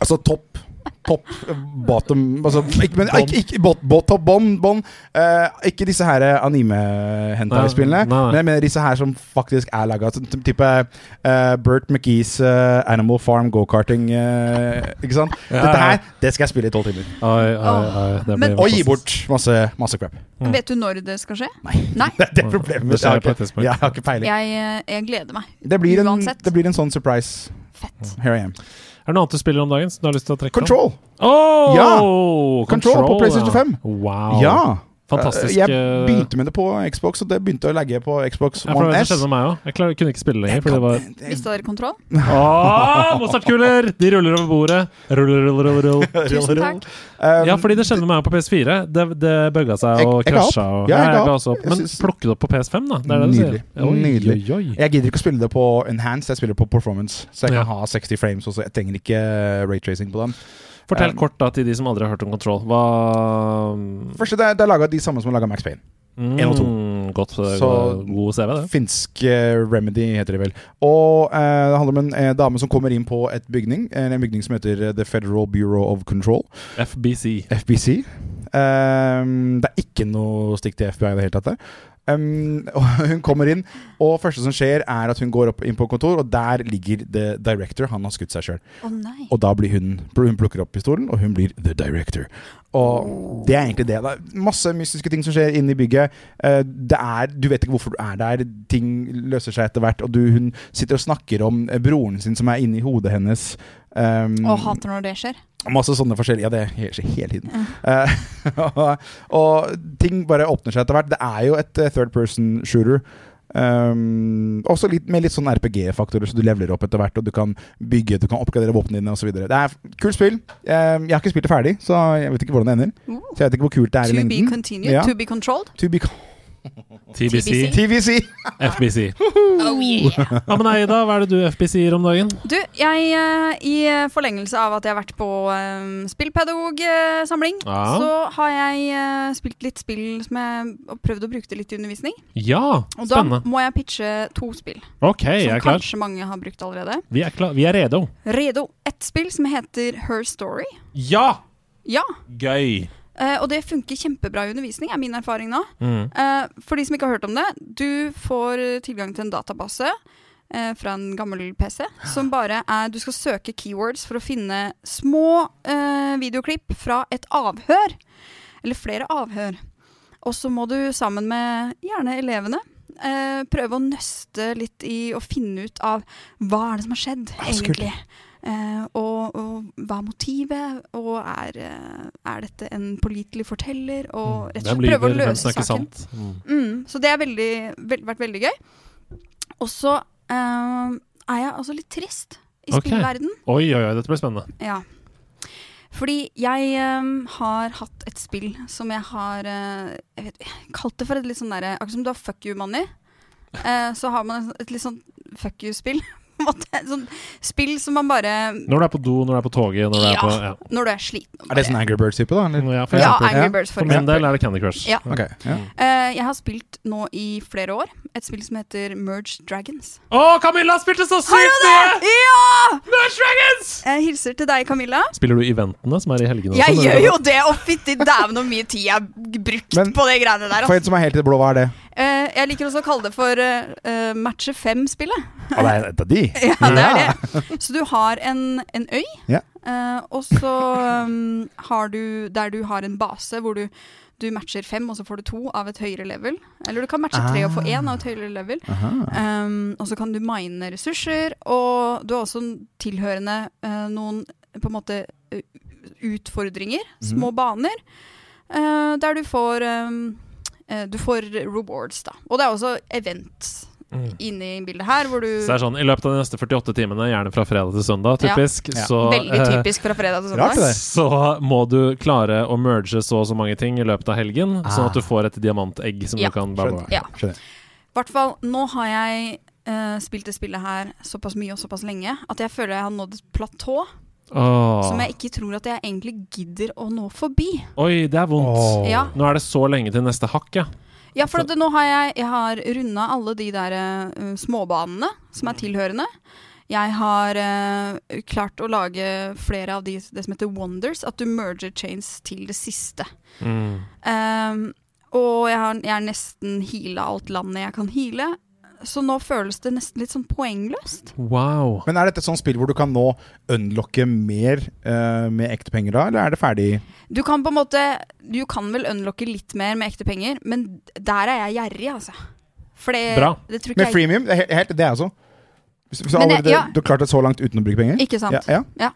[SPEAKER 6] altså topp. Topp, eh, bottom altså, ikke, men, ikke, ikke, bot, bot, top, bånd, bånd. Eh, ikke disse her anime-hentai-spillene,
[SPEAKER 1] Nei, nei.
[SPEAKER 6] men jeg mener disse her som faktisk er laga. Type eh, Bert McGees eh, Animal Farm go-karting. eh, ikke sant?
[SPEAKER 1] Ja,
[SPEAKER 6] Dette
[SPEAKER 1] ja.
[SPEAKER 6] her, det skal jeg spille i tolv timer.
[SPEAKER 1] Oi, oi, oi. Det
[SPEAKER 5] Men-
[SPEAKER 1] blir
[SPEAKER 6] Og gi bort masse, masse crap.
[SPEAKER 5] Vet du når det skal skje?
[SPEAKER 6] Det er det
[SPEAKER 1] Det
[SPEAKER 6] problemet.
[SPEAKER 1] skjer
[SPEAKER 6] Jeg har
[SPEAKER 1] på et
[SPEAKER 6] ikke-
[SPEAKER 1] tidspunkt.
[SPEAKER 6] Jeg har ikke peiling.
[SPEAKER 5] Jeg, eh, jeg gleder meg.
[SPEAKER 6] Det blir, en,
[SPEAKER 5] Uansett.
[SPEAKER 6] det blir en sånn surprise.
[SPEAKER 5] Fett.
[SPEAKER 6] Here I am.
[SPEAKER 1] Er det noe annet du spiller om dagen som du har lyst til å trekke
[SPEAKER 6] Control!
[SPEAKER 1] fram? Oh,
[SPEAKER 6] Ja!
[SPEAKER 1] Control,
[SPEAKER 6] Control på PlayStation
[SPEAKER 1] ja.
[SPEAKER 6] 5.
[SPEAKER 1] Wow.
[SPEAKER 6] Ja!
[SPEAKER 1] Fantastisk.
[SPEAKER 6] Jeg
[SPEAKER 1] eh,
[SPEAKER 6] begynte med det på Xbox, og det begynte å legge på Xbox
[SPEAKER 1] ja, for det var
[SPEAKER 6] One
[SPEAKER 1] det som
[SPEAKER 6] S.
[SPEAKER 1] skjedde med meg også. Jeg klar, kunne ikke spille lenger. Fordi det var
[SPEAKER 5] Mista dere kontroll?
[SPEAKER 1] Åh, Mozartkuler! De ruller over bordet. Rull, rull, rull,
[SPEAKER 6] *laughs*
[SPEAKER 1] rull.
[SPEAKER 5] Tusen takk.
[SPEAKER 6] Um,
[SPEAKER 1] Ja, fordi det skjedde med meg på PS4. Det, det bugga seg
[SPEAKER 6] Jeg-
[SPEAKER 1] og
[SPEAKER 6] jeg ga opp.
[SPEAKER 1] krasja. Og,
[SPEAKER 6] Ja, jeg
[SPEAKER 1] Nei,
[SPEAKER 6] ga
[SPEAKER 1] ga
[SPEAKER 6] opp.
[SPEAKER 1] også opp.
[SPEAKER 6] Jeg
[SPEAKER 1] Men
[SPEAKER 6] synes-
[SPEAKER 1] plukke det opp på PS5, da. Det er det du sier.
[SPEAKER 6] Nydelig. Nydelig.
[SPEAKER 1] Oi, oi.
[SPEAKER 6] Jeg gidder ikke å spille det på enhanced, jeg spiller på performance. Så jeg
[SPEAKER 1] Ja.
[SPEAKER 6] kan ha 60 frames også. Jeg trenger ikke raytracing på dem.
[SPEAKER 1] Fortell
[SPEAKER 6] Um,
[SPEAKER 1] kort da til de som aldri har hørt om Control. Hva
[SPEAKER 6] Først, det er, det er laga de samme som har laga Max Payne.
[SPEAKER 1] mm,
[SPEAKER 6] en og to.
[SPEAKER 1] Godt, eh,
[SPEAKER 6] Så-
[SPEAKER 1] god CV, det.
[SPEAKER 6] Finsk eh, Remedy heter de vel. Og eh, det handler om en eh, dame som kommer inn på et bygning, en bygning som heter eh, The Federal Bureau of Control.
[SPEAKER 1] FBC.
[SPEAKER 6] FBC. Ehm, det er ikke noe stikk til FBI i det hele tatt. det. Ehm, *laughs* og hun kommer inn, og første som skjer, er at hun går opp inn på kontor, og der ligger the director. Han har skutt seg sjøl.
[SPEAKER 5] Å nei.
[SPEAKER 6] Og da blir hun Hun plukker opp pistolen, og hun blir the director. Og det er egentlig det. Det er masse mystiske ting som skjer inne i bygget. Eh, Det er, du vet ikke hvorfor du er der. Ting løser seg etter hvert. Og du, hun sitter og snakker om eh, broren sin som er inni hodet hennes. Ehm,
[SPEAKER 5] Å, hater når det skjer.
[SPEAKER 6] Masse sånne forskjellige Ja, det skjer hele tiden. *laughs* Eh, og, og ting bare åpner seg etter hvert. Det er jo et eh, third person shooter. Um, også litt, med litt sånn RPG-faktorer, så du leveler opp etter hvert. Og du kan bygge, du kan oppgradere våpnene dine osv. Det er f- kult spill. Um, jeg har ikke spilt det ferdig, så jeg vet ikke hvordan det ender.
[SPEAKER 5] Oh.
[SPEAKER 6] Så jeg vet ikke hvor kult det er
[SPEAKER 5] To
[SPEAKER 6] i
[SPEAKER 5] be
[SPEAKER 6] lengden.
[SPEAKER 5] continued.
[SPEAKER 6] Ja.
[SPEAKER 5] To be controlled.
[SPEAKER 6] To be *laughs*
[SPEAKER 5] TBC.
[SPEAKER 1] TBC.
[SPEAKER 6] TVC!
[SPEAKER 1] *laughs* FBC.
[SPEAKER 5] Oh yeah.
[SPEAKER 1] Ja, men Eida, hva er det du FBC-er om dagen?
[SPEAKER 5] Du, jeg, eh, i forlengelse av at jeg har vært på eh, spillpedagogsamling,
[SPEAKER 1] Ja.
[SPEAKER 5] så har jeg eh, spilt litt spill som jeg og prøvd å bruke det litt i undervisning.
[SPEAKER 1] Ja,
[SPEAKER 5] Og da
[SPEAKER 1] spennende.
[SPEAKER 5] må jeg pitche to spill,
[SPEAKER 1] Ok, jeg
[SPEAKER 5] som
[SPEAKER 1] er klar.
[SPEAKER 5] kanskje mange har brukt allerede.
[SPEAKER 1] Vi er, klar. Vi er redo.
[SPEAKER 5] Redo. Ett spill som heter Her Story.
[SPEAKER 1] Ja!
[SPEAKER 5] Ja,
[SPEAKER 1] Gøy.
[SPEAKER 5] eh, og det funker kjempebra i undervisning, er min erfaring nå.
[SPEAKER 1] Mm.
[SPEAKER 5] Eh, For de som ikke har hørt om det, du får eh, tilgang til en database eh, fra en gammel PC som bare er Du skal søke keywords for å finne små eh, videoklipp fra et avhør. Eller flere avhør. Og så må du sammen med gjerne elevene eh, prøve å nøste litt i å finne ut av hva er det som har skjedd,
[SPEAKER 6] Ah, så kult.
[SPEAKER 5] egentlig. Eh, og, og hva er motivet, og er, eh, er dette en pålitelig forteller?
[SPEAKER 1] Mm.
[SPEAKER 5] Og rett og slett prøve å løse saken.
[SPEAKER 1] sant. Mm.
[SPEAKER 5] Mm, så det har veldig, vel- vært veldig gøy. Og så eh, er jeg altså litt trist i
[SPEAKER 1] Ok.
[SPEAKER 5] spillverden.
[SPEAKER 1] Oi, oi, oi, dette blir spennende.
[SPEAKER 5] Ja. Fordi jeg eh, har hatt et spill som jeg har eh, jeg vet, jeg kalt det for et litt sånn derre Akkurat som du har fuck you money, eh, så har man et, et litt sånn fuck you-spill. *laughs* På en måte. Et sånt spill som man bare
[SPEAKER 1] Når du er på do, når du er på toget, når du er
[SPEAKER 5] Ja.
[SPEAKER 1] på ja.
[SPEAKER 5] Når du er sliten.
[SPEAKER 6] Er det sånn Angry Birds-type, da? Eller?
[SPEAKER 1] Ja, for,
[SPEAKER 5] Ja,
[SPEAKER 1] eksempel.
[SPEAKER 5] Angry Birds, for
[SPEAKER 1] for min
[SPEAKER 5] eksempel.
[SPEAKER 1] del er det Candy Crush.
[SPEAKER 5] Ja.
[SPEAKER 6] Ok, ja.
[SPEAKER 5] Eh, jeg har spilt nå i flere år et spill som heter Merge Dragons.
[SPEAKER 1] Å, Camilla spilte så
[SPEAKER 5] Har du
[SPEAKER 1] sykt mye!
[SPEAKER 5] det? Ja!
[SPEAKER 1] Merge Dragons!
[SPEAKER 5] Jeg Eh, hilser til deg, Camilla.
[SPEAKER 1] Spiller du eventene som er i helgene?
[SPEAKER 5] Jeg
[SPEAKER 1] også,
[SPEAKER 5] gjør
[SPEAKER 1] eller?
[SPEAKER 5] jo det, og fytti dæven hvor mye tid jeg har brukt
[SPEAKER 6] Men-
[SPEAKER 5] på de greiene der.
[SPEAKER 6] For en som er helt i det blå, hva er det?
[SPEAKER 5] Eh, jeg liker også å kalle det for eh, eh, matche fem-spillet.
[SPEAKER 6] Ah, det er et av de.
[SPEAKER 5] Ja, det er det. Så du har en, en øy,
[SPEAKER 6] Ja.
[SPEAKER 5] eh, og så um, har du der du har en base hvor du, du matcher fem, og så får du to av et høyere level. Eller du kan matche tre og få én av et høyere level. Um, og så kan du mine ressurser, og du har også tilhørende eh, noen på en måte eh, utfordringer,
[SPEAKER 1] Mhm.
[SPEAKER 5] små baner, eh, der du får um, eh, du får rewards, da. Og det er også events
[SPEAKER 1] Mm.
[SPEAKER 5] inne i bildet her, hvor du
[SPEAKER 1] Så det er sånn, I løpet av de neste 48 timene, gjerne fra fredag til søndag, typisk,
[SPEAKER 6] Ja.
[SPEAKER 1] så
[SPEAKER 5] Veldig
[SPEAKER 1] eh, *laughs*
[SPEAKER 5] typisk fra fredag til
[SPEAKER 6] Rart,
[SPEAKER 5] søndag.
[SPEAKER 6] det.
[SPEAKER 1] så må du klare å merge så og så mange ting i løpet av helgen, sånn at du får et diamantegg som
[SPEAKER 5] Ja.
[SPEAKER 1] du kan bla, bla, bla.
[SPEAKER 5] Ja.
[SPEAKER 6] Skjønner.
[SPEAKER 5] I hvert fall, nå har jeg eh, spilt det spillet her såpass mye og såpass lenge at jeg føler jeg har nådd et platå
[SPEAKER 1] Åh.
[SPEAKER 5] som jeg ikke tror at jeg egentlig gidder å nå forbi.
[SPEAKER 1] Oi, det er vondt.
[SPEAKER 6] Åh.
[SPEAKER 5] Ja.
[SPEAKER 1] Nå er det så lenge til neste hakk, ja.
[SPEAKER 5] Ja, for at nå har jeg, jeg har runda alle de der eh, småbanene som
[SPEAKER 6] Mm.
[SPEAKER 5] er tilhørende. Jeg har eh, klart å lage flere av de, det som heter wonders, at du merger chains til det siste.
[SPEAKER 1] Mm.
[SPEAKER 5] Ehm, og jeg har, jeg har nesten heala alt landet jeg kan heale. Så nå føles det nesten litt sånn poengløst.
[SPEAKER 1] Wow.
[SPEAKER 6] Men er dette et sånt spill hvor du kan nå unlocke mer eh, med ekte penger da, eller er det ferdig?
[SPEAKER 5] Du kan på en måte Du kan vel unlocke litt mer med ekte penger, men der er jeg gjerrig, altså. For det,
[SPEAKER 1] Bra.
[SPEAKER 5] det tror
[SPEAKER 6] Med
[SPEAKER 5] ikke jeg
[SPEAKER 6] freemium? Det er he- helt det, altså. Hvis, hvis
[SPEAKER 5] Men det-
[SPEAKER 6] allerede,
[SPEAKER 5] ja.
[SPEAKER 6] Du har klart det så langt uten å bruke penger?
[SPEAKER 5] Ikke sant.
[SPEAKER 6] Ja, ja.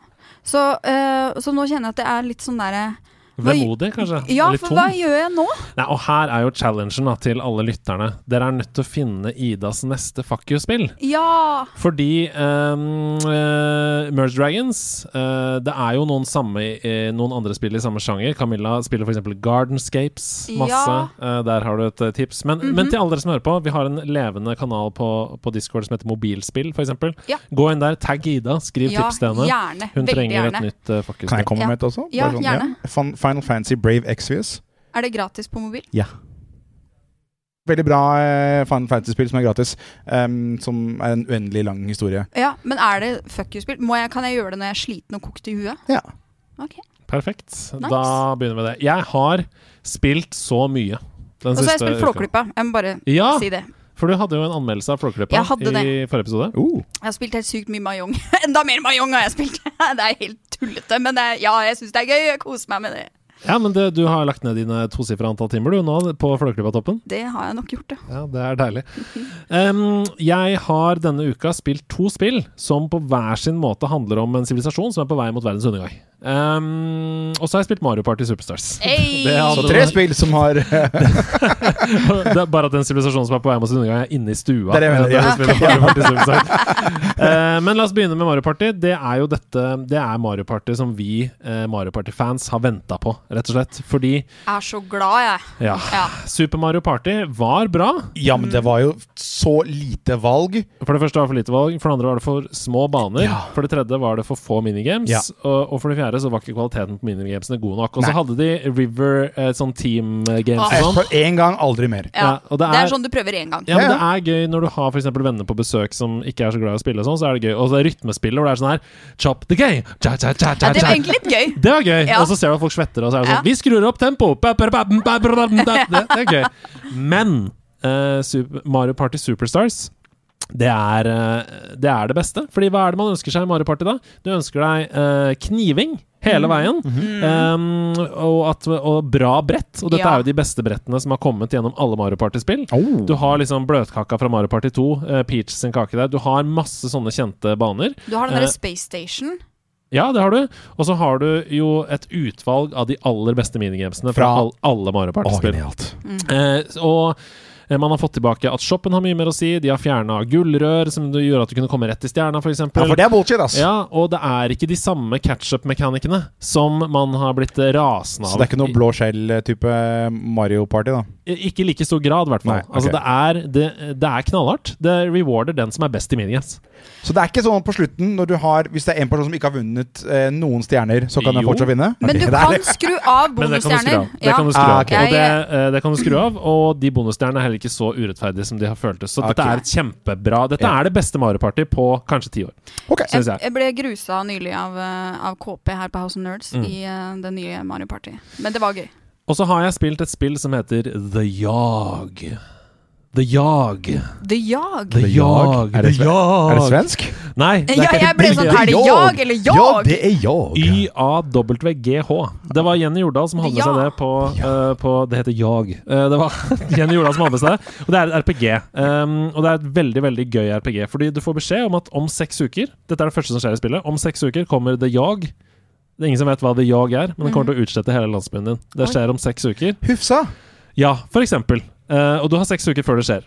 [SPEAKER 5] Så, eh, så nå kjenner jeg at det er litt sånn derre Hva-
[SPEAKER 1] Vemodig, kanskje?
[SPEAKER 5] Ja,
[SPEAKER 1] Litt
[SPEAKER 5] for
[SPEAKER 1] tom?
[SPEAKER 5] hva gjør jeg nå?
[SPEAKER 1] Nei, og her er jo challengen da, til alle lytterne. Dere er nødt til å finne Idas neste fuck you-spill.
[SPEAKER 5] Ja!
[SPEAKER 1] Fordi ehm, eh, Merge Dragons eh, Det er jo noen, samme, eh, noen andre spill i samme sjanger. Camilla spiller f.eks. Gardenscapes masse.
[SPEAKER 5] Ja. Mhm.
[SPEAKER 1] Eh, der har du et eh, tips. Men, men til alle dere som hører på, vi har en levende kanal på, på Discord som heter Mobilspill, f.eks.
[SPEAKER 5] Ja.
[SPEAKER 1] Gå inn der, tagg Ida, skriv
[SPEAKER 5] Ja,
[SPEAKER 1] tips til henne.
[SPEAKER 5] gjerne.
[SPEAKER 1] Hun
[SPEAKER 5] Veldig
[SPEAKER 1] trenger
[SPEAKER 5] gjerne.
[SPEAKER 1] et nytt uh, fuck
[SPEAKER 6] Kan jeg
[SPEAKER 1] you-spill.
[SPEAKER 6] komme
[SPEAKER 5] Ja.
[SPEAKER 6] med et også?
[SPEAKER 5] Ja,
[SPEAKER 6] Bare sånn,
[SPEAKER 5] gjerne.
[SPEAKER 6] Fun, Final Fantasy Brave Exvius.
[SPEAKER 5] Er det gratis på mobil?
[SPEAKER 6] Ja. Veldig bra eh, Final Fantasy-spill som er gratis. em, som er en uendelig lang historie.
[SPEAKER 5] Ja, men er det fuck you-spill? Må jeg- Kan jeg gjøre det når jeg er sliten og kokt i huet?
[SPEAKER 6] Ja.
[SPEAKER 1] Perfekt. Da begynner vi med det. Jeg har spilt så mye den
[SPEAKER 5] Og så har jeg spilt
[SPEAKER 1] uka. Ah!
[SPEAKER 5] Flåklypa. Jeg må bare
[SPEAKER 1] Ja,
[SPEAKER 5] si det.
[SPEAKER 1] for du hadde jo en anmeldelse av Flåklypa
[SPEAKER 5] Jeg hadde
[SPEAKER 1] i
[SPEAKER 5] det.
[SPEAKER 1] forrige episode.
[SPEAKER 6] Uh,
[SPEAKER 5] Jeg har spilt helt sykt mye Mahjong. *laughs* Enda mer Mahjong har jeg spilt. *laughs* det er helt tullete, men det, er- ja, jeg syns det er gøy. Jeg koser meg med det.
[SPEAKER 1] Ja, men det, du har lagt ned dine tosifra antall timer du nå på Flåklypa-toppen.
[SPEAKER 5] Det har jeg nok gjort, ja.
[SPEAKER 1] Ja, det er deilig. Um, jeg har denne uka spilt to spill som på hver sin måte handler om en sivilisasjon som er på vei mot verdens undergang. Um, og så har jeg spilt Mario Party Superstars.
[SPEAKER 5] *laughs* Hey!
[SPEAKER 1] Det hadde-
[SPEAKER 6] så tre spill som har eh,
[SPEAKER 1] *laughs*
[SPEAKER 6] Det
[SPEAKER 1] det er bare at en sivilisasjon som er på vei mot sin undergang, er inne i stua.
[SPEAKER 6] er det jeg mener.
[SPEAKER 1] Det
[SPEAKER 6] Ja.
[SPEAKER 1] er det spillet
[SPEAKER 6] *laughs*
[SPEAKER 1] Mario Party Superstars. Eh, men la oss begynne med Mario Party. Det er jo dette Det er Mario Party som vi eh, Mario Party-fans har venta på, rett og slett. Fordi,
[SPEAKER 5] Jeg er så glad, jeg.
[SPEAKER 1] ja
[SPEAKER 5] Ja.
[SPEAKER 1] Super Mario Party var bra.
[SPEAKER 6] ja, men det var jo så lite valg.
[SPEAKER 1] For det første var det for lite valg, for det andre var det for små baner.
[SPEAKER 6] Ja.
[SPEAKER 1] For det tredje var det for få minigames,
[SPEAKER 6] Ja.
[SPEAKER 1] og, og for det fjerde så var ikke kvaliteten på minigamesene god nok. Og
[SPEAKER 6] Nei.
[SPEAKER 1] så hadde de River eh, sånn team eh, games
[SPEAKER 5] Ah.
[SPEAKER 1] og sånn.
[SPEAKER 6] For én gang, aldri mer.
[SPEAKER 5] Ja.
[SPEAKER 1] Ja, og det
[SPEAKER 5] det, er,
[SPEAKER 1] er-
[SPEAKER 5] sånn du prøver én gang.
[SPEAKER 1] Ja, men
[SPEAKER 6] Ja,
[SPEAKER 1] det er gøy når du har for eksempel venner på besøk som ikke er så glad i å spille og sånn, så er det gøy. Og så er det rytmespillet hvor det er sånn her Chop the game! Cha, cha, cha,
[SPEAKER 5] Ja,
[SPEAKER 1] cha,
[SPEAKER 5] det
[SPEAKER 1] cha.
[SPEAKER 5] var egentlig litt gøy.
[SPEAKER 1] Det var gøy!
[SPEAKER 5] Ja.
[SPEAKER 1] Og så ser du at folk svetter, og så er det sånn
[SPEAKER 5] Ja.
[SPEAKER 1] Vi skrur opp tempoet! Ba, ba, ba, ba, ba, ba, ba, ba. Det, det er gøy. Men eh, Super, Mario Party Superstars det er, eh, det er det beste. Fordi hva er det man ønsker seg i Mario Party da? Du ønsker deg eh, kniving. hele
[SPEAKER 5] Mhm.
[SPEAKER 1] veien. Um, og, at, og bra brett. Og dette
[SPEAKER 5] Ja.
[SPEAKER 1] er jo de beste brettene som har kommet gjennom alle Mario Party-spill.
[SPEAKER 6] Oh.
[SPEAKER 1] Du har liksom bløtkaka fra Mario Party 2, eh, Peach sin kake der. Du har masse sånne kjente baner.
[SPEAKER 5] Du har den derre
[SPEAKER 1] Eh,
[SPEAKER 5] Space Station.
[SPEAKER 1] Ja, det har du. Og så har du jo et utvalg av de aller beste minigamesene fra,
[SPEAKER 6] Fra-
[SPEAKER 1] all, alle Mario
[SPEAKER 6] Å,
[SPEAKER 1] Party-spill.
[SPEAKER 6] genialt.
[SPEAKER 1] Eh, og eh, man har fått tilbake at shoppen har mye mer å si. De har fjerna gullrør, som det gjorde at du kunne komme rett til stjerna, f.eks.
[SPEAKER 6] Ja, for det er bullshit, ass.
[SPEAKER 1] Ja, og det er ikke de samme catch-up-mekanikene som man har blitt eh, rasende av.
[SPEAKER 6] Så det er ikke noe blå skjell-type eh, Mario Party, da.
[SPEAKER 1] I- Ikke i like stor grad, i hvert fall.
[SPEAKER 6] Nei, ok.
[SPEAKER 1] Altså, det er, det, det er knallhardt. Det rewarder den som er best i minigames.
[SPEAKER 6] Så det er ikke sånn på slutten, når du har, hvis det er en person som ikke har vunnet eh, noen stjerner, så kan den
[SPEAKER 1] Jo.
[SPEAKER 6] fortsatt vinne?
[SPEAKER 5] Men
[SPEAKER 6] Ok,
[SPEAKER 5] du
[SPEAKER 6] det er
[SPEAKER 5] kan
[SPEAKER 6] det.
[SPEAKER 1] *laughs*
[SPEAKER 5] skru av
[SPEAKER 1] Men det kan du skru av.
[SPEAKER 5] bonusstjerner.
[SPEAKER 1] Det kan du skru av.
[SPEAKER 6] Ah, ok.
[SPEAKER 1] Og det,
[SPEAKER 5] Jeg-
[SPEAKER 1] eh, det kan du skru av. Og de bonusstjernene er heller ikke så urettferdige som de har føltes. Så dette
[SPEAKER 6] Ok.
[SPEAKER 1] er et kjempebra Dette
[SPEAKER 6] Ja.
[SPEAKER 1] er det beste Mario Party på kanskje ti år,
[SPEAKER 6] Ok.
[SPEAKER 1] syns
[SPEAKER 5] Jeg,
[SPEAKER 1] jeg.
[SPEAKER 5] jeg ble grusa nylig av, eh, av KP her på House of Nerds
[SPEAKER 1] Mm.
[SPEAKER 5] i eh, det nye Mario Party. Men det var gøy.
[SPEAKER 1] Og så har jeg spilt et spill som heter The Jag. The Jag.
[SPEAKER 5] The Jag.
[SPEAKER 1] The
[SPEAKER 6] The Jag?
[SPEAKER 1] Jag.
[SPEAKER 6] Er det sve-
[SPEAKER 1] Jag.
[SPEAKER 6] Er det svensk?
[SPEAKER 1] Nei.
[SPEAKER 5] Ja, jeg ble sånn Er det jag eller jag?
[SPEAKER 6] er jag.
[SPEAKER 1] YAWGH. Det var Jenny Jordal som hadde med seg
[SPEAKER 5] Ja.
[SPEAKER 1] det på, eh, på Det heter Jag. Eh, det var *laughs* Jenny Jordal som hadde med seg det. Og det er et RPG. Um, og det er et veldig veldig gøy RPG. Fordi du får beskjed om at om seks uker Dette er det første som skjer i spillet. Om seks uker kommer The Jag. Det er ingen som vet hva The Jag er, men det kommer til å utslette hele landsbyen din. Det skjer om seks uker.
[SPEAKER 6] Hufsa.
[SPEAKER 1] Ja, for eksempel. Eh, og du har seks uker før det skjer.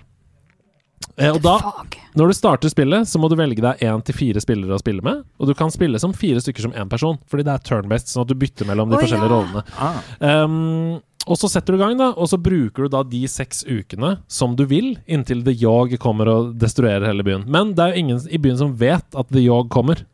[SPEAKER 1] Eh, og da
[SPEAKER 5] Fuck.
[SPEAKER 1] når du starter spillet, så må du velge deg én til fire spillere å spille med. Og du kan spille som fire stykker som én person, fordi det er turn-based, sånn at du bytter mellom de
[SPEAKER 5] Å,
[SPEAKER 1] forskjellige
[SPEAKER 5] ja.
[SPEAKER 1] rollene.
[SPEAKER 5] Ah.
[SPEAKER 1] Um, og så setter du i gang, da, og så bruker du da de seks ukene som du vil, inntil The Jag kommer og destruerer hele byen. Men det er jo ingen i byen som vet at The Jag kommer.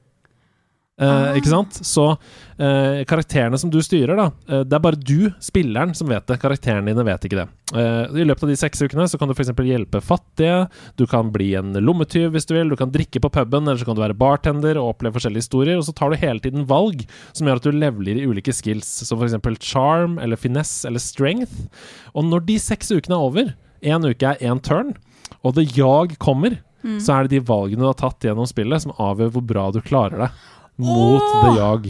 [SPEAKER 1] Eh,
[SPEAKER 5] Ah.
[SPEAKER 1] Ikke sant? Så eh, karakterene som du styrer, da eh, Det er bare du, spilleren, som vet det. Karakterene dine vet ikke det. Eh, I løpet av de seks ukene så kan du f.eks. hjelpe fattige, du kan bli en lommetyv hvis du vil, du kan drikke på puben, eller så kan du være bartender og oppleve forskjellige historier, og så tar du hele tiden valg som gjør at du leveler i ulike skills, som f.eks. charm eller finesse eller strength. Og når de seks ukene er over, én uke er én turn, og det jag kommer, så er det de valgene du har tatt gjennom spillet, som avgjør hvor bra du klarer deg mot
[SPEAKER 5] Åh!
[SPEAKER 1] the jag.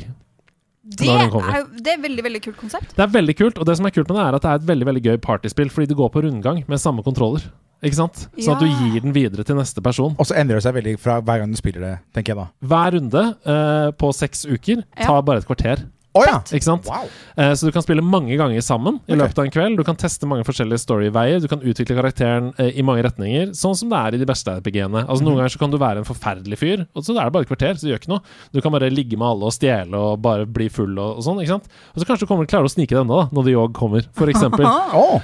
[SPEAKER 5] Det
[SPEAKER 1] Når
[SPEAKER 5] er,
[SPEAKER 1] den kommer.
[SPEAKER 5] jo- det er veldig, veldig kult konsept.
[SPEAKER 1] Det er veldig kult, og det som er kult med det, er at det er et veldig veldig gøy partyspill, fordi det går på rundgang med samme kontroller. Ikke sant? Sånn at du
[SPEAKER 5] Ja.
[SPEAKER 1] gir den videre til neste person.
[SPEAKER 6] Og så endrer det seg veldig fra hver gang du spiller det, tenker jeg da.
[SPEAKER 1] Hver runde eh, på seks uker tar bare et kvarter.
[SPEAKER 6] Å ja!
[SPEAKER 1] Ikke sant?
[SPEAKER 6] Wow.
[SPEAKER 1] Eh, Så du kan spille mange ganger sammen i
[SPEAKER 6] Ok.
[SPEAKER 1] løpet av en kveld. Du kan teste mange forskjellige storyveier. Du kan utvikle karakteren eh, i mange retninger, sånn som det er i de beste RPG-ene. Altså
[SPEAKER 6] Mhm.
[SPEAKER 1] Noen ganger så kan du være en forferdelig fyr, og så er det bare et kvarter, så det gjør ikke noe. Du kan bare ligge med alle og stjele og bare bli full og, og sånn, ikke sant. Og så kanskje du kommer til å klare å snike deg unna, da, når The Yog kommer, for eksempel.
[SPEAKER 5] Ah.
[SPEAKER 6] Å,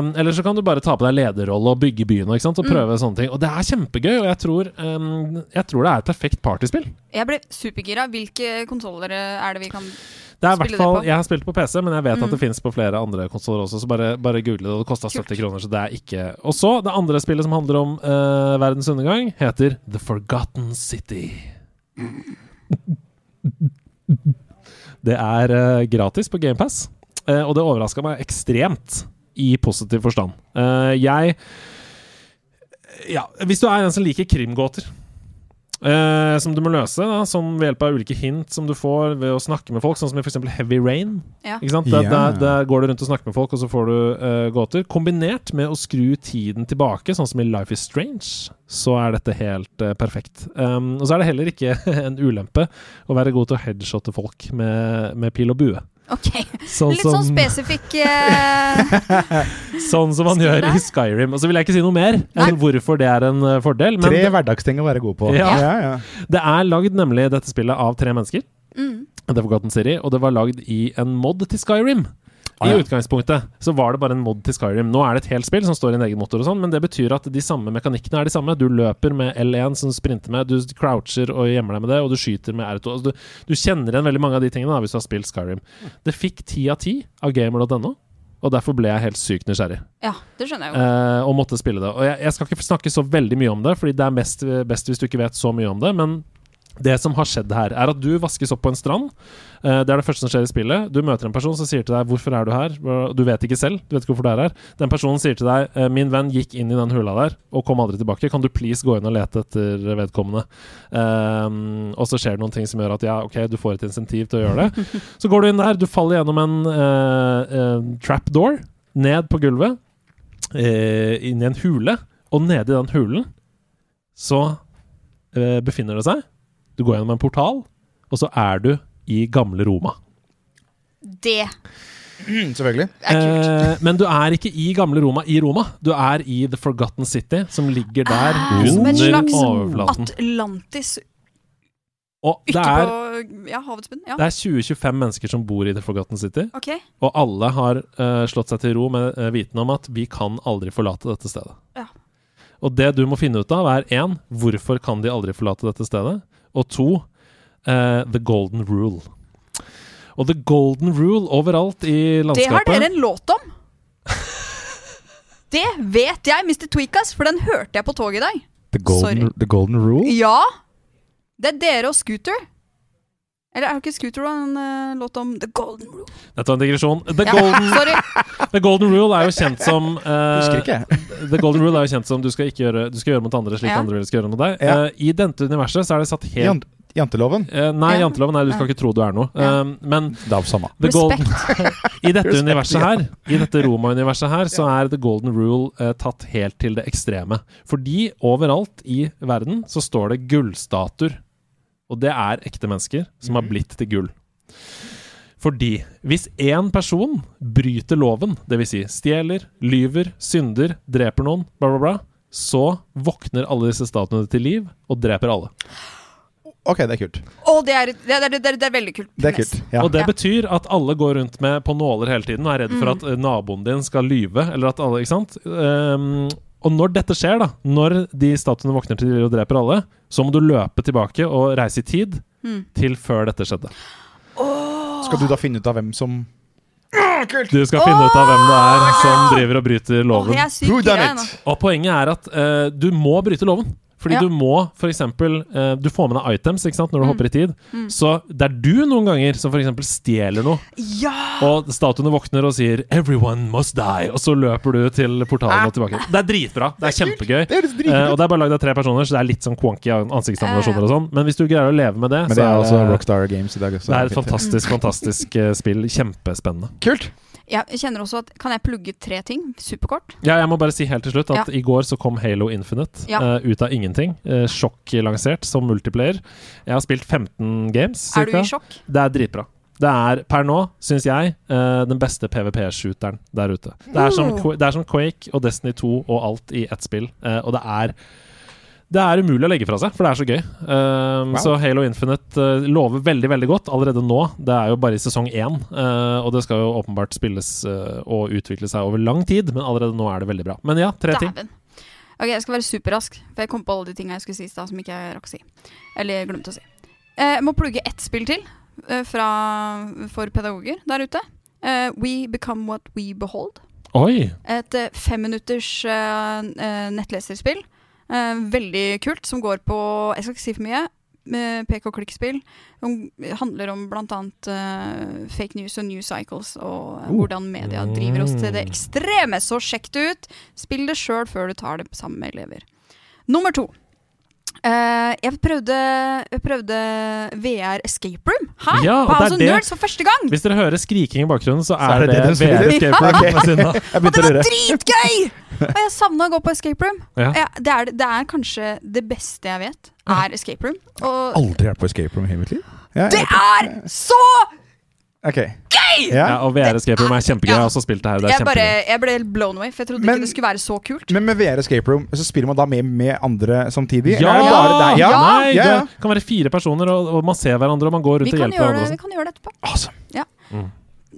[SPEAKER 1] Um, eller så kan du bare ta på deg lederrolle og bygge byen og, ikke sant?
[SPEAKER 5] Mm.
[SPEAKER 1] og prøve sånne ting. Og det er kjempegøy, og jeg tror, um, jeg tror det er et perfekt partyspill.
[SPEAKER 5] Jeg ble supergira. Hvilke konsoller eh, er det vi kan
[SPEAKER 1] Det er i hvert
[SPEAKER 5] Spiller
[SPEAKER 1] fall,
[SPEAKER 5] det på? Mm.
[SPEAKER 1] Jeg har spilt på PC, men jeg vet at det fins på flere andre konsoller også, så bare, bare google det. og Det kosta 70 kroner, så det er ikke Og så, det andre spillet som handler om eh, verdens undergang, heter The Forgotten City. *laughs* Det er eh, gratis på GamePass, uh, og det overraska meg ekstremt i positiv forstand. Eh, jeg Ja, hvis du er en som liker krimgåter eh, som du må løse da, som ved hjelp av ulike hint som du får ved å snakke med folk, sånn som i f.eks. Heavy Rain.
[SPEAKER 5] Ja.
[SPEAKER 1] Ikke sant? Der,
[SPEAKER 6] Ja.
[SPEAKER 1] der, der går du rundt og snakker med folk, og så får du eh, gåter. Kombinert med å skru tiden tilbake, sånn som i Life is Strange, så er dette helt eh, perfekt. Um, og så er det heller ikke *laughs* en ulempe å være god til å headshotte folk med, med pil og bue. *laughs*
[SPEAKER 5] Ok,
[SPEAKER 1] Sånn
[SPEAKER 5] Litt sånn
[SPEAKER 1] som-
[SPEAKER 5] spesifikk
[SPEAKER 1] *laughs*
[SPEAKER 5] eh,
[SPEAKER 1] Sånn som man
[SPEAKER 5] Skulle
[SPEAKER 1] gjør
[SPEAKER 5] det?
[SPEAKER 1] i Skyrim. Og så vil jeg ikke si noe mer
[SPEAKER 5] Nei.
[SPEAKER 1] enn hvorfor det er en eh, fordel. Men
[SPEAKER 6] Tre
[SPEAKER 1] det,
[SPEAKER 6] hverdagsting å være god på.
[SPEAKER 1] Ja.
[SPEAKER 6] ja, ja.
[SPEAKER 1] det er lagd nemlig dette spillet av tre mennesker.
[SPEAKER 5] mm.
[SPEAKER 1] The Forgotten City, og det var lagd i en mod til Skyrim.
[SPEAKER 6] Ah,
[SPEAKER 1] I
[SPEAKER 6] ja.
[SPEAKER 1] utgangspunktet så var det bare en mod til Skyrim. Nå er det et helt spill som står i en egen motor, og sånn men det betyr at de samme mekanikkene er de samme. Du løper med L1 som du sprinter med, du croucher og gjemmer deg med det, og du skyter med R2. Altså, du, du kjenner igjen veldig mange av de tingene da, hvis du har spilt Skyrim. Det fikk ti av ti av gamer.no, og derfor ble jeg helt sykt nysgjerrig.
[SPEAKER 5] Ja, det skjønner jeg jo.
[SPEAKER 1] Eh, og eh, måtte spille det. Og jeg, jeg skal ikke snakke så veldig mye om det, fordi det er mest, best hvis du ikke vet så mye om det, men Det som har skjedd her, er at du vaskes opp på en strand. Eh, Det er det første som skjer i spillet. Du møter en person som sier til deg 'Hvorfor er du her?' Du vet ikke selv. Du vet ikke hvorfor du er her. Den personen sier til deg eh, 'Min venn gikk inn i den hula der og kom aldri tilbake. Kan du please gå inn og lete etter vedkommende?' Eh, og så skjer det noen ting som gjør at ja, ok, du får et insentiv til å gjøre det.
[SPEAKER 5] *laughs*
[SPEAKER 1] Så går du inn der, du faller gjennom en eh, eh, trapdoor ned på gulvet, eh, inn i en hule, og nede i den hulen så eh, befinner det seg du går gjennom en portal, og så er du i gamle Roma.
[SPEAKER 5] Det
[SPEAKER 6] Mm, Selvfølgelig.
[SPEAKER 5] er kult.
[SPEAKER 1] Eh, men du er ikke i gamle Roma i Roma. Du er i The Forgotten City, som ligger der
[SPEAKER 5] Ah, som en
[SPEAKER 1] under
[SPEAKER 5] slags
[SPEAKER 1] overflaten.
[SPEAKER 5] Atlantis
[SPEAKER 1] Og det
[SPEAKER 5] ute
[SPEAKER 1] er,
[SPEAKER 5] på ja, havets bunn. Ja.
[SPEAKER 1] det er 20-25 mennesker som bor i The Forgotten City,
[SPEAKER 5] OK.
[SPEAKER 1] og alle har eh, slått seg til ro med eh, viten om at vi kan aldri forlate dette stedet.
[SPEAKER 5] Ja.
[SPEAKER 1] Og det du må finne ut av, er én, hvorfor kan de aldri forlate dette stedet? Og to, eh, the golden rule. Og the golden rule overalt i
[SPEAKER 5] Det har
[SPEAKER 1] landskapet
[SPEAKER 5] dere en låt
[SPEAKER 1] *laughs*
[SPEAKER 5] om. Det vet jeg, Mr. Tweakas, for den hørte jeg på toget i dag.
[SPEAKER 6] The
[SPEAKER 5] golden- Sorry.
[SPEAKER 6] golden, rule?
[SPEAKER 5] Ja! Det er dere og Scooter. Eller er det ikke Scooter og en eh, låt om The Golden Rule?
[SPEAKER 1] Dette var en digresjon. The,
[SPEAKER 5] Ja,
[SPEAKER 1] golden,
[SPEAKER 5] sorry.
[SPEAKER 1] the Golden Rule er jo
[SPEAKER 5] *laughs*
[SPEAKER 1] kjent som eh,
[SPEAKER 6] Husker ikke jeg.
[SPEAKER 1] The Golden Rule er jo kjent som du skal ikke gjøre, du skal gjøre mot andre slik
[SPEAKER 5] Ja.
[SPEAKER 1] andre skal gjøre mot deg.
[SPEAKER 6] Ja.
[SPEAKER 1] Eh, I dette universet så er det satt helt
[SPEAKER 6] Jan- Janteloven.
[SPEAKER 1] Eh, Nei,
[SPEAKER 5] Ja.
[SPEAKER 1] janteloven, nei, du skal ikke tro du er noe.
[SPEAKER 5] Ja.
[SPEAKER 1] Eh, men
[SPEAKER 6] Det er samme.
[SPEAKER 1] *laughs* The Golden,
[SPEAKER 5] Respekt.
[SPEAKER 1] *laughs* i dette
[SPEAKER 6] Respekt,
[SPEAKER 1] universet
[SPEAKER 6] ja.
[SPEAKER 1] her, i dette Roma-universet her, så er The Golden Rule eh, tatt helt til det ekstreme. Fordi overalt i verden så står det gullstatuer. Og det er ekte mennesker som har blitt til gull. Fordi hvis én person bryter loven, dvs. Si stjeler, lyver, synder, dreper noen, bla, bla, bla, så våkner alle disse statuene til liv og dreper alle.
[SPEAKER 6] Ok, det er kult.
[SPEAKER 5] Å, det, er, det, er, det, er, det er veldig kult.
[SPEAKER 6] Det er kult. Ja.
[SPEAKER 1] Og det
[SPEAKER 5] Ja. Mm.
[SPEAKER 1] betyr at alle går rundt med på nåler hele tiden og er redd for at eh, naboen din skal lyve. Eller at alle, ikke sant? Ehm, og når dette skjer, da, når de statuene våkner til og dreper alle, så må du løpe tilbake og reise i tid
[SPEAKER 5] Mm.
[SPEAKER 1] til før dette skjedde.
[SPEAKER 6] Skal du da finne ut av hvem som
[SPEAKER 1] Du skal finne ut av hvem det er som driver og bryter
[SPEAKER 5] Åh,
[SPEAKER 1] loven.
[SPEAKER 5] jeg er sykt gira ennå.
[SPEAKER 1] Og poenget er at eh, du må bryte loven. Fordi
[SPEAKER 5] Ja. Mm.
[SPEAKER 1] du må f.eks. Uh, du får med deg items ikke sant, når du hopper i tid. Så det er du noen ganger som f.eks. stjeler noe.
[SPEAKER 5] Ja!
[SPEAKER 1] Og statuene våkner og sier 'Everyone must die', og så løper du til portalen og tilbake. Det er dritbra. Det er kjempegøy.
[SPEAKER 6] Det høres
[SPEAKER 1] Eh,
[SPEAKER 6] dritkult
[SPEAKER 1] og det er bare lagd av tre personer, så det er litt sånn quonky an- ansiktsanimasjoner og sånn. Men hvis du greier å leve med det,
[SPEAKER 6] Men
[SPEAKER 1] så
[SPEAKER 6] det er altså
[SPEAKER 1] det,
[SPEAKER 6] Rockstar Games i dag.
[SPEAKER 1] det er et fantastisk, fantastisk eh, spill. Kjempespennende.
[SPEAKER 6] Kult!
[SPEAKER 5] Jeg kjenner også at Kan jeg plugge tre ting? Superkort.
[SPEAKER 1] Ja, jeg må bare si helt til slutt at i går så kom Halo Infinite
[SPEAKER 5] Ja.
[SPEAKER 1] eh, ut av ingenting. Uh, sjokk lansert som multiplayer. Jeg har spilt 15 games, cirka.
[SPEAKER 5] Er du i sjokk?
[SPEAKER 1] Det er dritbra. Det er per nå, syns jeg, eh, den beste PVP-shooteren der ute. Det er, som,
[SPEAKER 5] Mm.
[SPEAKER 1] Qua- det er som Quake og Destiny 2 og alt i ett spill, eh, og det er det er umulig å legge fra seg, for det er så gøy. Um,
[SPEAKER 6] Wow.
[SPEAKER 1] Så Halo Infinite eh, lover veldig veldig godt allerede nå. Det er jo bare i sesong én, eh, og det skal jo åpenbart spilles eh, og utvikle seg over lang tid, men allerede nå er det veldig bra. Men ja, tre ting.
[SPEAKER 5] Dæven. Ok, jeg skal være superrask, for jeg kom på alle de tinga jeg skulle si i stad som ikke jeg rakk å si. Eller glemte å si. Eh, Jeg må plugge ett spill til eh, fra, for pedagoger der ute. Eh, We Become What We Behold.
[SPEAKER 1] Oi!
[SPEAKER 5] Et eh, femminutters eh, n- eh, nettleserspill. Eh, Veldig kult, som går på Jeg skal ikke si for mye. eh, PK-klikkspill. Som handler om bl.a. Uh, fake news og news cycles, og
[SPEAKER 1] Oh.
[SPEAKER 5] eh, hvordan media driver oss til det
[SPEAKER 1] Mm.
[SPEAKER 5] ekstreme. Så sjekk det ut! Spill det sjøl før du tar det sammen med elever. Nummer to. Eh, jeg, prøvde, jeg prøvde VR Escape Room her
[SPEAKER 1] Ja, og
[SPEAKER 5] på
[SPEAKER 1] det er
[SPEAKER 5] House of
[SPEAKER 1] det-
[SPEAKER 5] Nerds for første gang!
[SPEAKER 1] Hvis dere hører skriking i bakgrunnen, så
[SPEAKER 6] er
[SPEAKER 1] er,
[SPEAKER 6] det
[SPEAKER 1] det,
[SPEAKER 6] det du spiller?
[SPEAKER 1] VR Escape Room ved siden av. *laughs*
[SPEAKER 6] Jeg
[SPEAKER 5] Og det
[SPEAKER 6] begynte å
[SPEAKER 5] var
[SPEAKER 6] lure.
[SPEAKER 5] dritgøy! Og jeg savna å gå på escape room.
[SPEAKER 1] Ja.
[SPEAKER 5] Ja, det, er, det er kanskje det beste jeg vet, er escape room. Og
[SPEAKER 6] Aldri vært på escape room i hele mitt liv. Ja,
[SPEAKER 5] det er så
[SPEAKER 6] Ok.
[SPEAKER 1] Ja,
[SPEAKER 6] Ja.
[SPEAKER 1] og VR Escape Room er kjempegøy. Jeg har også spilt det her. Det er
[SPEAKER 5] jeg, bare,
[SPEAKER 1] kjempegøy.
[SPEAKER 5] jeg ble helt blown away, for jeg trodde
[SPEAKER 6] Men-
[SPEAKER 5] ikke det skulle være så kult.
[SPEAKER 6] Men med VR escape room så spiller man da med, med andre samtidig?
[SPEAKER 1] Ja!
[SPEAKER 6] Eller er det bare deg? ja!
[SPEAKER 1] Nei,
[SPEAKER 6] ja, ja.
[SPEAKER 1] Det kan være fire personer, og, og man ser hverandre, og man går
[SPEAKER 5] Vi
[SPEAKER 1] rundt og sånn.
[SPEAKER 5] kan,
[SPEAKER 1] hjelper
[SPEAKER 5] gjøre det,
[SPEAKER 1] hverandre.
[SPEAKER 5] vi kan gjøre det etterpå.
[SPEAKER 6] Awesome.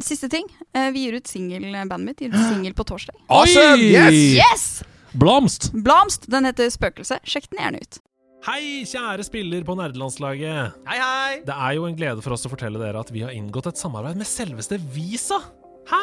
[SPEAKER 5] Siste ting. eh, Vi gir ut singel, bandet
[SPEAKER 1] *gasps*
[SPEAKER 5] mitt gir ut singel på torsdag.
[SPEAKER 6] Awesome! Yes!
[SPEAKER 5] Yes!
[SPEAKER 1] sånn. Blomst!
[SPEAKER 5] Blomst! Den heter Spøkelse. Sjekk den gjerne ut.
[SPEAKER 1] Hei, kjære spiller på nerdelandslaget.
[SPEAKER 4] Hei, hei!
[SPEAKER 1] Det er jo en glede for oss å fortelle dere at vi har inngått et samarbeid med selveste Visa. Hæ?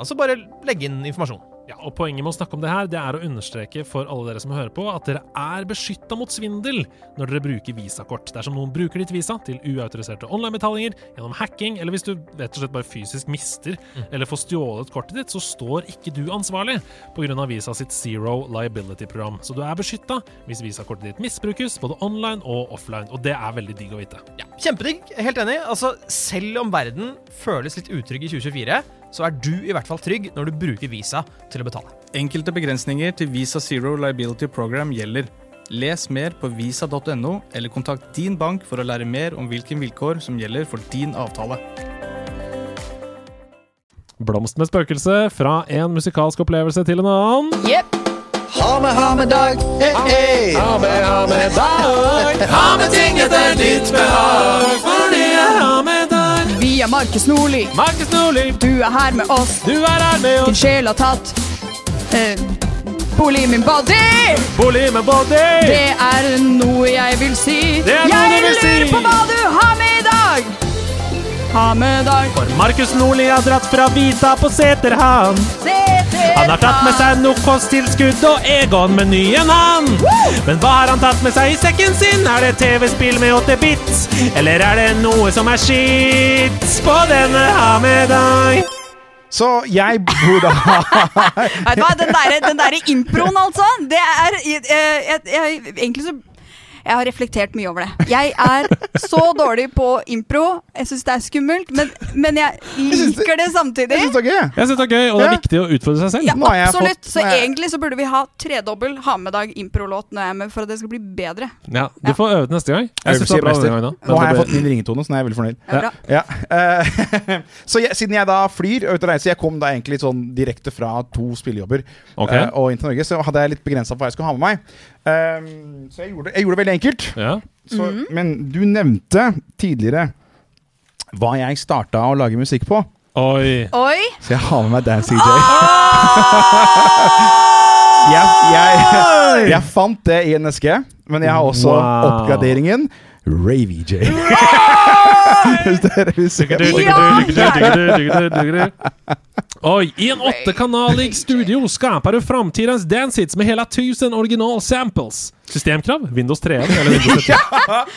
[SPEAKER 7] Altså bare legge inn informasjon.
[SPEAKER 1] Ja, og Poenget med å snakke om det her Det er å understreke for alle dere som hører på, at dere er beskytta mot svindel når dere bruker visakort. Dersom noen bruker ditt visa til uautoriserte onlinebetalinger, gjennom hacking, eller hvis du rett og slett bare fysisk mister eller får stjålet kortet ditt, så står ikke du ansvarlig pga. Visa sitt Zero Liability-program. Så du er beskytta hvis visakortet ditt misbrukes, både online og offline. Og det er veldig digg å vite.
[SPEAKER 7] Ja, Kjempedigg. Helt enig. Altså, selv om verden føles litt utrygg i 2024, så er du i hvert fall trygg når du bruker Visa til å betale.
[SPEAKER 8] Enkelte begrensninger til Visa Zero Liability Program gjelder. Les mer på visa.no, eller kontakt din bank for å lære mer om hvilke vilkår som gjelder for din avtale.
[SPEAKER 1] Blomst med spøkelse fra en musikalsk opplevelse til en annen.
[SPEAKER 4] Ha med, ha med dag, hey, hey. Ha med, ha med dag. Ha med ting etter ditt behag, fordi jeg har med dag.
[SPEAKER 5] Vi er Markus Nordli.
[SPEAKER 1] Markus Nordli,
[SPEAKER 5] Du er her med oss.
[SPEAKER 1] du er her med oss.
[SPEAKER 5] Din sjel har tatt eh, bolig i min body.
[SPEAKER 1] Bolig med body!
[SPEAKER 5] Det er noe jeg vil si.
[SPEAKER 1] Det er noe
[SPEAKER 5] jeg
[SPEAKER 1] du vil si.
[SPEAKER 5] lurer på hva du har med i dag. Ha med i dag
[SPEAKER 1] For Markus Nordli har dratt fra Vita på Seterhavn.
[SPEAKER 5] CT.
[SPEAKER 1] Han har tatt med seg nok kosttilskudd og Egon-menyen, han. Men hva har han tatt med seg i sekken sin? Er det TV-spill med 8-bit? Eller er det noe som er skitt på denne ha med dag?
[SPEAKER 6] Så jeg bor da
[SPEAKER 5] Vet du hva, den derre den derre improen, altså. Det er eh, jeg, jeg, Egentlig så Jeg har reflektert mye over det. Jeg er så dårlig på impro. Jeg syns det er skummelt, men, men jeg
[SPEAKER 6] synes det-
[SPEAKER 5] liker *laughs* det samtidig.
[SPEAKER 6] Jeg synes det er gøy, jeg.
[SPEAKER 1] Jeg syns det er gøy, og det er
[SPEAKER 6] Ja.
[SPEAKER 1] viktig å utfordre seg selv.
[SPEAKER 5] Ja,
[SPEAKER 6] Nå har jeg
[SPEAKER 5] absolutt.
[SPEAKER 6] fått-
[SPEAKER 5] Så
[SPEAKER 6] nå har jeg-
[SPEAKER 5] egentlig så burde vi ha tredobbel ha med dag improlåt når jeg er med, for at det skal bli bedre.
[SPEAKER 1] Ja, du får øve neste gang. Jeg synes det
[SPEAKER 6] Øvelse
[SPEAKER 1] er bra
[SPEAKER 6] gjør
[SPEAKER 1] denne gangen
[SPEAKER 6] mester. Nå har jeg
[SPEAKER 1] også.
[SPEAKER 6] fått min ringetone, så nå er jeg veldig fornøyd.
[SPEAKER 5] Det er bra.
[SPEAKER 6] Ja. eh, *laughs* så jeg, siden jeg da flyr og er ute og reiser Jeg kom da egentlig sånn direkte fra to spillejobber
[SPEAKER 1] Ok.
[SPEAKER 6] eh, og inn til Norge, så hadde jeg litt begrensa på hva jeg skulle ha med meg. Eh, så jeg gjorde, jeg gjorde det veldig enkelt.
[SPEAKER 1] Ja.
[SPEAKER 6] Så,
[SPEAKER 1] Mhm.
[SPEAKER 6] Men du nevnte tidligere hva jeg starta å lage musikk på.
[SPEAKER 1] Oi.
[SPEAKER 5] Oi!
[SPEAKER 6] Så jeg har med meg Dancing
[SPEAKER 1] Ah!
[SPEAKER 6] Jay. jeg, jeg, jeg fant det i en eske, men jeg har også
[SPEAKER 1] Wow.
[SPEAKER 6] oppgraderingen Ravy J. *laughs* Hvis dere vil se
[SPEAKER 1] Digger du,
[SPEAKER 6] på-
[SPEAKER 1] digger du, digger du, digger du, digger du, digger du. Oi, i en åttekanalig studio skapar du framtidens dancehits med hela tusen original samples. Systemkrav? Windows 3 eller Windows 7?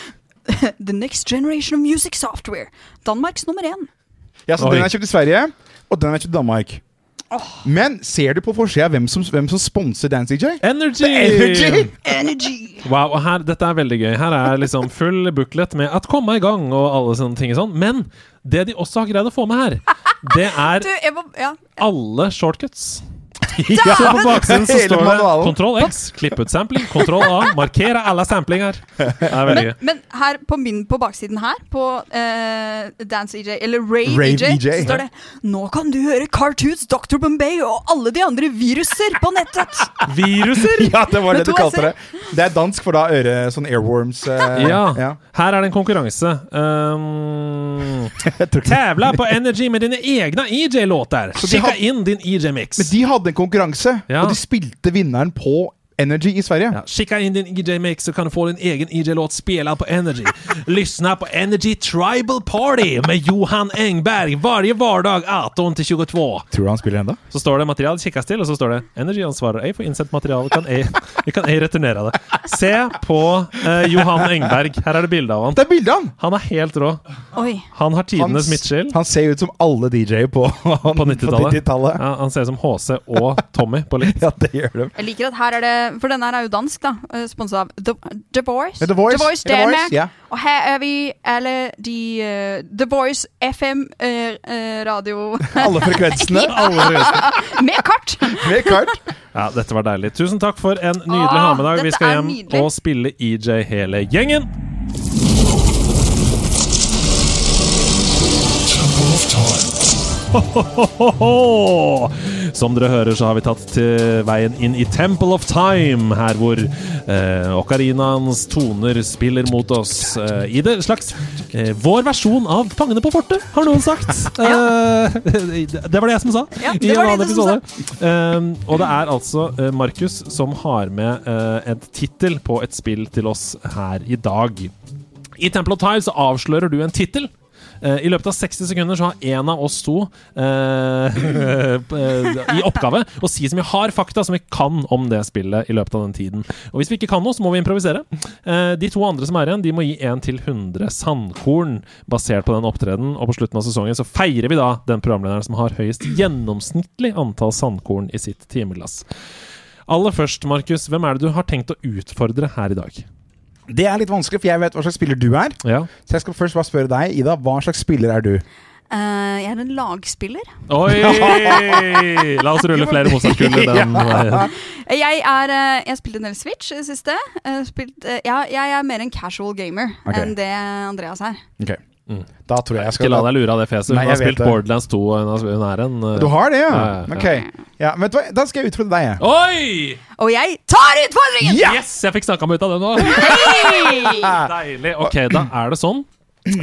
[SPEAKER 5] The next generation of music software. Danmarks nummer én.
[SPEAKER 6] Ja, så
[SPEAKER 1] Oi.
[SPEAKER 6] Den er kjøpt i Sverige, og den er kjøpt i Danmark. Men ser du på forsida hvem, som- hvem som sponser Dance DJ?
[SPEAKER 1] Energy!
[SPEAKER 6] Energy!
[SPEAKER 1] Wow, og her, Dette er veldig gøy. Her er liksom full booklet med 'at komme i gang' og alle sånne ting. og sånn Men det de også har greid å få med her, det
[SPEAKER 5] Du,
[SPEAKER 1] er
[SPEAKER 5] jeg må Ja.
[SPEAKER 1] alle shortcuts.
[SPEAKER 6] Ja,
[SPEAKER 1] Så på baksiden så
[SPEAKER 6] hele
[SPEAKER 1] står det
[SPEAKER 6] manualen.
[SPEAKER 1] 'Kontroll X', klipp ut sampling, kontroll A, markere alle samplinger. Det er veldig gøy.
[SPEAKER 5] Men, men her på min på baksiden her, på eh, Dance EJ, eller Rave,
[SPEAKER 6] Rave
[SPEAKER 5] EJ,
[SPEAKER 6] EJ,
[SPEAKER 5] så står det Nå kan du høre Cartoons, Dr. Bombay og alle de andre viruser på nettet!
[SPEAKER 1] Viruser!
[SPEAKER 6] *laughs* Ja, det var
[SPEAKER 5] Men
[SPEAKER 6] det du
[SPEAKER 5] to
[SPEAKER 6] kalte det.
[SPEAKER 5] S-er.
[SPEAKER 6] Det er dansk for da øre, sånn airworms. eh,
[SPEAKER 1] Ja. Her er det en konkurranse. Um,
[SPEAKER 6] Jeg tror ikke.
[SPEAKER 1] Tävla på Energy med dine egne EJ-låter.
[SPEAKER 6] Så de har-
[SPEAKER 1] Sjekka inn din E EJ-mix.
[SPEAKER 6] Men de hadde en konkurranse,
[SPEAKER 1] Ja.
[SPEAKER 6] og de spilte vinneren på Energy i Sverige.
[SPEAKER 1] Ja, Skicka in din EJ-mix så kan du få din egen EJ-låt spelad på Energy. Lyssna på Energy Tribal Party med Johan Engberg varje vardag 18 till 22.
[SPEAKER 6] Tror du han spiller enda?
[SPEAKER 1] Så står det material kikkas til, og så står det Energy ansvarer ej for insendt material. Kan ej, *laughs* vi kan ej returnera det. Se på eh, Johan Engberg. Her er det bilde av han.
[SPEAKER 6] Det er bildet av han!
[SPEAKER 1] Han er helt rå.
[SPEAKER 5] Oi.
[SPEAKER 1] Han har tidenes
[SPEAKER 6] s-
[SPEAKER 1] midtskill.
[SPEAKER 6] han ser ut som alle DJ-er på, *laughs*
[SPEAKER 1] På 90-tallet.
[SPEAKER 6] 90-tallet.
[SPEAKER 1] Ja, han ser ut som HC og Tommy på litt.
[SPEAKER 6] ja, det gjør de.
[SPEAKER 5] Jeg liker at her er det For denne her er jo dansk, da. Sponsa av The, The Voice.
[SPEAKER 6] The Voice, The Voice,
[SPEAKER 5] Danmark.
[SPEAKER 6] ja.
[SPEAKER 5] Og her er vi alle de eh, The Voice FM eh, eh, radio *laughs*
[SPEAKER 6] Alle frekvensene
[SPEAKER 5] med kart!
[SPEAKER 6] med kart.
[SPEAKER 1] Ja, dette var deilig. Tusen takk for en nydelig
[SPEAKER 5] Ah,
[SPEAKER 1] hamedag. Vi
[SPEAKER 5] dette
[SPEAKER 1] skal
[SPEAKER 5] er
[SPEAKER 1] hjem
[SPEAKER 5] nydelig.
[SPEAKER 1] og spille EJ hele gjengen. Ho-ho-ho-ho! Som dere hører, så har vi tatt til veien inn i Temple of Time, her hvor eh, okarinaens toner spiller mot oss eh, i det slags eh, Vår versjon av Fangene på fortet, har noen
[SPEAKER 5] *laughs*
[SPEAKER 1] sagt. Eh, *laughs* det var det jeg som sa.
[SPEAKER 5] Ja, det
[SPEAKER 1] I en
[SPEAKER 5] var det
[SPEAKER 1] annen
[SPEAKER 5] du som sa.
[SPEAKER 1] episode. Eh, og det er altså eh, Markus som har med eh, en tittel på et spill til oss her i dag. I Temple of Time så avslører du en tittel. Eh, I løpet av 60 sekunder så har en av oss to eh, *laughs* eh, i oppgave å si så mye hard fakta som vi kan om det spillet i løpet av den tiden. Og hvis vi ikke kan noe, så må vi improvisere. Eh, de to andre som er igjen, de må gi 1 til 100 sandkorn basert på den opptredenen. Og på slutten av sesongen så feirer vi da den programlederen som har høyest gjennomsnittlig antall sandkorn i sitt timeglass. Aller først, Markus, hvem er det du har tenkt å utfordre her i dag?
[SPEAKER 6] Det er litt vanskelig, for jeg vet hva slags spiller du er.
[SPEAKER 1] Ja.
[SPEAKER 6] Så jeg skal først bare spørre deg, Ida, hva slags spiller er du?
[SPEAKER 5] Eh, jeg er en lagspiller.
[SPEAKER 6] *laughs*
[SPEAKER 1] Oi! La oss rulle flere Mozart-kuler den veien.
[SPEAKER 5] Jeg er eh, Jeg spilte en del Switch i det siste. Eh, Spilt, eh, ja, jeg er mer en casual gamer
[SPEAKER 6] Ok.
[SPEAKER 5] enn det Andreas er.
[SPEAKER 6] Ok.
[SPEAKER 1] Mm.
[SPEAKER 6] Da tror jeg jeg
[SPEAKER 1] Ikke
[SPEAKER 6] skal
[SPEAKER 1] la deg lure av det fjeset. Hun
[SPEAKER 6] Nei,
[SPEAKER 1] har
[SPEAKER 6] jeg vet
[SPEAKER 1] spilt
[SPEAKER 6] det.
[SPEAKER 1] Borderlands 2. og Hun har- hun er en uh,
[SPEAKER 6] Du har det, ja?
[SPEAKER 1] Ja, ja, ja.
[SPEAKER 6] Ok. Ja, men vet du hva, da skal jeg utfordre deg, jeg.
[SPEAKER 1] eh, Oi!
[SPEAKER 5] Og jeg tar utfordringen!
[SPEAKER 6] Ja!
[SPEAKER 1] Yes! Jeg fikk snakka meg ut av det nå.
[SPEAKER 5] *laughs* Hey!
[SPEAKER 1] *laughs* Deilig. Ok, da er det sånn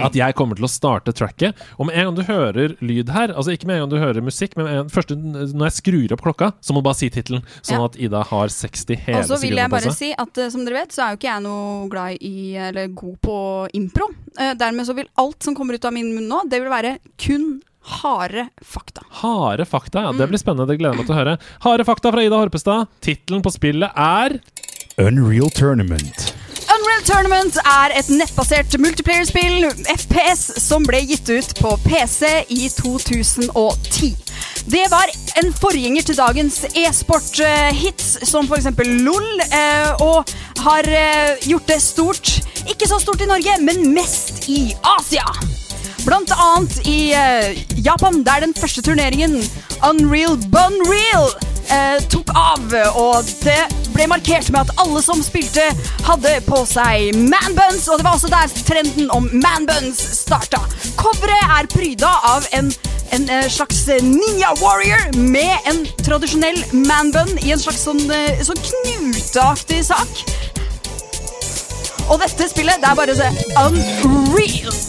[SPEAKER 1] at jeg kommer til å starte tracket. Og med en gang du hører lyd her, altså ikke med en gang du hører musikk, men med en, første, når jeg skrur opp klokka, så må du bare si tittelen, sånn
[SPEAKER 5] Ja.
[SPEAKER 1] at Ida har 60 hele
[SPEAKER 5] Og så vil jeg
[SPEAKER 1] sekunder på
[SPEAKER 5] bare
[SPEAKER 1] seg.
[SPEAKER 5] si at eh, som dere vet, så er jo ikke jeg noe glad i eller god på impro. Eh, dermed så vil alt som kommer ut av min munn nå, det vil være kun harde fakta.
[SPEAKER 1] Harde fakta. Ja, det
[SPEAKER 5] Mm.
[SPEAKER 1] blir spennende. Det gleder jeg meg til å høre. Harde fakta fra Ida Horpestad. Tittelen på spillet er
[SPEAKER 6] Unreal Tournament.
[SPEAKER 5] Unreal Tournament er et nettbasert multiplayer-spill, FPS, som ble gitt ut på PC i 2010. Det var en forgjenger til dagens e-sport-hits, som f.eks. LOL, eh, og har eh, gjort det stort. Ikke så stort i Norge, men mest i Asia. Blant annet i eh, Japan, der den første turneringen, Unreal Bunreal, eh, tok av. Og det ble markert med at alle som spilte, hadde på seg manbuns. Og det var også der trenden om manbuns starta. Coveret er pryda av en, en eh, slags ninja warrior med en tradisjonell manbun i en slags sånn, eh, sånn knuteaktig sak. Og dette spillet, det er bare å se Unreal.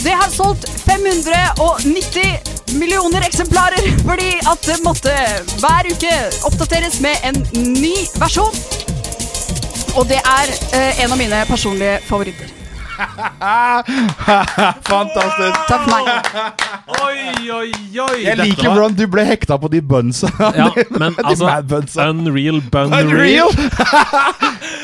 [SPEAKER 5] Det har solgt 590 millioner eksemplarer fordi at det måtte hver uke oppdateres med en ny versjon. Og det er eh, en av mine personlige favoritter.
[SPEAKER 6] Fantastisk.
[SPEAKER 5] Takk for meg.
[SPEAKER 7] Oi, oi, oi!
[SPEAKER 6] Jeg
[SPEAKER 7] Dette
[SPEAKER 6] liker
[SPEAKER 7] var-
[SPEAKER 6] hvordan du ble hekta på de bunsa. *laughs*
[SPEAKER 1] Ja, men
[SPEAKER 6] De
[SPEAKER 1] altså
[SPEAKER 6] *laughs* mad bunsa.
[SPEAKER 1] Unreal Bunreal
[SPEAKER 6] Unreal!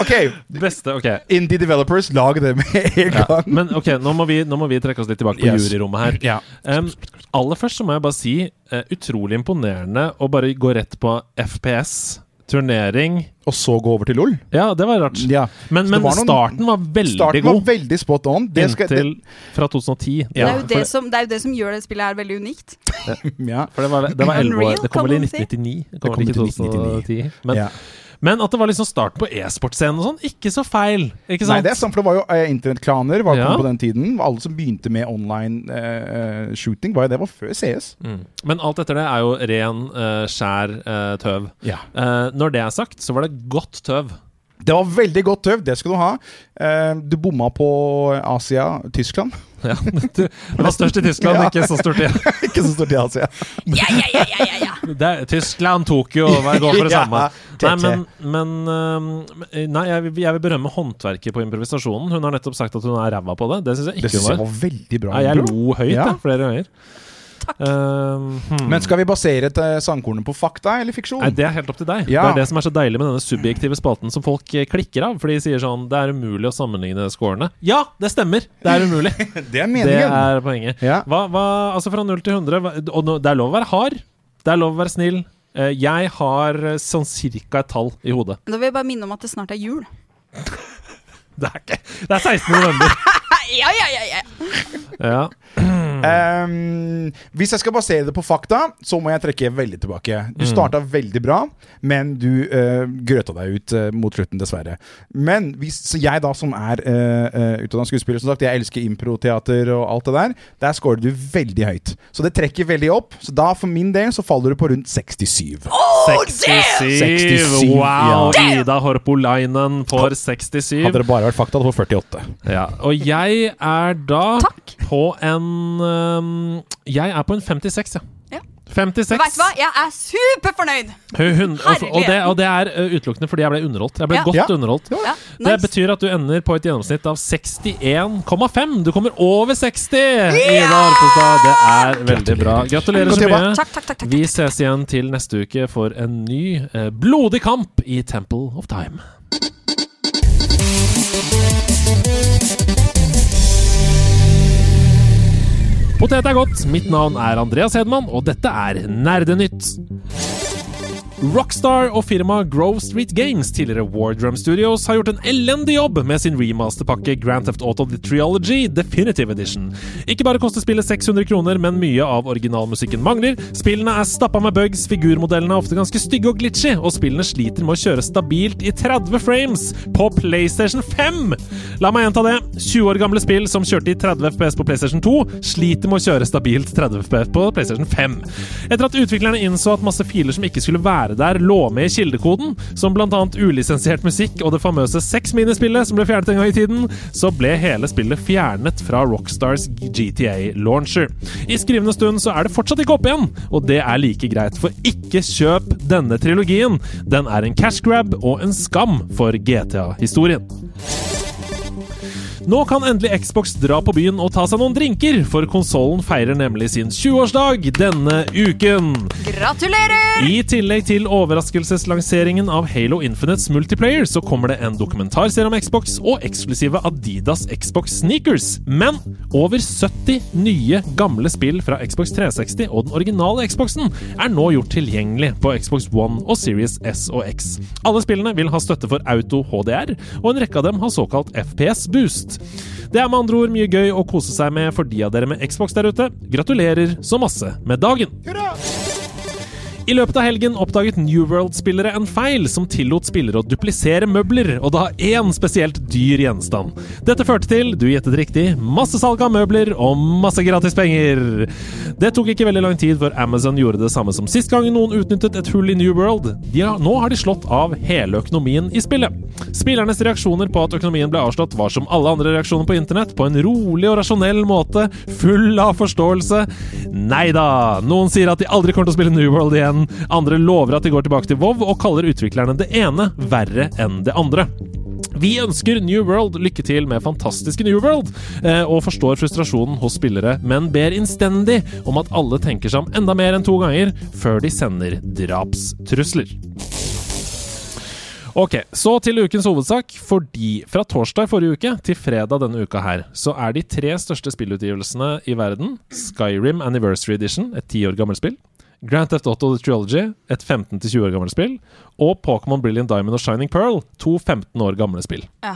[SPEAKER 6] OK,
[SPEAKER 1] Beste, ok.
[SPEAKER 6] indie developers, lag det med en
[SPEAKER 1] Ja.
[SPEAKER 6] gang.
[SPEAKER 1] Men ok, nå må, vi, nå må vi trekke oss litt tilbake på
[SPEAKER 6] Yes.
[SPEAKER 1] juryrommet her.
[SPEAKER 6] Ja.
[SPEAKER 1] Em, aller først så må jeg bare si eh, utrolig imponerende å bare gå rett på FPS. Turnering
[SPEAKER 6] Og så gå over til LOL.
[SPEAKER 1] Ja, det var rart.
[SPEAKER 6] Ja.
[SPEAKER 1] Men,
[SPEAKER 6] Så
[SPEAKER 1] men
[SPEAKER 6] det var noen-
[SPEAKER 1] starten var veldig
[SPEAKER 6] Starten var
[SPEAKER 1] god.
[SPEAKER 6] veldig spot on. Det skal, det, *laughs*
[SPEAKER 1] inntil fra 2010.
[SPEAKER 5] Det, er jo det,
[SPEAKER 1] For,
[SPEAKER 5] som, det er jo det som gjør det spillet her veldig unikt.
[SPEAKER 6] ja.
[SPEAKER 1] for det var, det var 11 år.
[SPEAKER 5] Unreal
[SPEAKER 1] Det kom vel i
[SPEAKER 5] kommer til.
[SPEAKER 1] 1999. Det kom
[SPEAKER 6] Det
[SPEAKER 1] vel ikke
[SPEAKER 6] kom
[SPEAKER 1] i
[SPEAKER 6] til 1999.
[SPEAKER 1] 2010. Men,
[SPEAKER 6] ja.
[SPEAKER 1] men at det var liksom starten på e-sportscenen og sånn, ikke så feil. Ikke
[SPEAKER 6] Nei,
[SPEAKER 1] sant?
[SPEAKER 6] det er sant, for det var jo eh, internettklaner var
[SPEAKER 1] Ja.
[SPEAKER 6] på den tiden. Alle som begynte med online eh, eh, shooting, var jo det var før CS.
[SPEAKER 1] Mm. Men alt etter det er jo ren, eh, skjær eh, tøv.
[SPEAKER 6] Ja.
[SPEAKER 1] Eh, når det er sagt, så var det godt tøv.
[SPEAKER 6] Det var veldig godt tøv, det skal du ha. Eh, du bomma på Asia, Tyskland. *laughs*
[SPEAKER 1] Det var størst i Tyskland,
[SPEAKER 6] Ja.
[SPEAKER 1] ikke så stort i
[SPEAKER 6] Ikke så stort i Asia.
[SPEAKER 5] Ja, ja, ja, ja, ja, ja.
[SPEAKER 1] *laughs* det er, Tyskland tok jo hver går for det
[SPEAKER 6] *laughs* Ja,
[SPEAKER 1] samme. Nei,
[SPEAKER 6] tete.
[SPEAKER 1] men, men øhm, Nei, jeg, vil- jeg vil berømme håndverket på improvisasjonen. Hun har nettopp sagt at hun er ræva på det. Det syns jeg
[SPEAKER 6] Det
[SPEAKER 1] ikke
[SPEAKER 6] synes jeg
[SPEAKER 1] hun var.
[SPEAKER 6] var veldig bra.
[SPEAKER 1] Nei, jeg
[SPEAKER 6] bro.
[SPEAKER 1] lo høyt,
[SPEAKER 6] Ja.
[SPEAKER 1] jeg. Flere ganger. Øhm, hmm.
[SPEAKER 6] Men skal vi basere et sangkornet på fakta eller fiksjon?
[SPEAKER 1] Nei, Det er helt opp til deg.
[SPEAKER 6] Ja.
[SPEAKER 1] Det er det som er så deilig med denne subjektive spalten som folk eh, klikker av. For de sier sånn Det er umulig å sammenligne scorene. Ja, det stemmer! Det er umulig.
[SPEAKER 6] det
[SPEAKER 1] Det
[SPEAKER 6] er meningen.
[SPEAKER 1] er poenget.
[SPEAKER 6] Ja.
[SPEAKER 1] Hva, hva, altså fra 0 til 100 hva- Og nå, det er lov å være hard. Det er lov å være snill. Eh, Jeg har eh, sånn cirka et tall i hodet. *laughs*
[SPEAKER 5] Da vil jeg bare minne om at det snart er jul.
[SPEAKER 1] Det er, ikke, det er 16. november.
[SPEAKER 5] Ja, ja, ja, ja.
[SPEAKER 1] ja.
[SPEAKER 6] Ehm, hvis jeg skal basere det på fakta, så må jeg trekke veldig tilbake. Du starta veldig bra, men du eh, grøta deg ut eh, mot slutten, dessverre. Men hvis så jeg da, som er uh, utdanna skuespiller, som sagt, jeg elsker improteater og alt det der, der scorer du veldig høyt. Så det trekker veldig opp. Så da, for min del, så faller du på rundt 67.
[SPEAKER 5] Oh,
[SPEAKER 1] 67.
[SPEAKER 6] 67,
[SPEAKER 1] Wow! Ida Horpolainen får 67.
[SPEAKER 6] Hadde det bare vært fakta, hadde du fått 48.
[SPEAKER 1] Ja. Og jeg er da
[SPEAKER 5] Takk.
[SPEAKER 1] på en øhm, Jeg er på en 56,
[SPEAKER 5] Ja.
[SPEAKER 1] ja. 56.
[SPEAKER 5] Men vet du hva? Jeg er superfornøyd!
[SPEAKER 1] Hun, hun, og,
[SPEAKER 5] Herlig.
[SPEAKER 1] og, det, og det er ø, utelukkende fordi jeg ble underholdt. Jeg ble
[SPEAKER 5] Ja.
[SPEAKER 1] godt
[SPEAKER 6] Ja.
[SPEAKER 1] underholdt.
[SPEAKER 5] Ja,
[SPEAKER 1] Det
[SPEAKER 5] nice.
[SPEAKER 1] betyr at du ender på et gjennomsnitt av 61,5. Du kommer over 60! Ida Horpestad, det er veldig bra. Gratulerer så
[SPEAKER 6] Godt jobba.
[SPEAKER 1] mye.
[SPEAKER 5] Takk, takk, takk. takk.
[SPEAKER 1] Vi ses igjen til neste uke for en ny eh, blodig kamp i Temple of Time. Potet er godt. Mitt navn er Andreas Hedman, og dette er Nerdenytt. Rockstar og firmaet Grove Street Games, tidligere Wardrum Studios, har gjort en elendig jobb med sin remasterpakke Grand Theft Auto The Triology Definitive Edition. Ikke bare koster spillet 600 kroner, men mye av originalmusikken mangler. Spillene er stappa med bugs, figurmodellene er ofte ganske stygge og glitchy, og spillene sliter med å kjøre stabilt i 30 frames på PlayStation 5! La meg gjenta det. 20 år gamle spill som kjørte i 30 FPS på PlayStation 2, sliter med å kjøre stabilt 30 FPS på PlayStation 5. Etter at utviklerne innså at masse filer som ikke skulle være der, lå med i kildekoden, som bl.a. ulisensiert musikk og det famøse 6-minispillet som ble fjernet en gang i tiden, så ble hele spillet fjernet fra Rockstars GTA-launcher. I skrivende stund så er det fortsatt ikke oppe igjen, og det er like greit, for ikke kjøp denne trilogien. Den er en cash grab og en skam for GTA-historien. Nå kan endelig Xbox dra på byen og ta seg noen drinker, for konsollen feirer nemlig sin 20-årsdag denne uken.
[SPEAKER 5] Gratulerer!
[SPEAKER 1] I tillegg til overraskelseslanseringen av Halo Infinites multiplayer, så kommer det en dokumentarserie om Xbox og eksklusive Adidas Xbox sneakers. Men over 70 nye gamle spill fra Xbox 360 og den originale Xboxen er nå gjort tilgjengelig på Xbox One og Series S og X. Alle spillene vil ha støtte for Auto HDR, og en rekke av dem har såkalt FPS Boost. Det er med andre ord mye gøy å kose seg med for de av dere med Xbox der ute. Gratulerer så masse med dagen! I løpet av helgen oppdaget New World-spillere en feil som tillot spillere å duplisere møbler, og da én spesielt dyr gjenstand. Dette førte til, du gjettet riktig, masse salg av møbler og masse gratis penger. Det tok ikke veldig lang tid før Amazon gjorde det samme som sist gang noen utnyttet et hull i New World. De har, nå har de slått av hele økonomien i spillet. Spillernes reaksjoner på at økonomien ble avslått, var som alle andre reaksjoner på internett, på en rolig og rasjonell måte, full av forståelse. Nei da! Noen sier at de aldri kommer til å spille New World igjen. Andre lover at de går tilbake til WoW, og kaller utviklerne det ene verre enn det andre. Vi ønsker New World lykke til med fantastiske New World, eh, og forstår frustrasjonen hos spillere, men ber innstendig om at alle tenker seg om enda mer enn to ganger før de sender drapstrusler. Ok, så til ukens hovedsak, fordi fra torsdag forrige uke til fredag denne uka her, så er de tre største spillutgivelsene i verden Skyrim Anniversary Edition, et 10 år gammelt spill, Grand Theft Auto The Trilogy, et 15-20 år gammelt spill, og Pokémon Brilliant Diamond og Shining Pearl, to 15 år gamle spill.
[SPEAKER 5] Ja.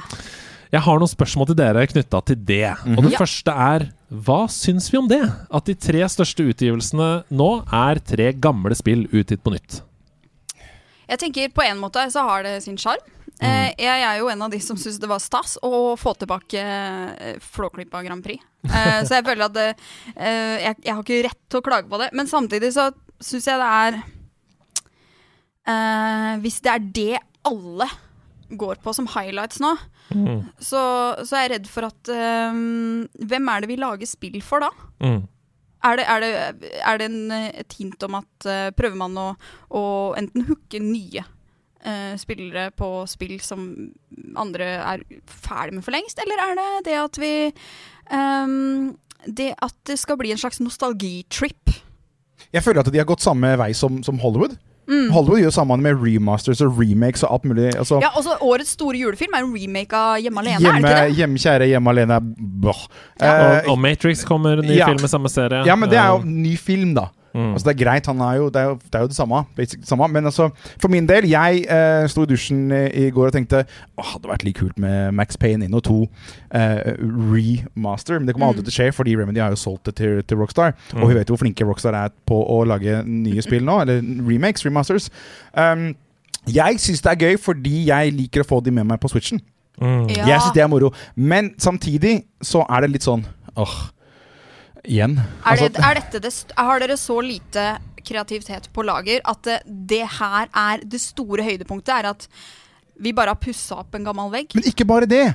[SPEAKER 1] Jeg har noen spørsmål til dere knytta til det. Og det første er hva syns vi om det? At de tre største utgivelsene nå er tre gamle spill utgitt på nytt.
[SPEAKER 5] Jeg tenker på en måte så har det sin sjarm. Eh, jeg er jo en av de som syns det var stas å få tilbake eh, Flåklypa Grand Prix. Eh, så jeg føler at det, eh, jeg, jeg har ikke rett til å klage på det. Men samtidig så syns jeg det er eh, Hvis det er det alle går på som highlights nå, så, så er jeg redd for at eh, Hvem er det vi lager spill for da?
[SPEAKER 1] Mm.
[SPEAKER 5] Er det, er det, er det en, et hint om at eh, prøver man å, å enten hooke nye eh, spillere på spill som andre er ferdig med for lengst, eller er det det at vi ehm, Det at det skal bli en slags nostalgitrip?
[SPEAKER 6] Jeg føler at de har gått samme vei som, som Hollywood. Hollywood gjør sammen med remasters og remakes og alt mulig. Altså,
[SPEAKER 5] Mm. Ja, også Årets store julefilm er en remake av Hjemme alene, er
[SPEAKER 6] hjemme,
[SPEAKER 5] det ikke det?
[SPEAKER 6] hjemme kjære, hjemme alene bah. Eh,
[SPEAKER 1] Og, og Matrix kommer, ny
[SPEAKER 6] ja.
[SPEAKER 1] film i samme serie. Um,
[SPEAKER 6] Ja, men det er jo
[SPEAKER 1] Eh,
[SPEAKER 6] ny film, da.
[SPEAKER 1] Mm.
[SPEAKER 6] Altså Det er greit, han er jo, det, er jo, det er jo det samme. Basic, samme. Men altså, for min del, jeg eh, sto i dusjen eh, i går og tenkte Åh, hadde vært litt kult med Max Payne 1 og 2 eh, remaster. Men det kommer
[SPEAKER 5] Mm.
[SPEAKER 6] aldri til å skje, fordi Remedy har jo solgt det til, til Rockstar. Og vi vet jo hvor flinke Rockstar er på å lage nye spill nå, eller remakes, remasters. Um, jeg syns det er gøy fordi jeg liker å få de med meg på Switchen.
[SPEAKER 1] mm,
[SPEAKER 6] Jeg syns det er moro. Men samtidig så er det litt sånn Åh, igjen.
[SPEAKER 5] Er det, er dette det, st- har dere så lite kreativitet på lager at det, det her er det store høydepunktet? Er at vi bare har pussa opp en gammel vegg?
[SPEAKER 6] Men ikke bare det.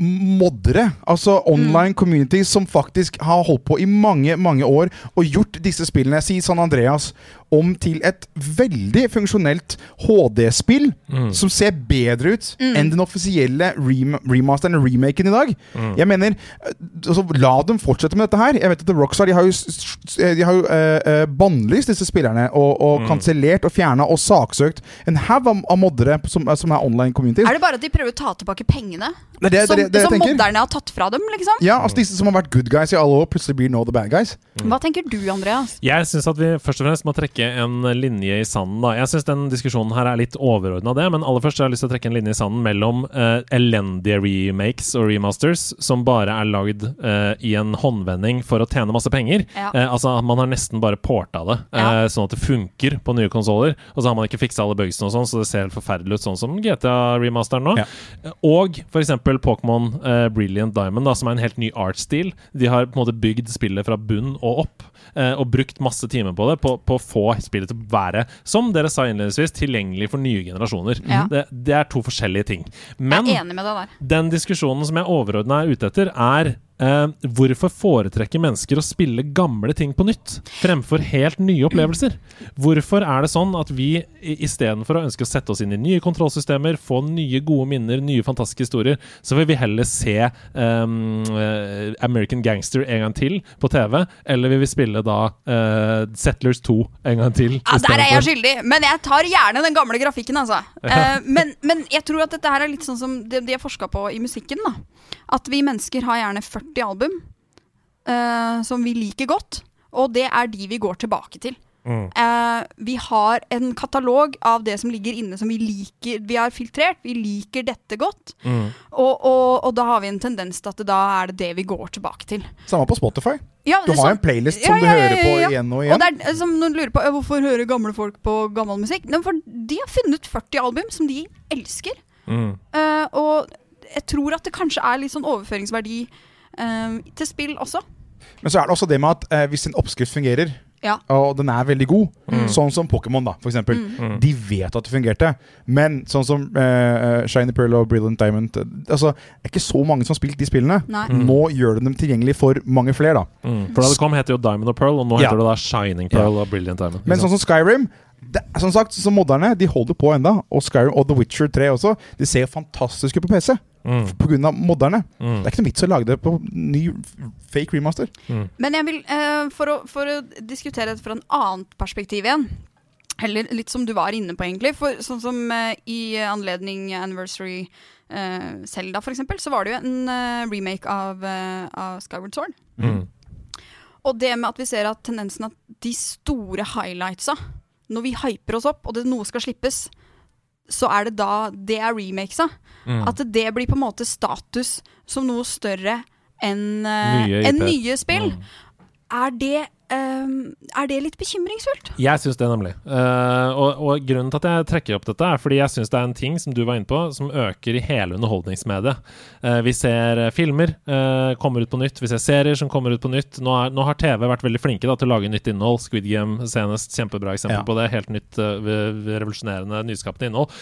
[SPEAKER 6] Moddere, altså online communities som faktisk har holdt på i mange mange år og gjort disse spillene, si San Andreas, om til et veldig funksjonelt HD-spill
[SPEAKER 1] mm.
[SPEAKER 6] som ser bedre ut
[SPEAKER 5] Mm.
[SPEAKER 6] enn den offisielle rem remasteren og remaken i dag. Jeg mener, eh, altså, La dem fortsette med dette her. Jeg vet at Rockstar de har jo, s- s- eh, de har jo eh, eh, bannlyst disse spillerne og, og kansellert og fjerna og saksøkt en haug av av moddere som, eh, som er online communities.
[SPEAKER 5] Er det bare at de prøver å ta tilbake pengene?
[SPEAKER 6] Det er det- det er
[SPEAKER 5] som
[SPEAKER 6] det- det jeg
[SPEAKER 5] som
[SPEAKER 6] tenker.
[SPEAKER 5] modderne har tatt fra dem, liksom?
[SPEAKER 6] Ja, altså disse som har vært good guys i alle år, plutselig blir nå the bad guys.
[SPEAKER 5] Hva tenker du, Andreas?
[SPEAKER 1] Jeg syns at vi først og fremst må trekke en linje i sanden. da. Jeg syns den diskusjonen her er litt overordna det, men aller først har jeg lyst til å trekke en linje i sanden mellom eh, elendige remakes og remasters som bare er lagd eh, i en håndvending for å tjene masse penger.
[SPEAKER 5] Ja.
[SPEAKER 1] Eh, altså at man har nesten bare porta det, eh,
[SPEAKER 5] Ja.
[SPEAKER 1] sånn at det funker på nye konsoller. Og så har man ikke fiksa alle bugsene og sånn, så det ser helt forferdelig ut, sånn som GTA-remasteren nå.
[SPEAKER 6] Ja.
[SPEAKER 1] Eh, Og f.eks. Pokémon eh, Brilliant Diamond, da, som er en helt ny artstil. De har på en måte bygd spillet fra bunn og opp, eh, og brukt masse timer på det på, på å få spillet til å være, som dere sa innledningsvis, tilgjengelig for nye generasjoner.
[SPEAKER 5] Ja.
[SPEAKER 1] Det, det er to forskjellige ting. Men
[SPEAKER 5] Jeg er enig med deg der.
[SPEAKER 1] den diskusjonen som jeg overordna er ute etter, er eh, hvorfor foretrekker mennesker å spille gamle ting på nytt fremfor helt nye opplevelser? Hvorfor er det sånn at vi i- istedenfor å ønske å sette oss inn i nye kontrollsystemer, få nye gode minner, nye fantastiske historier, så vil vi heller se eh, eh, American Gangster en gang til på TV, eller vil vi spille da eh, Settlers 2 en gang til?
[SPEAKER 5] Ja, Ah, der er jeg
[SPEAKER 1] istedenfor?
[SPEAKER 5] skyldig, men jeg tar gjerne den gamle grafikken, altså. Eh, men, men jeg tror at dette her er litt sånn som det de har forska på i musikken, da. At vi mennesker har gjerne 40 album eh, som vi liker godt, og det er de vi går tilbake til.
[SPEAKER 1] Mm,
[SPEAKER 5] Eh, vi har en katalog av det som ligger inne som vi liker. Vi har filtrert, vi liker dette godt.
[SPEAKER 1] mm,
[SPEAKER 5] Og, og, og da har vi en tendens til at det da er det det vi går tilbake til.
[SPEAKER 6] Samme på Spotify.
[SPEAKER 5] Ja,
[SPEAKER 6] Du
[SPEAKER 5] det-
[SPEAKER 6] har
[SPEAKER 5] sånn-
[SPEAKER 6] en playlist som du hører på igjen og igjen.
[SPEAKER 5] det er eh, som noen lurer på, eh, Hvorfor hører gamle folk på gammel musikk? Nei, for de har funnet 40 album som de elsker.
[SPEAKER 1] mm,
[SPEAKER 5] Eh, og jeg tror at det kanskje er litt sånn overføringsverdi eh, til spill også.
[SPEAKER 6] Men så er det også det med at eh, hvis en oppskrift fungerer,
[SPEAKER 5] Ja.
[SPEAKER 6] og den er veldig god,
[SPEAKER 1] mm,
[SPEAKER 6] sånn som Pokémon, da, for eksempel.
[SPEAKER 5] Mm.
[SPEAKER 6] De vet at det fungerte, men sånn som eh, eh, Shiny Pearl og Brilliant Diamond eh, Altså, det er ikke så mange som har spilt de spillene.
[SPEAKER 5] Nei.
[SPEAKER 6] Nå gjør de dem tilgjengelig for mange flere, da.
[SPEAKER 1] Mm. For da det kom, het det jo Diamond og Pearl, og nå
[SPEAKER 6] Ja.
[SPEAKER 1] heter det da Shining Pearl og Brilliant Diamond.
[SPEAKER 6] Men sånn som Skyrim det, som sagt, som moderne, de holder på enda Og Skyrim og The Witcher 3 også. De ser jo fantastiske ut på PC.
[SPEAKER 1] Mm.
[SPEAKER 6] På grunn av moderne.
[SPEAKER 1] Mm.
[SPEAKER 6] Det er ikke noe vits å lage det på ny fake remaster.
[SPEAKER 1] Mm.
[SPEAKER 5] Men jeg vil, eh, for, å, for å diskutere dette fra en annet perspektiv igjen Eller litt som du var inne på, egentlig. For sånn som eh, i anledning anniversary eh, Zelda, for eksempel, så var det jo en eh, remake av, eh, av Skyward Sword.
[SPEAKER 1] Mm.
[SPEAKER 5] Og det med at vi ser at tendensen at de store highlightsa, når vi hyper oss opp og det noe skal slippes, så er det da det er remakesa.
[SPEAKER 1] Mm.
[SPEAKER 5] At det blir på en måte status som noe større enn eh,
[SPEAKER 1] Nye
[SPEAKER 5] enn
[SPEAKER 1] IP.
[SPEAKER 5] nye spill.
[SPEAKER 1] Mm.
[SPEAKER 5] Er, det, eh, er det litt bekymringsfullt?
[SPEAKER 1] Jeg syns det, nemlig. Eh, og, og grunnen til at jeg trekker opp dette, er fordi jeg syns det er en ting som du var inne på, som øker i hele underholdningsmediet. Eh, vi ser eh, filmer eh, kommer ut på nytt, vi ser serier som kommer ut på nytt. Nå, er, nå har TV vært veldig flinke da, til å lage nytt innhold. Squid Game senest, kjempebra eksempel
[SPEAKER 6] Ja.
[SPEAKER 1] på det. Helt nytt, eh, v- v- revolusjonerende, nyskapende innhold.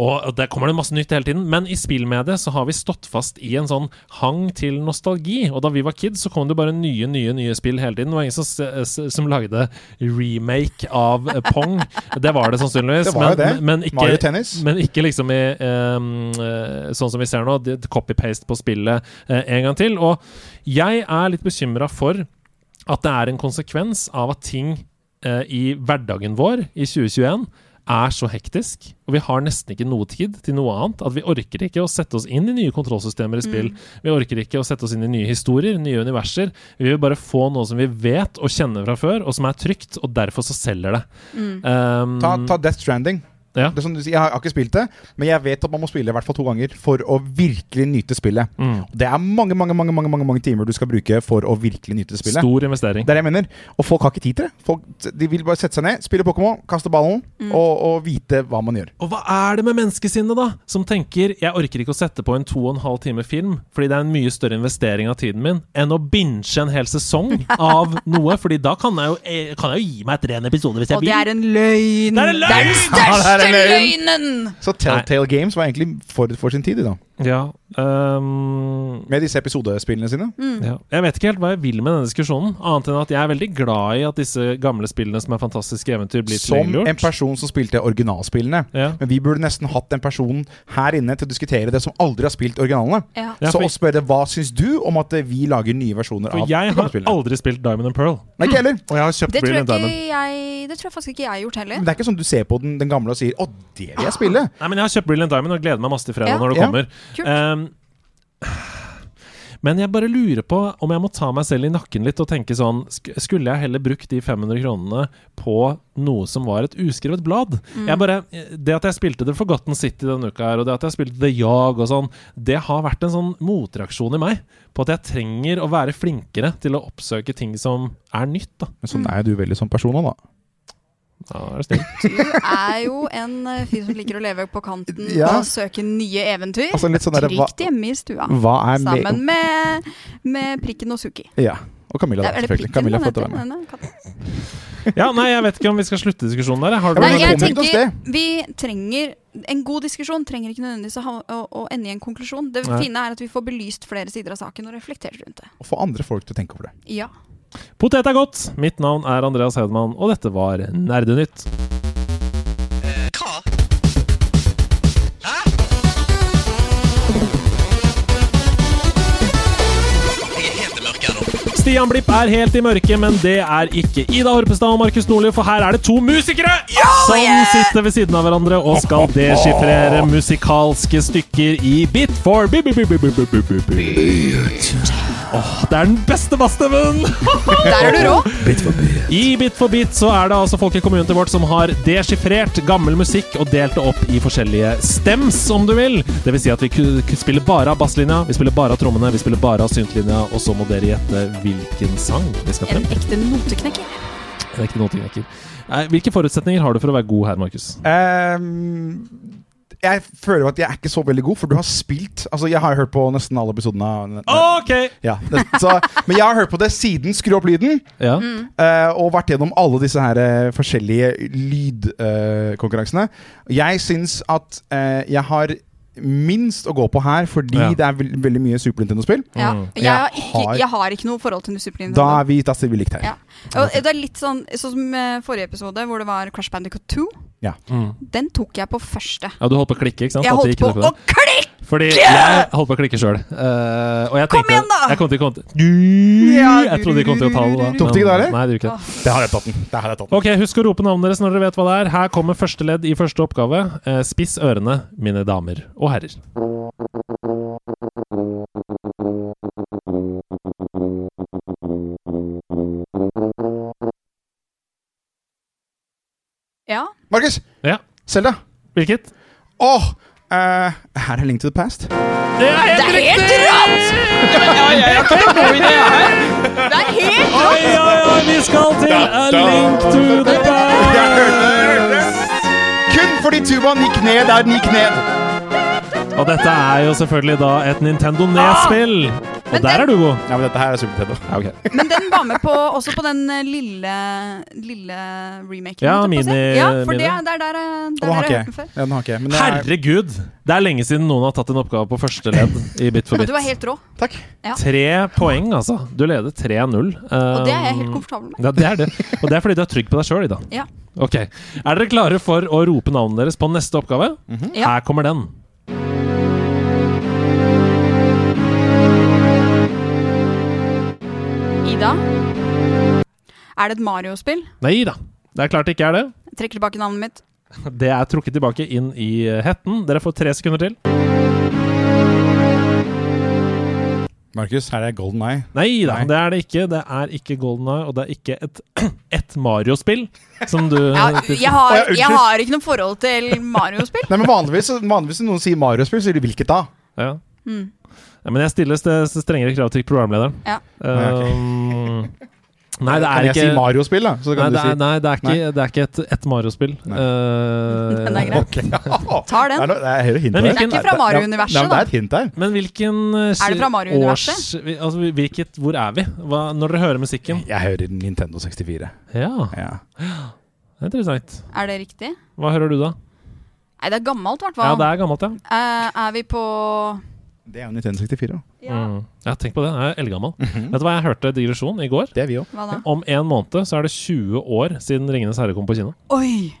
[SPEAKER 1] Og det kommer det masse nytt hele tiden. Men i spillmediet så har vi stått fast i en sånn hang til nostalgi. Og da vi var kids, så kom det bare nye, nye, nye spill hele tiden. Det var ingen som, s- s- som lagde remake av eh,
[SPEAKER 6] *laughs*
[SPEAKER 1] Pong. Det var det sannsynligvis.
[SPEAKER 6] Det var jo det.
[SPEAKER 1] Men, men ikke,
[SPEAKER 6] Mario Tennis.
[SPEAKER 1] men ikke liksom i ehm, eh, sånn som vi ser nå, det- copy-paste på spillet eh, en gang til. Og jeg er litt bekymra for at det er en konsekvens av at ting eh, i hverdagen vår i 2021 er så hektisk, og vi har nesten ikke noe tid til noe annet, at vi orker ikke å sette oss inn i nye kontrollsystemer i spill. Vi orker ikke å sette oss inn i nye historier, nye universer. Vi vil bare få noe som vi vet og kjenner fra før, og som er trygt, og derfor så selger det. Um,
[SPEAKER 6] Ta, ta Death Stranding.
[SPEAKER 1] Ja.
[SPEAKER 6] Det er som du sier, jeg har ikke spilt det, men jeg vet at man må spille i hvert fall to ganger for å virkelig nyte spillet.
[SPEAKER 1] Mm.
[SPEAKER 6] Det er mange mange, mange, mange, mange, mange timer du skal bruke for å virkelig nyte spillet.
[SPEAKER 1] Stor investering.
[SPEAKER 6] Det er det jeg mener. Og folk har ikke tid til det. Folk, de vil bare sette seg ned, spille Pokémon, kaste ballen og, og vite hva man gjør.
[SPEAKER 1] Og hva er det med menneskesinnet, da? Som tenker jeg orker ikke å sette på en to og en halv time film, fordi det er en mye større investering av tiden min, enn å binge en hel
[SPEAKER 5] *laughs*
[SPEAKER 1] sesong av noe. Fordi da kan jeg jo, eh, kan jeg jo gi meg et ren episode hvis jeg
[SPEAKER 5] Og det
[SPEAKER 1] vil.
[SPEAKER 5] er en løgn!
[SPEAKER 1] Det er en løgn!
[SPEAKER 5] den største
[SPEAKER 6] Ja, det er en løgn.
[SPEAKER 5] løgnen!
[SPEAKER 6] Så Telltale Games var egentlig forut for sin tid, de da.
[SPEAKER 1] Ja, øhm,
[SPEAKER 6] Med disse episodespillene sine.
[SPEAKER 5] Mm.
[SPEAKER 1] ja. Jeg vet ikke helt hva jeg vil med denne diskusjonen, annet enn at jeg er veldig glad i at disse gamle spillene som er fantastiske eventyr, blir
[SPEAKER 6] Som en
[SPEAKER 1] tilgjengeliggjort.
[SPEAKER 6] person som spilte originalspillene.
[SPEAKER 1] Ja.
[SPEAKER 6] Men vi burde nesten hatt en person her inne til å diskutere det som aldri har spilt originalene.
[SPEAKER 5] Ja.
[SPEAKER 1] Ja,
[SPEAKER 6] Så
[SPEAKER 1] for-
[SPEAKER 6] å spørre hva syns du om at eh, vi lager nye versjoner
[SPEAKER 1] For
[SPEAKER 6] av
[SPEAKER 1] jeg har
[SPEAKER 6] spillene?
[SPEAKER 1] aldri spilt Diamond and Pearl.
[SPEAKER 6] Nei, ikke heller.
[SPEAKER 1] Og jeg har kjøpt
[SPEAKER 5] Det tror, jeg
[SPEAKER 1] Brilliant Diamond.
[SPEAKER 5] ikke jeg, det tror jeg faktisk ikke jeg har gjort heller.
[SPEAKER 6] Men det er ikke sånn du ser på den, den gamle og sier 'Å, det vil jeg spille'.
[SPEAKER 1] Nei, men jeg har kjøpt Brilliant Diamond og gleder meg masse til fredag
[SPEAKER 5] Ja.
[SPEAKER 1] når det
[SPEAKER 6] Ja.
[SPEAKER 1] kommer.
[SPEAKER 5] Kult.
[SPEAKER 1] Ehm, men jeg bare lurer på om jeg må ta meg selv i nakken litt og tenke sånn sk- Skulle jeg heller brukt de 500 kronene på noe som var et uskrevet blad?
[SPEAKER 5] Mm.
[SPEAKER 1] Jeg bare, det at jeg spilte The Forgotten City denne uka, her, og det at jeg spilte The Jag og sånn, det har vært en sånn motreaksjon i meg på at jeg trenger å være flinkere til å oppsøke ting som er nytt. da.
[SPEAKER 6] Men sånn er jo du veldig som person òg, da.
[SPEAKER 1] Ja, det er snill.
[SPEAKER 5] *laughs* Du er jo en eh, fyr som liker å leve på kanten
[SPEAKER 6] Ja.
[SPEAKER 5] og søke nye eventyr.
[SPEAKER 6] Altså litt sånn derre hva,
[SPEAKER 5] Trygt hjemme i stua.
[SPEAKER 6] hva er me-
[SPEAKER 5] Sammen med, med prikken og Suki.
[SPEAKER 6] Ja. Og Camilla, da,
[SPEAKER 5] Er det
[SPEAKER 6] selvfølgelig.
[SPEAKER 5] prikken
[SPEAKER 6] Camilla
[SPEAKER 5] han
[SPEAKER 6] får til å
[SPEAKER 5] heter?
[SPEAKER 6] være med.
[SPEAKER 5] Denne katten?
[SPEAKER 1] ja, nei, jeg vet ikke om vi skal slutte diskusjonen der. jeg. Har du
[SPEAKER 6] Ja,
[SPEAKER 5] Nei,
[SPEAKER 6] men vi
[SPEAKER 5] jeg
[SPEAKER 6] kommer ikke noe
[SPEAKER 5] tenker vi trenger En god diskusjon trenger ikke nødvendigvis å, ha, å, å ende i en konklusjon. Det
[SPEAKER 1] Nei.
[SPEAKER 5] fine er at vi får belyst flere sider av saken og reflektert rundt det.
[SPEAKER 6] Og få andre folk til å tenke over det.
[SPEAKER 5] Ja.
[SPEAKER 1] Potet er godt. Mitt navn er Andreas Hedman, og dette var Nerdenytt. Stian Blipp er helt i mørket, men det er ikke Ida Horpestad og Markus Nordli, for her er det to musikere som sitter ved siden av hverandre og skal deschiffrere musikalske stykker i Bit for bi bi bi bi bi bi bi bi Åh, Det er den beste bassstemmen!
[SPEAKER 5] *laughs* Der er du rå!
[SPEAKER 1] I Bit for bit så er det altså folk i kommunen til vårt som har deschiffrert gammel musikk og delt det opp i forskjellige stems, om du vil. Det vil si at vi ku- ku- spiller bare av basslinja, vi spiller bare av trommene, vi spiller bare av syntlinja, og så må dere gjette hvilken sang vi skal frem
[SPEAKER 5] En
[SPEAKER 1] til.
[SPEAKER 5] ekte noteknekker.
[SPEAKER 1] Det er ikke noe ting jeg ikke- Nei, Hvilke forutsetninger har du for å være god her, Markus?
[SPEAKER 6] Ehm, jeg føler jo at jeg er ikke så veldig god, for du har spilt Altså, jeg har hørt på nesten alle episodene. av-
[SPEAKER 1] OK!
[SPEAKER 6] Ja, nesten, så, men jeg har hørt på det siden Skru opp lyden,
[SPEAKER 1] Ja.
[SPEAKER 5] Mm.
[SPEAKER 6] eh, og vært gjennom alle disse her eh, forskjellige lydkonkurransene. jeg syns at eh, jeg har minst å gå på her, fordi
[SPEAKER 1] Ja.
[SPEAKER 6] det er vel- veldig mye Super Nintendo-spill.
[SPEAKER 5] Ja.
[SPEAKER 1] Mm.
[SPEAKER 5] Jeg, har
[SPEAKER 6] Jeg
[SPEAKER 5] ikke,
[SPEAKER 6] har-
[SPEAKER 5] jeg har ikke noe forhold til Super Nintendo.
[SPEAKER 6] Da er vi, da stiller vi likt her.
[SPEAKER 5] Ja. Og Det er litt sånn Sånn som eh, forrige episode, hvor det var Crash Bandicoot 2.
[SPEAKER 1] Mm.
[SPEAKER 5] Den tok jeg på første.
[SPEAKER 1] Ja, du holdt på å klikke, ikke sant?
[SPEAKER 5] Jeg
[SPEAKER 1] At det gikk
[SPEAKER 5] holdt på
[SPEAKER 1] noe
[SPEAKER 5] å klikke!
[SPEAKER 1] Fordi jeg holdt på å klikke sjøl. og jeg
[SPEAKER 5] Kom
[SPEAKER 1] tenkte
[SPEAKER 5] igjen da!
[SPEAKER 1] Jeg kom til, kom til,
[SPEAKER 5] Ja.
[SPEAKER 1] jeg trodde de kom til å ta det da.
[SPEAKER 6] Tok de ikke det, eller?
[SPEAKER 1] Nei, det gjorde ikke det.
[SPEAKER 6] Det har jeg tatt den. Det har jeg tatt den.
[SPEAKER 1] Ok, Husk å rope navnet deres når dere vet hva det er. Her kommer første ledd i første oppgave. Eh, Spiss ørene, mine damer og herrer.
[SPEAKER 5] Ja.
[SPEAKER 6] Markus!
[SPEAKER 1] Ja.
[SPEAKER 6] Selda.
[SPEAKER 1] Hvilket?
[SPEAKER 6] Åh! eh, her er Link to the Past.
[SPEAKER 1] Det er
[SPEAKER 5] Det
[SPEAKER 1] helt
[SPEAKER 5] er
[SPEAKER 1] riktig!
[SPEAKER 5] helt rått! Det er helt
[SPEAKER 1] Oi, oi, oi, vi skal til A Link to the Past!
[SPEAKER 6] Kun fordi tubaen gikk ned der den gikk ned.
[SPEAKER 1] Og dette er jo selvfølgelig da et Nintendo Nes-spill. Og
[SPEAKER 5] Men
[SPEAKER 1] der er du god.
[SPEAKER 6] Ja, men dette her er Super Nintendo.
[SPEAKER 1] Ja, ok.
[SPEAKER 5] Men den var med på, også på den eh, lille, lille remaken.
[SPEAKER 1] Ja,
[SPEAKER 5] holdt jeg på å si.
[SPEAKER 1] mini-
[SPEAKER 5] Ja, for
[SPEAKER 1] mini.
[SPEAKER 5] det, er- det er der eh,
[SPEAKER 6] Og
[SPEAKER 5] det
[SPEAKER 6] den
[SPEAKER 5] er
[SPEAKER 6] har
[SPEAKER 5] der jeg har
[SPEAKER 6] ikke jeg.
[SPEAKER 5] hørt den før.
[SPEAKER 6] Ja, den har ikke jeg. Men det er,
[SPEAKER 1] Herregud! Det er lenge siden noen har tatt en oppgave på første ledd i Bit for
[SPEAKER 5] Men
[SPEAKER 1] bit.
[SPEAKER 5] du er helt rå,
[SPEAKER 6] takk.
[SPEAKER 1] Tre poeng, altså. Du leder 3-0.
[SPEAKER 5] og det er jeg
[SPEAKER 1] Um,
[SPEAKER 5] helt komfortabel med.
[SPEAKER 1] Ja, det er det. Og det er fordi du er trygg på deg sjøl, Ida.
[SPEAKER 5] Ja.
[SPEAKER 1] Ok. Er dere klare for å rope navnet deres på neste oppgave?
[SPEAKER 6] Mhm.
[SPEAKER 5] Ja.
[SPEAKER 1] Her kommer den.
[SPEAKER 5] Ida, er det et Mario-spill?
[SPEAKER 1] Nei da. Det er klart det ikke er det.
[SPEAKER 5] Jeg trekker tilbake navnet mitt.
[SPEAKER 1] Det er trukket tilbake inn i eh, hetten. Dere får tre sekunder til.
[SPEAKER 6] Markus, her er Golden Eye.
[SPEAKER 1] Nei da,
[SPEAKER 6] Nei.
[SPEAKER 1] det er det ikke. Det er ikke Golden Eye, og det er ikke et, *clears throat* et Mario-spill som du
[SPEAKER 5] Ja,
[SPEAKER 1] *laughs*
[SPEAKER 5] jeg, har,
[SPEAKER 6] Å, ja, unnskyld.
[SPEAKER 5] jeg har ikke noe forhold til Mario-spill.
[SPEAKER 6] Nei, men vanligvis, vanligvis når noen sier Mario-spill, så sier de hvilket da?
[SPEAKER 1] Ja.
[SPEAKER 5] Mm.
[SPEAKER 1] Ja, men jeg stiller st- st- strengere krav til programlederen.
[SPEAKER 5] Ja.
[SPEAKER 6] Nei, ok. *laughs*
[SPEAKER 1] Um, nei, det
[SPEAKER 6] kan
[SPEAKER 1] er
[SPEAKER 6] jeg si
[SPEAKER 1] ikke
[SPEAKER 6] Mario-spill, da? Så
[SPEAKER 1] Nei, det er,
[SPEAKER 6] kan du si
[SPEAKER 1] nei, det er ikke, det er ikke et, et Mario-spill.
[SPEAKER 6] Nei.
[SPEAKER 1] Uh,
[SPEAKER 5] *laughs* Den er grei.
[SPEAKER 6] Ok. *laughs* Det
[SPEAKER 5] Tar
[SPEAKER 6] er,
[SPEAKER 5] den.
[SPEAKER 6] noe- det er hele hint
[SPEAKER 1] Men
[SPEAKER 6] her.
[SPEAKER 1] hvilken-
[SPEAKER 5] Det er ikke fra
[SPEAKER 6] Nei,
[SPEAKER 5] Mario-universet,
[SPEAKER 6] men det
[SPEAKER 5] da.
[SPEAKER 6] er et hint der.
[SPEAKER 1] Men hvilken eh, Er
[SPEAKER 5] det fra Mario-universet?
[SPEAKER 1] altså, hvil- hvilket, hvor er vi? Hva, når dere hører musikken?
[SPEAKER 6] Jeg hører Nintendo 64.
[SPEAKER 1] Ja,
[SPEAKER 6] Ja.
[SPEAKER 1] det er interessant.
[SPEAKER 5] Er det riktig?
[SPEAKER 1] Hva hører du da?
[SPEAKER 5] Nei, det er gammelt, i hvert
[SPEAKER 1] Ja,
[SPEAKER 5] fall.
[SPEAKER 1] det er gammelt, ja.
[SPEAKER 5] Eh, er vi på
[SPEAKER 6] Det er jo Nintendo 64, da.
[SPEAKER 1] Mm. ja tenk på det, jeg er eldgammel.
[SPEAKER 6] Mhm.
[SPEAKER 1] Vet du hva jeg hørte digresjon i går?
[SPEAKER 6] Det er vi òg.
[SPEAKER 5] Hva da?
[SPEAKER 1] Om en måned så er det 20 år siden 'Ringenes herre' kom på kino.
[SPEAKER 5] Oi!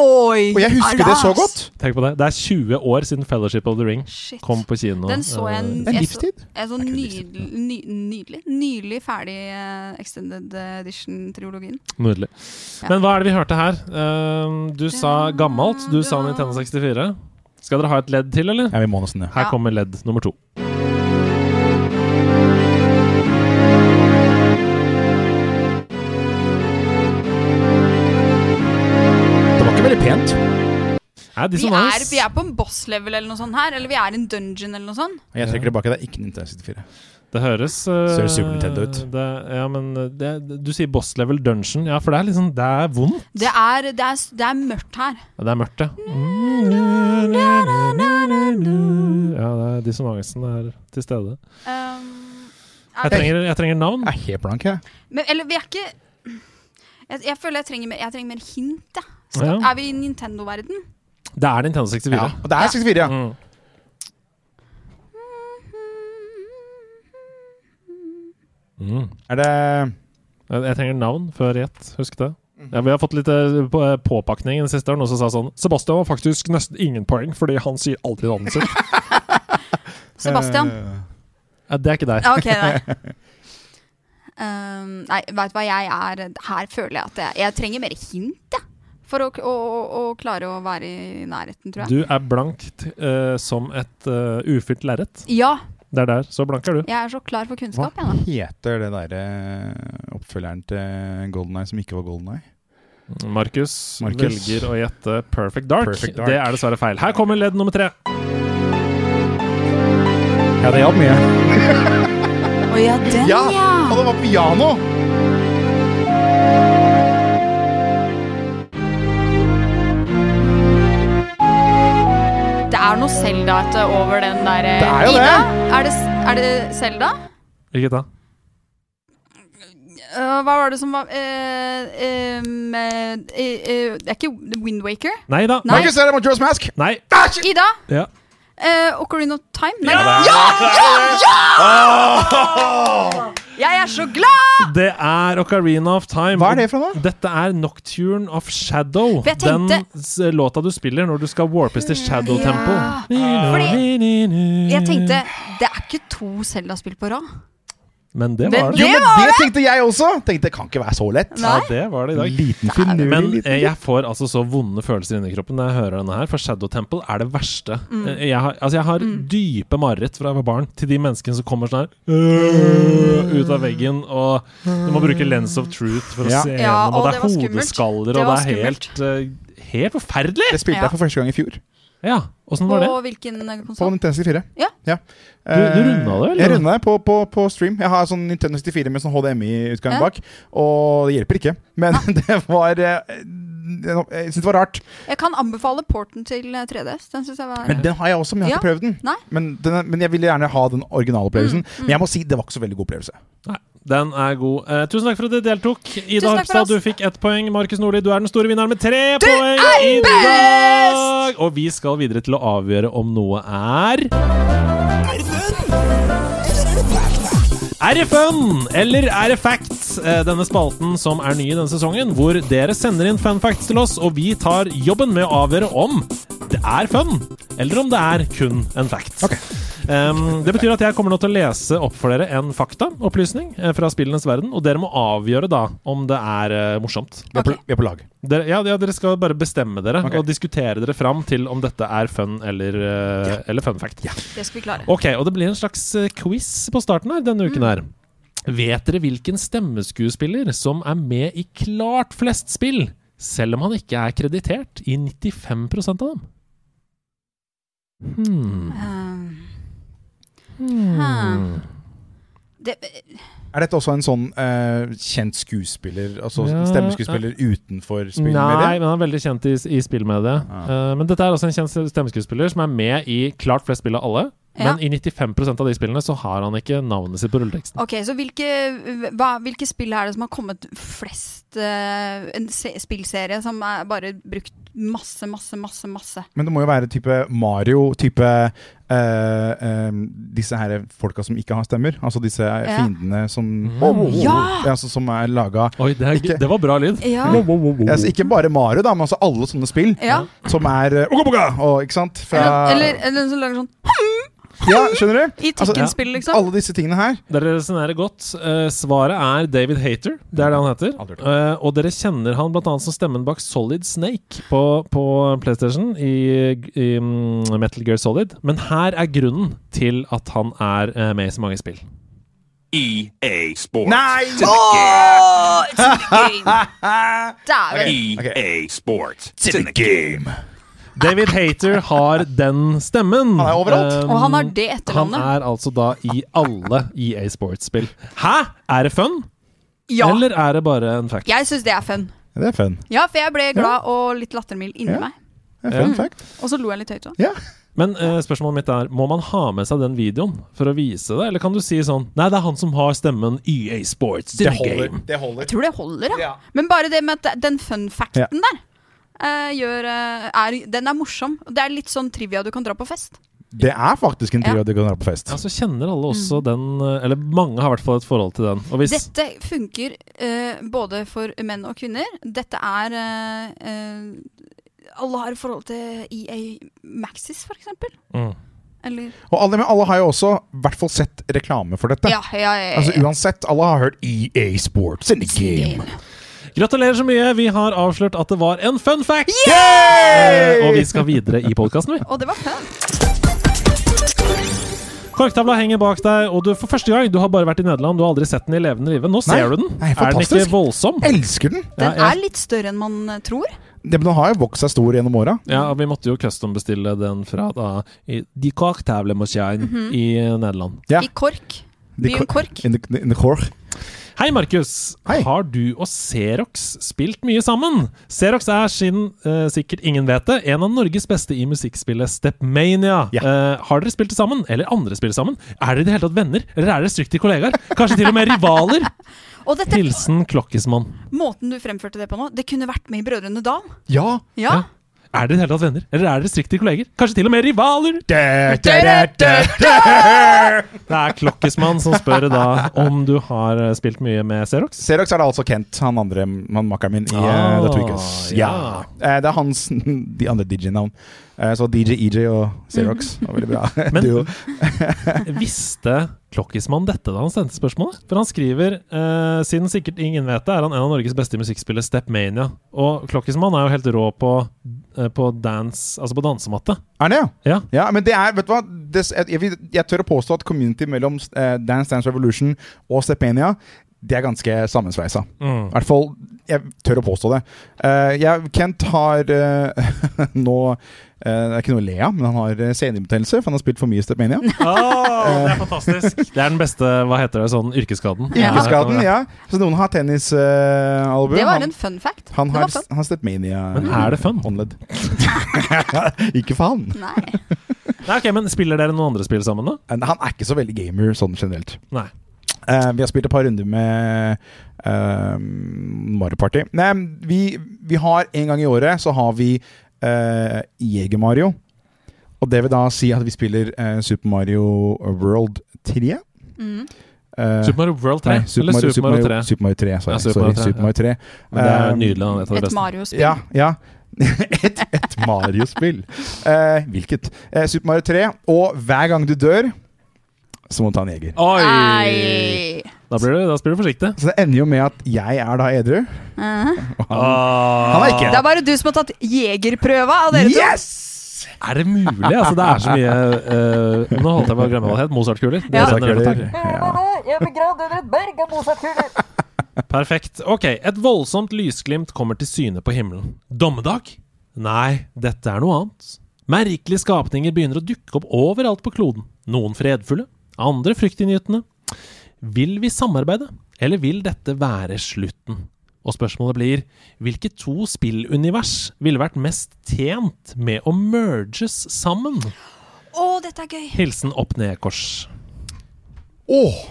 [SPEAKER 5] Oi!
[SPEAKER 6] Og jeg husker det så
[SPEAKER 5] Alas!
[SPEAKER 6] godt!
[SPEAKER 1] Tenk på Det Det er 20 år siden 'Fellowship of the Ring'
[SPEAKER 5] Shit.
[SPEAKER 1] kom på kino.
[SPEAKER 5] Den så jeg
[SPEAKER 1] Eh,
[SPEAKER 5] en-
[SPEAKER 6] Det er
[SPEAKER 5] jeg så-
[SPEAKER 6] livstid.
[SPEAKER 5] En sånn
[SPEAKER 6] Det er ikke
[SPEAKER 5] nydelig, ny, nydelig, nylig ferdig eh, Extended Edition-trilogien.
[SPEAKER 1] Nydelig.
[SPEAKER 5] Ja.
[SPEAKER 1] Men hva er det vi hørte her? Eh, du sa gammelt, du sa Nintendo 64. Skal dere ha et ledd til, eller?
[SPEAKER 6] Ja, vi må nesten det.
[SPEAKER 1] Her
[SPEAKER 5] Ja.
[SPEAKER 1] kommer ledd nummer to.
[SPEAKER 6] Det var ikke veldig pent.
[SPEAKER 1] Nei, de
[SPEAKER 5] Vi
[SPEAKER 1] som var-
[SPEAKER 5] er, vi er på en boss-level eller noe sånt her, eller vi er i en dungeon eller noe sånt.
[SPEAKER 6] Jeg trekker tilbake, det er ikke Nintendo 64.
[SPEAKER 1] Det høres
[SPEAKER 6] Ser
[SPEAKER 1] eh,
[SPEAKER 6] det Super Nintendo ut?
[SPEAKER 1] Det, ja, men eh, det, Du sier boss level dungeon. Ja, for det er liksom Det er vondt.
[SPEAKER 5] Det er, det er, det er mørkt her.
[SPEAKER 1] Ja, det er mørkt, ja. Ja, det er dissonansen er til stede.
[SPEAKER 5] Um, er
[SPEAKER 1] Jeg
[SPEAKER 5] vi-
[SPEAKER 1] trenger, jeg trenger navn.
[SPEAKER 6] Jeg er helt blank, jeg.
[SPEAKER 5] men, eller vi er ikke jeg, jeg føler jeg trenger mer, jeg trenger mer hint, jeg. Så,
[SPEAKER 1] Ja.
[SPEAKER 5] Er vi i Nintendo-verden?
[SPEAKER 1] Det er Nintendo 64.
[SPEAKER 6] Ja. Og det er 64, ja.
[SPEAKER 1] Mm. Mm.
[SPEAKER 6] Er det
[SPEAKER 1] Jeg jeg trenger navn før gjett. Husk det.
[SPEAKER 5] Mhm.
[SPEAKER 1] Ja, vi har fått litt eh, på- eh, påpakning den siste. Noen som sa sånn Sebastian har faktisk nesten ingen poeng, fordi han sier alltid navnet
[SPEAKER 5] *laughs*
[SPEAKER 1] sitt.
[SPEAKER 5] Sebastian?
[SPEAKER 6] Eh,
[SPEAKER 1] Ja, det er ikke deg.
[SPEAKER 5] Ja, ok, nei. *laughs* Um, nei, veit du hva jeg er Her føler jeg at jeg, jeg trenger mer hint, jeg. For å, å, å, å klare å være i nærheten, tror jeg.
[SPEAKER 1] Du er blankt eh, som et uh, ufylt lerret.
[SPEAKER 5] Ja,
[SPEAKER 1] Det er der. Så blank er du.
[SPEAKER 5] jeg er så klar for
[SPEAKER 6] hva
[SPEAKER 5] kunnskap, jeg,
[SPEAKER 6] heter det derre oppfølgeren til Golden Eye som ikke var Golden Eye?
[SPEAKER 1] Markus
[SPEAKER 6] Markus.
[SPEAKER 1] velger å gjette Perfect Dark.
[SPEAKER 6] Perfect Dark.
[SPEAKER 1] Det er dessverre feil. Her kommer ledd nummer tre.
[SPEAKER 6] Ja, det hjalp mye.
[SPEAKER 5] da. Å ja, den,
[SPEAKER 6] Ja!
[SPEAKER 5] ja!
[SPEAKER 6] Og det var piano!
[SPEAKER 5] Det er noe Selda over den der eh,
[SPEAKER 6] Det er jo det.
[SPEAKER 5] Ida, er det, er det Selda?
[SPEAKER 1] Hvilket da?
[SPEAKER 5] Eh, hva var det som var eh, em, eh, eh, eh, Det er ikke Windwaker?
[SPEAKER 1] Nei da.
[SPEAKER 5] Nei.
[SPEAKER 6] Markus, det er Majora's Mask!
[SPEAKER 1] Nei.
[SPEAKER 5] Ida?
[SPEAKER 1] Ja.
[SPEAKER 5] Eh, Ocarina of Time? Nei.
[SPEAKER 6] Ja!
[SPEAKER 5] Jeg er så glad!
[SPEAKER 1] Ah! Det er Ocarina of Time.
[SPEAKER 6] Hva er det for noe?
[SPEAKER 1] Dette er Nocturne of Shadow.
[SPEAKER 5] For jeg tenkte-
[SPEAKER 1] Den s- låta du spiller når du skal warpes til Shadow
[SPEAKER 5] Ja.
[SPEAKER 1] Temple.
[SPEAKER 5] Fordi
[SPEAKER 1] Mm.
[SPEAKER 5] Jeg tenkte, det er ikke to Zelda-spill på rad.
[SPEAKER 1] Men det
[SPEAKER 5] Men
[SPEAKER 1] var det.
[SPEAKER 5] det-
[SPEAKER 6] Jo, men
[SPEAKER 5] var
[SPEAKER 6] det tenkte jeg også! Tenkte det kan ikke være så lett.
[SPEAKER 5] Nei.
[SPEAKER 1] Ja, det var det i dag.
[SPEAKER 6] Liten finurlig
[SPEAKER 1] Men
[SPEAKER 6] liten
[SPEAKER 1] eh, jeg får altså så vonde følelser inni kroppen når jeg hører denne her, for Shadow Temple er det verste.
[SPEAKER 5] Mm.
[SPEAKER 1] Eh, Jeg har, altså jeg har dype mareritt fra jeg var barn, til de menneskene som kommer sånn her
[SPEAKER 5] Mm.
[SPEAKER 1] øh, ut av veggen, og du må bruke lens of truth for å
[SPEAKER 6] Ja.
[SPEAKER 1] se
[SPEAKER 5] Ja,
[SPEAKER 1] gjennom, og
[SPEAKER 5] og
[SPEAKER 1] det er
[SPEAKER 5] det var skummelt.
[SPEAKER 1] hodeskaller,
[SPEAKER 5] Det
[SPEAKER 1] og det
[SPEAKER 5] var
[SPEAKER 1] er helt, eh, helt forferdelig!
[SPEAKER 6] Det spilte
[SPEAKER 5] Ja.
[SPEAKER 6] jeg for første gang i fjor,
[SPEAKER 1] Ja, åssen var det?
[SPEAKER 5] På hvilken
[SPEAKER 6] på
[SPEAKER 5] konsoll?
[SPEAKER 6] Nintendo 64.
[SPEAKER 5] Ja.
[SPEAKER 1] Du- du rundet det, eller?
[SPEAKER 6] Jeg runda det på, på, på stream. Jeg har sånn Nintendo 64 med sånn HDMI-utgang
[SPEAKER 5] Ja.
[SPEAKER 6] bak, og det hjelper ikke. Men *laughs* det var eh, Jeg syns det var rart.
[SPEAKER 5] Jeg kan anbefale porten til eh, 3DS. Den synes jeg var
[SPEAKER 6] Men den har jeg også, men jeg har ikke prøvd den.
[SPEAKER 5] Nei. Mm,
[SPEAKER 6] Men, den er, men jeg ville gjerne ha den originale opplevelsen. Men jeg må si det var ikke så veldig god opplevelse.
[SPEAKER 1] Nei, den er god. Eh, tusen takk for at dere deltok. Ida
[SPEAKER 5] Tusen takk for
[SPEAKER 1] Harpstad,
[SPEAKER 5] oss.
[SPEAKER 1] du fikk ett poeng. Markus Nordli, du er den store vinneren med tre poeng i dag! Og vi skal videre til å avgjøre om noe er Er det fun, eller er det facts? Eh, Denne spalten som er ny i denne sesongen, hvor dere sender inn fun facts til oss, og vi tar jobben med å avgjøre om det er fun, eller om det er kun en fact. Um, det betyr at jeg kommer nå til å lese opp for dere en faktaopplysning eh, fra spillenes verden, og dere må avgjøre da om det er eh, morsomt.
[SPEAKER 6] Vi er på, vi er på lag.
[SPEAKER 1] Dere, ja, ja, dere skal bare bestemme dere
[SPEAKER 6] Ok.
[SPEAKER 1] og diskutere dere fram til om dette er fun eller, eh, eller fun fact.
[SPEAKER 5] Det skal vi klare.
[SPEAKER 1] Ok, og det blir en slags eh, quiz på starten her denne uken her. Vet dere hvilken stemmeskuespiller som er med i klart flest spill, selv om han ikke er kreditert i 95 av dem? Hmm.
[SPEAKER 5] Eh, Hmm. Det,
[SPEAKER 6] Er dette også en sånn eh, kjent skuespiller, altså
[SPEAKER 1] Ja,
[SPEAKER 6] stemmeskuespiller utenfor
[SPEAKER 1] Nei,
[SPEAKER 6] spillmediet? Ah.
[SPEAKER 1] men han er veldig kjent i, i spillmediet. Eh, men dette er også en kjent stemmeskuespiller som er med i klart flest spill av alle.
[SPEAKER 5] Ja.
[SPEAKER 1] Men i 95 av de spillene så har han ikke navnet sitt på rulleteksten.
[SPEAKER 5] ok, så hvilke, hva, hvilke spill er det som har kommet flest eh, En se, spillserie som er bare brukt masse, masse, masse, masse.
[SPEAKER 6] Men det må jo være type Mario, type eh, eh, disse her folka som ikke har stemmer. Altså disse fiendene som
[SPEAKER 1] Mm. Oh,
[SPEAKER 5] Ja!
[SPEAKER 6] altså, Som er laga
[SPEAKER 1] Oi,
[SPEAKER 7] *laughs*
[SPEAKER 1] det,
[SPEAKER 6] Ikke-
[SPEAKER 1] var bra lyd!
[SPEAKER 5] Ja.
[SPEAKER 1] Oh,
[SPEAKER 6] altså, Ikke bare Mario, da, men altså alle sånne spill
[SPEAKER 5] ja.
[SPEAKER 6] som er eh, Oga Boga! Og, ikke sant? Fra-
[SPEAKER 5] Eller, eller den som lager sånn
[SPEAKER 6] Ja, skjønner du?
[SPEAKER 5] I
[SPEAKER 6] Altså,
[SPEAKER 5] Tekken-spill, liksom.
[SPEAKER 6] Alle disse tingene her.
[SPEAKER 1] Dere resonnerer godt. Eh, svaret er David Hater. Det er det han heter.
[SPEAKER 6] Aldri hørt
[SPEAKER 1] Eh, og dere kjenner han bl.a. som stemmen bak Solid Snake på, på PlayStation i, i mm, Metal Gear Solid. Men her er grunnen til at han er eh, med i så mange spill.
[SPEAKER 4] EA Sports.
[SPEAKER 6] Nei!
[SPEAKER 4] To the
[SPEAKER 1] *laughs*
[SPEAKER 5] Dæven!
[SPEAKER 4] game.
[SPEAKER 6] Ok.
[SPEAKER 4] EA Sports. To the game.
[SPEAKER 1] David Hater har den stemmen.
[SPEAKER 6] Han er overalt.
[SPEAKER 1] Um,
[SPEAKER 5] Og han har det
[SPEAKER 1] Han
[SPEAKER 5] etternavnet.
[SPEAKER 1] er altså da i alle E EA Sports-spill. Hæ?! Er det fun,
[SPEAKER 5] Ja.
[SPEAKER 1] eller er det bare en fact?
[SPEAKER 5] Jeg syns det er fun.
[SPEAKER 6] Det er fun.
[SPEAKER 5] Ja, for jeg ble glad og litt lattermild inni
[SPEAKER 6] Ja.
[SPEAKER 5] meg.
[SPEAKER 6] Det er fun fact.
[SPEAKER 5] Og så lo jeg litt høyt òg.
[SPEAKER 6] Ja.
[SPEAKER 1] Men eh, spørsmålet mitt er, må man ha med seg den videoen for å vise det? Eller kan du si sånn Nei, det er han som har stemmen EA Sports. Det holder.
[SPEAKER 6] Det holder.
[SPEAKER 5] Tror det holder, ja. Men bare det med at den fun facten
[SPEAKER 6] Ja.
[SPEAKER 5] der eh, gjør, eh, er, Den er morsom. Det er litt sånn trivia du kan dra på fest.
[SPEAKER 6] Det er faktisk en
[SPEAKER 5] Ja.
[SPEAKER 6] trio du kan dra på fest.
[SPEAKER 1] Ja, så kjenner alle også
[SPEAKER 6] Mm.
[SPEAKER 1] den eh, Eller mange har i hvert fall et forhold til den. Og hvis
[SPEAKER 5] Dette funker eh, både for menn og kvinner. Dette er eh, eh, Alle har forhold til EA Maxis, for eksempel.
[SPEAKER 1] Mm.
[SPEAKER 5] Eller
[SPEAKER 6] Og alle, men alle har jo også i hvert fall sett reklame for dette.
[SPEAKER 5] Ja, ja, ja.
[SPEAKER 6] Altså
[SPEAKER 5] ja.
[SPEAKER 6] Uansett, alle har hørt EA Sports in the game.
[SPEAKER 1] Gratulerer så mye! Vi har avslørt at det var en fun fact! Eh, og vi skal videre i podkasten, vi.
[SPEAKER 5] Og det var fun.
[SPEAKER 1] Korktavla henger bak deg, og du for første gang Du har bare vært i Nederland, du har aldri sett den i levende live. Nå
[SPEAKER 6] Nei.
[SPEAKER 1] ser du den.
[SPEAKER 6] Nei,
[SPEAKER 1] er den ikke
[SPEAKER 6] fantastisk.
[SPEAKER 1] voldsom?
[SPEAKER 6] Elsker den!
[SPEAKER 5] Den
[SPEAKER 1] ja,
[SPEAKER 5] er litt større enn man eh, tror.
[SPEAKER 6] Det, men den har jo vokst seg stor gjennom åra.
[SPEAKER 1] ja, og vi måtte jo custombestille den fra da i De korktavle må jeg inn
[SPEAKER 6] Mhm.
[SPEAKER 1] i Nederland.
[SPEAKER 6] Ja.
[SPEAKER 5] I Kork.
[SPEAKER 6] De
[SPEAKER 5] Byen Kork.
[SPEAKER 6] In the, in the core.
[SPEAKER 1] Hei, Markus.
[SPEAKER 6] Hei.
[SPEAKER 1] Har du og Xerox spilt mye sammen? Xerox er, siden eh, sikkert ingen vet det, en av Norges beste i musikkspillet Stepmania.
[SPEAKER 6] Ja.
[SPEAKER 1] Eh, har dere spilt sammen? Eller andre spilt sammen? Er dere i det hele tatt venner? Eller er dere strikte kollegaer? Kanskje til og med rivaler?
[SPEAKER 5] Og dette,
[SPEAKER 1] Hilsen Klokkismann.
[SPEAKER 5] måten du fremførte det på nå, det kunne vært med i Brødrene Dal.
[SPEAKER 6] Ja!
[SPEAKER 5] Ja.
[SPEAKER 1] Er dere i det hele tatt venner? Eller er dere strikte kolleger? Kanskje til og med rivaler? Det er Klokkesmann som spør da om du har eh, spilt mye med Xerox.
[SPEAKER 6] Xerox er det altså Kent, han andre han makkeren min i
[SPEAKER 1] Ah,
[SPEAKER 6] uh, The Tweakers.
[SPEAKER 1] ja.
[SPEAKER 6] Eh, det er hans *laughs* de andre DJ-navn. Eh, så DJ EJ og Xerox var veldig bra.
[SPEAKER 1] Mm. *laughs*
[SPEAKER 6] *laughs*
[SPEAKER 1] Men-
[SPEAKER 6] Duo.
[SPEAKER 1] Visste Klokkismann dette da han sendte spørsmålet? For han skriver eh, Siden sikkert ingen vet det, er han en av Norges beste i musikkspillet Stepmania. Og Klokkismann er jo helt rå på, eh, på dance, altså på dansematte.
[SPEAKER 6] Er det, ja?
[SPEAKER 1] Ja.
[SPEAKER 6] men det er, vet du hva det, jeg, vil- jeg tør å påstå at community mellom eh, Dance Dance Revolution og Stepenia det er ganske sammensveisa. I hvert fall, jeg tør å påstå det. Eh, jeg, Kent har eh, *laughs* nå eh, Det er ikke noe å le av, men han har eh, senebetennelse, for han har spilt for mye Stepenia.
[SPEAKER 1] Ah, det er fantastisk. Det er den beste, hva heter det, sånn yrkesskaden.
[SPEAKER 5] Ja.
[SPEAKER 6] Yrkesskaden, ja. Så noen har tennisalbum.
[SPEAKER 5] Det var en fun fact.
[SPEAKER 6] han, han
[SPEAKER 5] det
[SPEAKER 6] har,
[SPEAKER 5] var fun.
[SPEAKER 6] han har Stepmania
[SPEAKER 1] Men er det fun?
[SPEAKER 6] eh, håndledd. *laughs* ikke for han.
[SPEAKER 5] Nei.
[SPEAKER 1] Nei, ok, men Spiller dere noen andre spill sammen, da?
[SPEAKER 6] Han er ikke så veldig gamer sånn generelt.
[SPEAKER 1] Nei.
[SPEAKER 6] Eh, vi har spilt et par runder med eh, Mario Party. Nei, vi, vi har en gang i året så har vi uh, Jeger-Mario. Og det vil da si at vi spiller eh, Super Mario World 3. *laughs*
[SPEAKER 5] Mm.
[SPEAKER 6] Eh,
[SPEAKER 1] Super Mario World 3?
[SPEAKER 6] nei, Super
[SPEAKER 1] eller
[SPEAKER 6] Mario,
[SPEAKER 1] Super Mario 3?
[SPEAKER 6] Super Mario 3, sorry.
[SPEAKER 1] Ja, Super
[SPEAKER 6] sorry,
[SPEAKER 1] Mario 3,
[SPEAKER 6] Super Mario 3.
[SPEAKER 1] Men det er
[SPEAKER 6] Eh,
[SPEAKER 1] nydelig. Han er et av de
[SPEAKER 5] Et
[SPEAKER 1] beste.
[SPEAKER 5] Mario-spill.
[SPEAKER 6] Ja, ja. *laughs* et et Mario-spill. Eh, hvilket? Eh, Super Mario 3. Og hver gang du dør, så må du ta en jeger.
[SPEAKER 1] Oi!
[SPEAKER 5] Ei.
[SPEAKER 1] Da blir du, da spiller du forsiktig.
[SPEAKER 6] Så det ender jo med at jeg er da edru.
[SPEAKER 5] Mhm.
[SPEAKER 6] og han- han er
[SPEAKER 5] Det
[SPEAKER 6] ikke
[SPEAKER 5] er bare du som har tatt jegerprøva av Ah. dere to.
[SPEAKER 6] Yes!
[SPEAKER 1] Er det mulig? Altså, det er så mye eh, Nå holdt jeg på å glemme hva det het. Mozart-kuler. Det
[SPEAKER 5] Ja.
[SPEAKER 1] brenner
[SPEAKER 6] Mozart-kuler.
[SPEAKER 1] over tak. Perfekt. Ok, et voldsomt lysglimt kommer til syne på himmelen. Dommedag? Nei, dette er noe annet. Merkelige skapninger begynner å dukke opp overalt på kloden. Noen fredfulle, andre fryktinngytende. Vil vi samarbeide, eller vil dette være slutten? Og spørsmålet blir hvilke to spillunivers ville vært mest tjent med å merges sammen?
[SPEAKER 5] Å, dette er gøy.
[SPEAKER 1] Hilsen opp ned, kors.
[SPEAKER 6] Åh,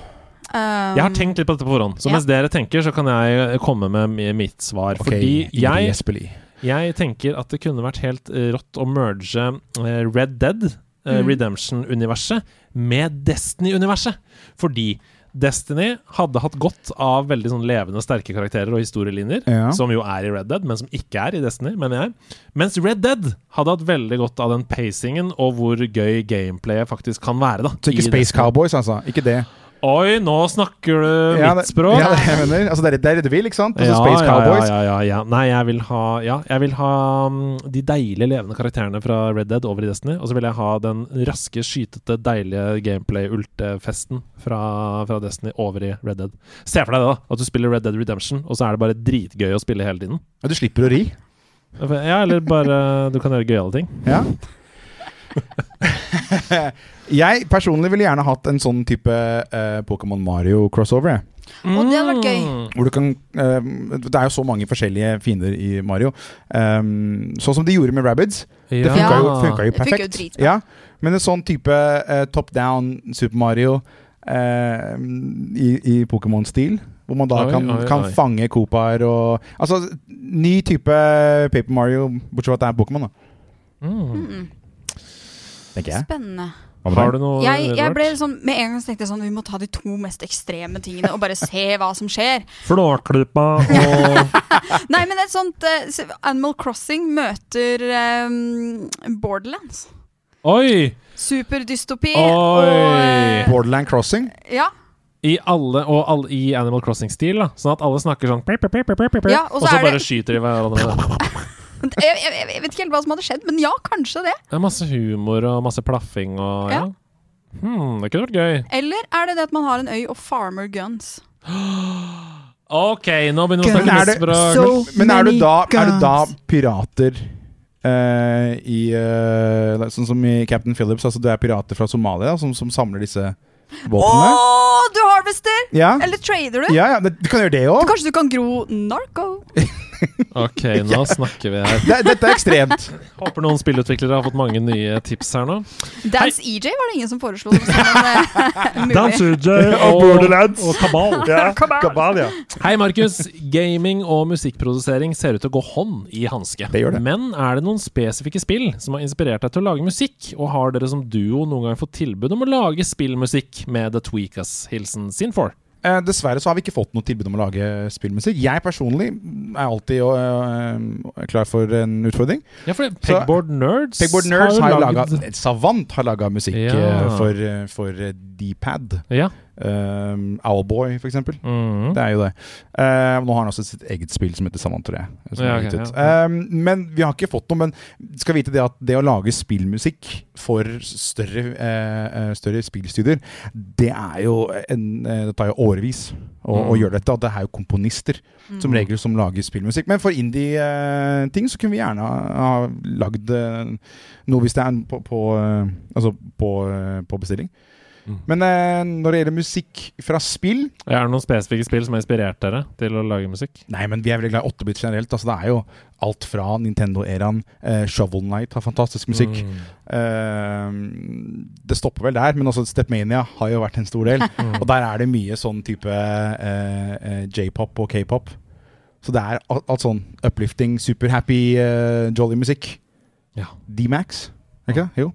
[SPEAKER 5] Um,
[SPEAKER 1] Jeg har tenkt litt på dette på forhånd, så
[SPEAKER 5] Ja.
[SPEAKER 1] mens dere tenker, så kan jeg eh, komme med mi- mitt svar.
[SPEAKER 6] ok,
[SPEAKER 1] Fordi jeg
[SPEAKER 6] Ingrid Espelid.
[SPEAKER 1] Jeg tenker at det kunne vært helt eh, rått å merge eh, Red Dead eh,
[SPEAKER 5] Mm.
[SPEAKER 1] Redemption-universet med Destiny-universet. Fordi Destiny hadde hatt godt av veldig sånn levende, sterke karakterer og historielinjer,
[SPEAKER 6] Ja.
[SPEAKER 1] som jo er i Red Dead, men som ikke er i Destiny, mener jeg. Mens Red Dead hadde hatt veldig godt av den pacingen og hvor gøy gameplayet faktisk kan være. da.
[SPEAKER 6] Så ikke
[SPEAKER 1] i
[SPEAKER 6] Space
[SPEAKER 1] Destiny.
[SPEAKER 6] Cowboys, altså. Ikke det.
[SPEAKER 1] Oi, nå snakker du
[SPEAKER 6] Ja,
[SPEAKER 1] mitt
[SPEAKER 6] det,
[SPEAKER 1] språk!
[SPEAKER 6] ja, det *laughs* jeg mener. Altså, det er det er det du vil, ikke sant? Altså, Space Cowboys.
[SPEAKER 1] Ja, ja, ja. Nei, jeg vil ha, ja, jeg vil ha mm, de deilige levende karakterene fra Red Dead over i Destiny. Og så vil jeg ha den raske, skytete, deilige gameplay-ultefesten fra, fra Destiny over i Red Dead. Se for deg det, da. At du spiller Red Dead Redemption, og så er det bare dritgøy å spille hele tiden.
[SPEAKER 6] Ja, Du slipper å ri.
[SPEAKER 1] Ja, eller bare Du kan gjøre gøyale ting.
[SPEAKER 6] *laughs* Ja. jeg personlig ville gjerne hatt en sånn type eh, Pokémon Mario-crossover. jeg.
[SPEAKER 5] Å, det hadde vært gøy.
[SPEAKER 1] Mm.
[SPEAKER 6] Hvor du kan eh, Det er jo så mange forskjellige fiender i Mario. Um, sånn som de gjorde med Rabbids. Det
[SPEAKER 1] Ja.
[SPEAKER 6] funka jo,
[SPEAKER 5] Det
[SPEAKER 6] funka jo
[SPEAKER 5] funker jo
[SPEAKER 6] perfekt.
[SPEAKER 5] dritbra.
[SPEAKER 6] ja. Men en sånn type eh, top down Super Mario eh, i, i Pokémon-stil, hvor man da
[SPEAKER 1] Oi,
[SPEAKER 6] kan,
[SPEAKER 1] oi,
[SPEAKER 6] kan
[SPEAKER 1] oi.
[SPEAKER 6] fange Cooper og Altså, ny type Paper Mario, bortsett fra at det er Pokémon, da.
[SPEAKER 1] Mm.
[SPEAKER 5] Mm.
[SPEAKER 6] Tenker jeg.
[SPEAKER 5] Spennende.
[SPEAKER 6] Hva med
[SPEAKER 1] Har
[SPEAKER 6] deg?
[SPEAKER 1] du noe
[SPEAKER 5] Jeg, jeg
[SPEAKER 1] Edvard?
[SPEAKER 5] ble sånn, med en gang så tenkte jeg sånn Vi må ta de to mest ekstreme tingene og bare se hva som skjer.
[SPEAKER 1] Flåklypa og
[SPEAKER 5] *laughs* Nei, men et sånt eh, s- Animal Crossing møter eh, Borderlands.
[SPEAKER 1] Oi!
[SPEAKER 5] Superdystopi
[SPEAKER 1] Oi.
[SPEAKER 5] og eh,
[SPEAKER 6] Borderland Crossing.
[SPEAKER 5] ja,
[SPEAKER 1] I alle, og alle, i Animal Crossing-stil, da. Sånn at alle snakker sånn pip, pip, pip, pip, pip,
[SPEAKER 5] Ja,
[SPEAKER 1] og
[SPEAKER 5] og
[SPEAKER 1] så
[SPEAKER 5] så er
[SPEAKER 1] bare
[SPEAKER 5] det-
[SPEAKER 1] skyter de hverandre.
[SPEAKER 5] jeg, jeg, jeg vet ikke helt hva som hadde skjedd, men ja, kanskje det.
[SPEAKER 1] Det er masse humor og masse plaffing og ja.
[SPEAKER 5] Ja.
[SPEAKER 1] Hmm, det kunne vært gøy.
[SPEAKER 5] Eller er det det at man har en øy og farmer guns?
[SPEAKER 1] OK, nå begynner vi å
[SPEAKER 6] Men
[SPEAKER 1] snakke
[SPEAKER 6] er
[SPEAKER 1] litt
[SPEAKER 6] det-
[SPEAKER 1] språk.
[SPEAKER 6] Men, men er, du da, er du da pirater eh, i eh, Sånn som i Captain Phillips, altså du er pirater fra Somalia som, som samler disse
[SPEAKER 5] Å,
[SPEAKER 6] våpnene?
[SPEAKER 5] du harvester!
[SPEAKER 6] Ja.
[SPEAKER 5] Eller trader du?
[SPEAKER 6] ja, ja, det- du kan gjøre det
[SPEAKER 5] Så
[SPEAKER 6] òg.
[SPEAKER 5] Kanskje du kan gro narco?
[SPEAKER 1] Ok,
[SPEAKER 5] *laughs*
[SPEAKER 1] nå snakker vi her.
[SPEAKER 6] Det, dette er ekstremt.
[SPEAKER 1] Håper noen spillutviklere har fått mange nye tips her nå.
[SPEAKER 5] Dance EJ var det ingen som foreslo.
[SPEAKER 1] *laughs*
[SPEAKER 5] som en, eh, *laughs* mulig.
[SPEAKER 1] E
[SPEAKER 6] *laughs*
[SPEAKER 1] J
[SPEAKER 9] Og Borderlands.
[SPEAKER 1] og Kabal.
[SPEAKER 9] Ja, kabal, ja.
[SPEAKER 1] Hei, Markus. Gaming og musikkprodusering ser ut til å gå hånd i hanske.
[SPEAKER 6] Det gjør det.
[SPEAKER 1] Men er det noen spesifikke spill som har inspirert deg til å lage musikk? Og har dere som duo noen gang fått tilbud om å lage spillmusikk med The Tweakers? Hilsen Sin4.
[SPEAKER 6] Eh, dessverre så har vi ikke fått noe tilbud om å lage spillmusikk. Jeg personlig er alltid eh, klar for en utfordring.
[SPEAKER 1] Ja, for det- Pegboard Nerds
[SPEAKER 6] Pegboard Nerds har
[SPEAKER 1] jo
[SPEAKER 6] laget, Savant har laga musikk
[SPEAKER 1] Ja.
[SPEAKER 6] eh, for, eh, for eh, D-pad.
[SPEAKER 1] Ja.
[SPEAKER 6] Um, Owlboy, for eksempel.
[SPEAKER 1] Mhm.
[SPEAKER 6] Det er jo det. Eh, nå har han også sitt eget spill som heter Savant, tror jeg. som
[SPEAKER 1] Ja,
[SPEAKER 6] er gitt
[SPEAKER 1] ok,
[SPEAKER 6] ut.
[SPEAKER 1] ja.
[SPEAKER 6] Eh, men vi har ikke fått noe. Men skal vite det at det å lage spillmusikk for større, eh, eh, større spillstudier, det er jo en, eh, Det tar jo årevis å, å
[SPEAKER 1] Mm.
[SPEAKER 6] gjøre dette. Og det er jo komponister som
[SPEAKER 1] Mhm.
[SPEAKER 6] regel som lager spillmusikk. Men for indie-ting så kunne vi gjerne ha, ha lagd eh, noe hvis det er en på, på, eh, altså på, eh, på bestilling.
[SPEAKER 1] Mm.
[SPEAKER 6] Men eh, når det gjelder musikk fra spill
[SPEAKER 1] Er det noen spesifikke spill som har inspirert dere til å lage musikk?
[SPEAKER 6] Nei, men vi er veldig glad i 8-bit generelt. Altså, det er jo alt fra Nintendo-eraen. Eh, Shovel Knight har fantastisk musikk.
[SPEAKER 1] Mm.
[SPEAKER 6] Eh, det stopper vel der, men også Stepmania har jo vært en stor
[SPEAKER 1] *laughs*
[SPEAKER 6] del. Og der er det mye sånn type eh, eh, j-pop og k-pop. Så det er alt, alt sånn uplifting, superhappy, eh, jolly musikk.
[SPEAKER 1] Ja. Mm.
[SPEAKER 6] D-Max, er ikke det? Jo.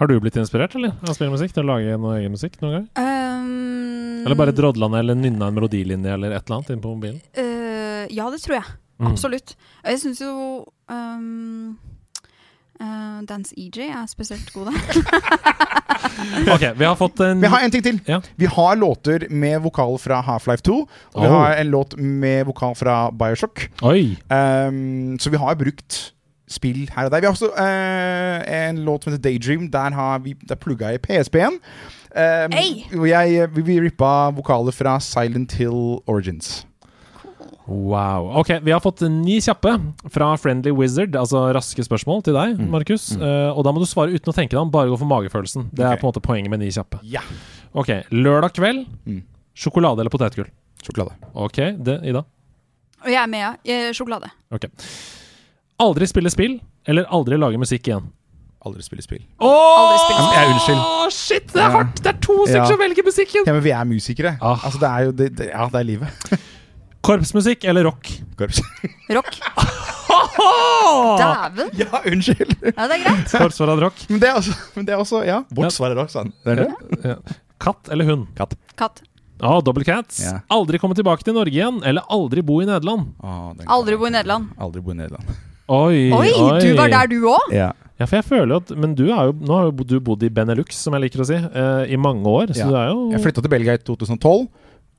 [SPEAKER 1] Har du blitt inspirert eller, av spillmusikk til å lage noe egen musikk noen gang?
[SPEAKER 5] Um,
[SPEAKER 1] Eller bare drodla ned eller nynna en melodilinje eller et eller annet inn på mobilen?
[SPEAKER 5] eh, ja, det tror jeg.
[SPEAKER 1] Mm.
[SPEAKER 5] Absolutt. Og jeg syns jo um, eh, Dance EJ er spesielt god, da.
[SPEAKER 1] Ok, vi har fått en
[SPEAKER 6] Vi har en ting til.
[SPEAKER 1] Ja.
[SPEAKER 6] Vi har låter med vokal fra Half-Life 2. Og vi
[SPEAKER 1] Oh.
[SPEAKER 6] har en låt med vokal fra Bioshock.
[SPEAKER 1] Oi!
[SPEAKER 6] Ehm, så vi har brukt spill her og der. Vi har også eh, en låt som heter Daydream. Der har vi der plugga jeg PSP-en. Ehm,
[SPEAKER 5] Hey!
[SPEAKER 6] hvor jeg, vi, vi rippa vokaler fra Silent Hill Origins.
[SPEAKER 1] Wow. Ok, vi har fått ni kjappe fra Friendly Wizard, altså raske spørsmål til deg, Markus. Eh, og da må du svare uten å tenke deg om, bare gå for magefølelsen. Det er
[SPEAKER 6] Ok.
[SPEAKER 1] på en måte poenget med ni kjappe.
[SPEAKER 6] Ja.
[SPEAKER 1] Ok, lørdag kveld,
[SPEAKER 6] Mm.
[SPEAKER 1] sjokolade eller potetgull?
[SPEAKER 6] Sjokolade.
[SPEAKER 1] Ok, det, Ida.
[SPEAKER 5] Og jeg er med, ja. Eh, Sjokolade.
[SPEAKER 1] Aldri spille spill, eller aldri lage musikk igjen?
[SPEAKER 6] Aldri spille spill.
[SPEAKER 5] Aldri spille
[SPEAKER 6] Ja, men jeg- unnskyld.
[SPEAKER 1] Shit, det er hardt! Det er to stykker
[SPEAKER 6] Ja.
[SPEAKER 1] som velger musikken!
[SPEAKER 6] Ja, men vi er musikere.
[SPEAKER 1] Ah.
[SPEAKER 6] Altså, det er jo det, det, Ja, det er livet.
[SPEAKER 1] Korpsmusikk eller *laughs* rock?
[SPEAKER 6] Korps.
[SPEAKER 5] Rock. Dæven!
[SPEAKER 6] *laughs* ja, unnskyld.
[SPEAKER 5] Ja, det er greit.
[SPEAKER 1] Korps foran rock.
[SPEAKER 6] Men det er også, men det er også Ja. Vårt
[SPEAKER 1] Ja.
[SPEAKER 6] svar er også sånn. Det er det.
[SPEAKER 1] Katt eller hund? Katt.
[SPEAKER 5] Katt.
[SPEAKER 1] Ja, double cats.
[SPEAKER 6] Ja.
[SPEAKER 1] Aldri komme tilbake til Norge igjen, eller aldri bo i Nederland.
[SPEAKER 6] Å, den-
[SPEAKER 5] Aldri bo i Nederland.
[SPEAKER 6] Aldri bo i Nederland.
[SPEAKER 1] Oi,
[SPEAKER 5] Oi, du var der, du òg?
[SPEAKER 6] Ja.
[SPEAKER 1] Ja, for jeg føler jo at Men du er jo, nå har jo bo- du bodd i Benelux, som jeg liker å si, eh, i mange år, så
[SPEAKER 6] Ja.
[SPEAKER 1] du er jo
[SPEAKER 6] Jeg flytta til Belgia i 2012,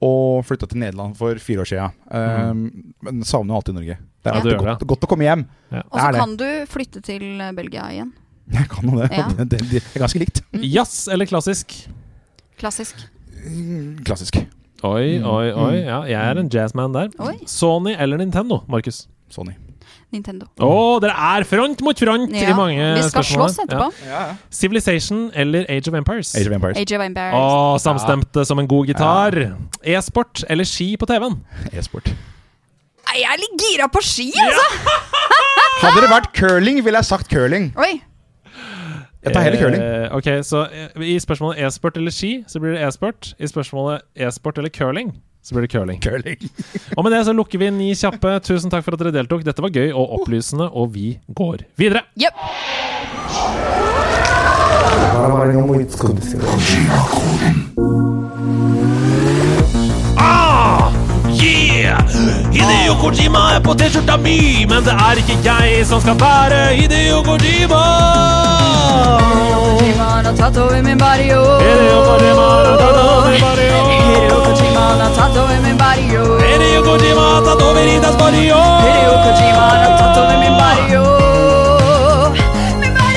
[SPEAKER 6] og flytta til Nederland for fire år sia. Men savner jo alltid Norge. Det er
[SPEAKER 1] Mm. Ja, du
[SPEAKER 6] alltid
[SPEAKER 1] gjør
[SPEAKER 6] godt, godt å komme hjem.
[SPEAKER 5] Og
[SPEAKER 6] Det
[SPEAKER 5] så
[SPEAKER 6] er det.
[SPEAKER 5] kan du flytte til eh, Belgia igjen.
[SPEAKER 6] *laughs* Jeg kan jo det.
[SPEAKER 5] Ja.
[SPEAKER 6] Det, det, det er ganske likt.
[SPEAKER 1] Jazz eller klassisk?
[SPEAKER 5] Klassisk.
[SPEAKER 6] Mm, Klassisk.
[SPEAKER 1] Oi,
[SPEAKER 6] Mm.
[SPEAKER 1] oi, oi.
[SPEAKER 6] Mm.
[SPEAKER 1] Ja, jeg er en jazzman der.
[SPEAKER 5] Oi.
[SPEAKER 1] Sony eller Nintendo, Markus?
[SPEAKER 6] Sony.
[SPEAKER 5] Nintendo.
[SPEAKER 1] Å, dere er front mot front i mange
[SPEAKER 5] vi skal
[SPEAKER 1] spørsmål.
[SPEAKER 5] slåss etterpå.
[SPEAKER 1] Ja. Civilization eller Age of Empires?
[SPEAKER 6] Age of Empires.
[SPEAKER 5] AJ Weinberg.
[SPEAKER 1] Å, samstemte som en god gitar. E-sport eller ski på TV-en?
[SPEAKER 6] E-sport.
[SPEAKER 5] Nei, Jeg er litt gira på ski, altså!
[SPEAKER 6] Hadde det vært curling, ville jeg sagt curling.
[SPEAKER 5] Oi.
[SPEAKER 6] Jeg tar heller curling.
[SPEAKER 1] Eh, ok, så eh, I spørsmålet e-sport eller ski, så blir det e-sport. I spørsmålet e-sport eller curling, så blir det curling.
[SPEAKER 5] *laughs*
[SPEAKER 6] Curling.
[SPEAKER 1] Og med det så lukker vi ni kjappe. Tusen takk for at dere deltok. Dette var gøy
[SPEAKER 6] Uh.
[SPEAKER 1] og opplysende, og vi går videre.
[SPEAKER 5] Jep.
[SPEAKER 1] Yeah! Hideo Kojima er på T-skjorta mi, men det er ikke jeg som skal bære Hideo Kojima!
[SPEAKER 5] Kojima han har tatt over min barrio.
[SPEAKER 1] Hideo Kojima har tatt over min barrio.
[SPEAKER 5] Hideo Kojima han har tatt over min barrio.
[SPEAKER 1] Hideo Kojima har tatt over Idas barrio!
[SPEAKER 5] Hideo Kojima han har tatt over min barrio. Min barrio!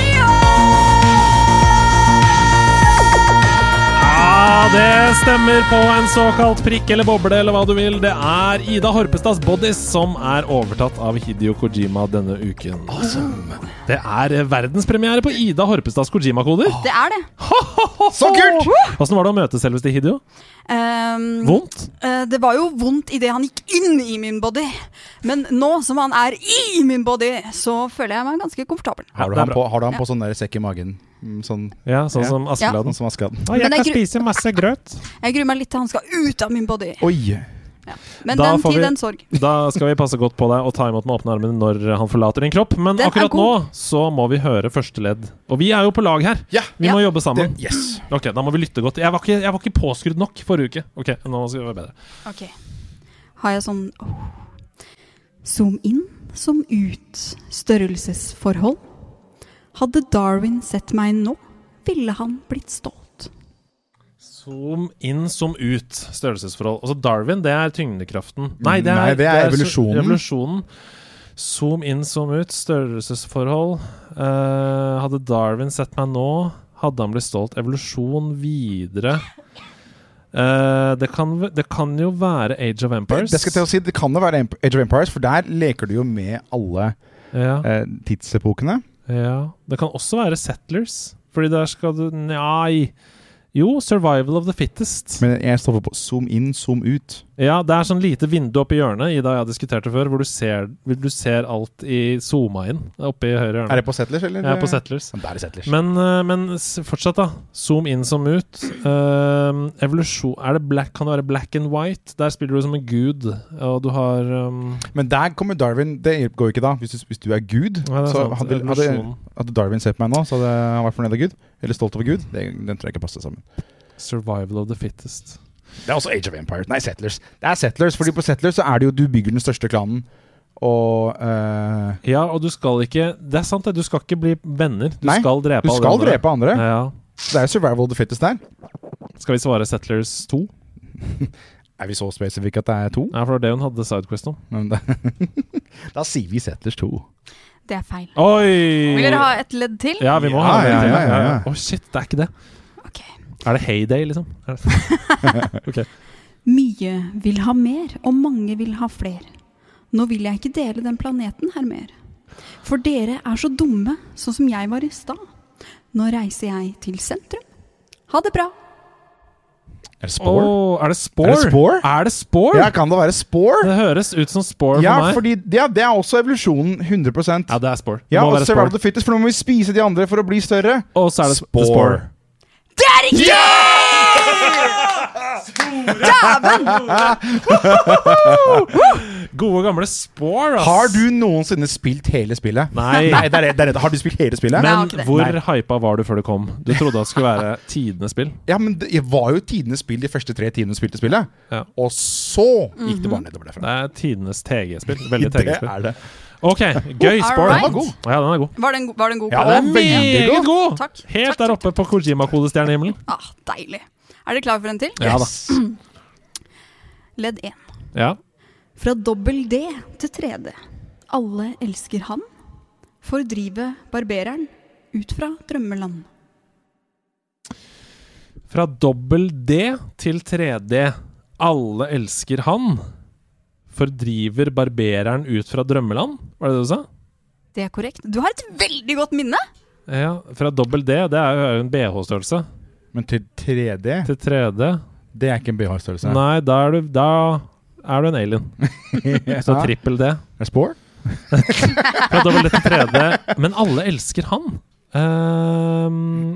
[SPEAKER 1] Ja, det stemmer på en såkalt prikk eller boble eller hva du vil. Det er Ida Horpestads Bodies som er overtatt av Hidio Kojima denne uken. Det er eh, verdenspremiere på Ida Horpestads Kojima-koder.
[SPEAKER 5] Det er det.
[SPEAKER 6] Så kult!
[SPEAKER 1] Åssen var det å møte selveste Hidio?
[SPEAKER 5] Ehm,
[SPEAKER 1] Vondt?
[SPEAKER 5] eh, det var jo vondt idet han gikk inn i min body, men nå som han er i min body, så føler jeg meg ganske komfortabel.
[SPEAKER 1] Ja,
[SPEAKER 6] Har du
[SPEAKER 1] det er
[SPEAKER 6] han
[SPEAKER 1] bra.
[SPEAKER 6] på, har du han på sånn der sekk i magen? Mm, Sånn,
[SPEAKER 1] Ja, sånn
[SPEAKER 6] Ja.
[SPEAKER 1] som Askeladden.
[SPEAKER 6] sånn som Askeladden.
[SPEAKER 1] Å, jeg
[SPEAKER 5] Men det
[SPEAKER 1] kan
[SPEAKER 5] er gru-
[SPEAKER 1] spise masse grøt.
[SPEAKER 5] Jeg gruer meg litt til han skal ut av min body.
[SPEAKER 6] Oi!
[SPEAKER 5] Men
[SPEAKER 1] Da
[SPEAKER 5] den
[SPEAKER 1] får
[SPEAKER 5] tid,
[SPEAKER 1] vi-
[SPEAKER 5] den sorg.
[SPEAKER 1] Da skal vi passe godt på deg og ta imot med åpne armer når han forlater din kropp. Men
[SPEAKER 5] Den er
[SPEAKER 1] akkurat nå
[SPEAKER 5] god.
[SPEAKER 1] så må vi høre første ledd. Og vi er jo på lag her.
[SPEAKER 6] Ja.
[SPEAKER 1] Vi må jobbe
[SPEAKER 6] Det,
[SPEAKER 1] sammen.
[SPEAKER 6] yes.
[SPEAKER 1] Ok, Da må vi lytte godt. Jeg var ikke, jeg var ikke påskrudd nok forrige uke. Ok, nå skal vi være bedre.
[SPEAKER 5] Ok. Har jeg sånn åh. Zoom inn, zoom ut. Størrelsesforhold. Hadde Darwin sett meg nå, ville han blitt stolt.
[SPEAKER 1] Zoom inn, zoom ut. Størrelsesforhold. Altså Darwin, det er tyngdekraften. Nei, det er,
[SPEAKER 6] Nei, det er
[SPEAKER 1] så-
[SPEAKER 6] evolusjonen.
[SPEAKER 1] evolusjonen. Zoom inn, zoom ut. Størrelsesforhold. Eh, hadde Darwin sett meg nå, hadde han blitt stolt. Evolusjon videre. Eh, det, kan, v- det kan jo være Age of Empires.
[SPEAKER 6] Det, skal jeg til å si, det kan jo være Emp- Age of Empires, for der leker du jo med alle
[SPEAKER 1] ja,
[SPEAKER 6] eh, tidsepokene.
[SPEAKER 1] ja. Det kan også være Settlers. Fordi der skal du Nei. Jo, Survival of the Fittest.
[SPEAKER 6] Men jeg stopper på zoom inn, zoom ut.
[SPEAKER 1] Ja, det er sånn lite vindu oppi hjørnet, Ida og jeg har diskutert det før, hvor du ser, hvor du ser alt i zooma inn oppi høyre hjørne.
[SPEAKER 6] Er det på Settlers, eller?
[SPEAKER 1] Jeg er på Settlers.
[SPEAKER 6] Ja, Der er Settlers.
[SPEAKER 1] Men, eh, men s- fortsatt, da. Zoom inn, zoom ut. Ehm, evolusjon er det black, Kan det være black and white? Der spiller du som en gud, og du har ehm,
[SPEAKER 6] Men der kommer Darwin Det går jo ikke da. Hvis du, hvis du er Gud,
[SPEAKER 1] ja, det er
[SPEAKER 6] så
[SPEAKER 1] sant,
[SPEAKER 6] hadde, hadde,
[SPEAKER 1] evolusjon.
[SPEAKER 6] hadde Darwin sett meg nå, så hadde han vært fornøyd av Gud. Eller stolt over Gud. Det, den tror jeg ikke passer sammen.
[SPEAKER 1] Survival of the fittest.
[SPEAKER 6] Det er også Age of Empires. Nei, Settlers. Det er Settlers, fordi på Settlers så er det jo du bygger den største klanen, og eh,
[SPEAKER 1] Ja, og du skal ikke Det er sant, det. Du skal ikke bli venner. Du
[SPEAKER 6] Nei,
[SPEAKER 1] skal drepe
[SPEAKER 6] du
[SPEAKER 1] alle
[SPEAKER 6] skal
[SPEAKER 1] andre.
[SPEAKER 6] drepe andre.
[SPEAKER 1] Ja.
[SPEAKER 6] Det er jo survival of the fittest der.
[SPEAKER 1] Skal vi svare Settlers 2?
[SPEAKER 6] Er vi så spesifikke at det er to?
[SPEAKER 1] Nei, for det var det hun hadde Sidequest om.
[SPEAKER 6] Men *laughs* det, da sier vi Settlers 2.
[SPEAKER 5] Det er feil.
[SPEAKER 1] Oi!
[SPEAKER 5] Vil dere ha et ledd til?
[SPEAKER 1] Ja, vi må
[SPEAKER 6] Ja,
[SPEAKER 1] ha det.
[SPEAKER 6] ja,
[SPEAKER 1] til,
[SPEAKER 6] ja, ja, ja.
[SPEAKER 1] Å, shit, det er ikke det.
[SPEAKER 5] Ok.
[SPEAKER 1] Er det Heyday, liksom? Er det-
[SPEAKER 5] Mye vil ha mer, og mange vil ha fler. Nå vil jeg ikke dele den planeten her mer. For dere er så dumme, sånn som jeg var i stad. Nå reiser jeg til sentrum. Ha det bra.
[SPEAKER 6] Er det Spore?
[SPEAKER 1] Å, er det Spore?
[SPEAKER 6] Er det Spore?
[SPEAKER 1] Er det Spore?
[SPEAKER 6] Ja, kan det være Spore?
[SPEAKER 1] Det høres ut som Spore
[SPEAKER 6] Ja,
[SPEAKER 1] for meg.
[SPEAKER 6] fordi ja, det er også evolusjonen 100
[SPEAKER 1] Ja, det er Spore. Det
[SPEAKER 6] Ja,
[SPEAKER 1] må
[SPEAKER 6] og
[SPEAKER 1] være
[SPEAKER 6] survival of
[SPEAKER 1] Spore.
[SPEAKER 6] the fittest, for nå må vi spise de andre for å bli større.
[SPEAKER 1] Og så er det Spore. Spore.
[SPEAKER 5] Det er riktig! Dæven!
[SPEAKER 1] Gode gamle Spore, ass.
[SPEAKER 6] Har du noensinne spilt hele spillet?
[SPEAKER 5] *laughs*
[SPEAKER 1] Nei.
[SPEAKER 6] Nei, det er det, det er det. Har du spilt hele spillet?
[SPEAKER 5] Nei, jeg har
[SPEAKER 1] Men
[SPEAKER 5] ikke det.
[SPEAKER 1] hvor
[SPEAKER 6] Nei.
[SPEAKER 1] hypa var du før du kom? Du trodde det skulle være tidenes spill.
[SPEAKER 6] Ja, men det var jo tidenes spill de første tre timene du spilte spillet.
[SPEAKER 1] Ja.
[SPEAKER 6] Og så gikk det bare nedover
[SPEAKER 1] Det
[SPEAKER 6] derfra.
[SPEAKER 1] er tidenes TG-spill. Veldig
[SPEAKER 6] *laughs* Det
[SPEAKER 1] TG-spill.
[SPEAKER 6] er det.
[SPEAKER 1] Ok, gøy
[SPEAKER 5] Oh,
[SPEAKER 1] Spore.
[SPEAKER 5] alright. Den
[SPEAKER 6] var god.
[SPEAKER 1] Ja, den er god.
[SPEAKER 5] Var det en, go- var det en god
[SPEAKER 6] Ja,
[SPEAKER 5] kode?
[SPEAKER 6] den var veldig
[SPEAKER 1] Meget god!
[SPEAKER 5] Takk.
[SPEAKER 1] Helt
[SPEAKER 5] Takk,
[SPEAKER 1] der
[SPEAKER 5] takk,
[SPEAKER 1] oppe på Kojima-kodestjernehimmelen.
[SPEAKER 5] Ah, deilig. Er dere klare for en til?
[SPEAKER 1] Ja da.
[SPEAKER 5] Ledd 1.
[SPEAKER 1] Ja.
[SPEAKER 5] Fra dobbel D til 3D. Alle elsker han. Fordrive barbereren ut fra drømmeland.
[SPEAKER 1] Fra dobbel D til 3D. Alle elsker han. Fordriver barbereren ut fra drømmeland, var det det du sa?
[SPEAKER 5] Det er korrekt. Du har et veldig godt minne!
[SPEAKER 1] Ja, Fra dobbel D, det er jo en BH-størrelse,
[SPEAKER 6] Men til 3D,
[SPEAKER 1] til 3D
[SPEAKER 6] det er ikke en BH-størrelse. *laughs*
[SPEAKER 1] Nei, da er du, da er du en alien. Så
[SPEAKER 6] Er
[SPEAKER 1] trippel D.
[SPEAKER 6] det Spore?
[SPEAKER 1] Fra dobbel D til 3D. Men alle elsker han. Ehm,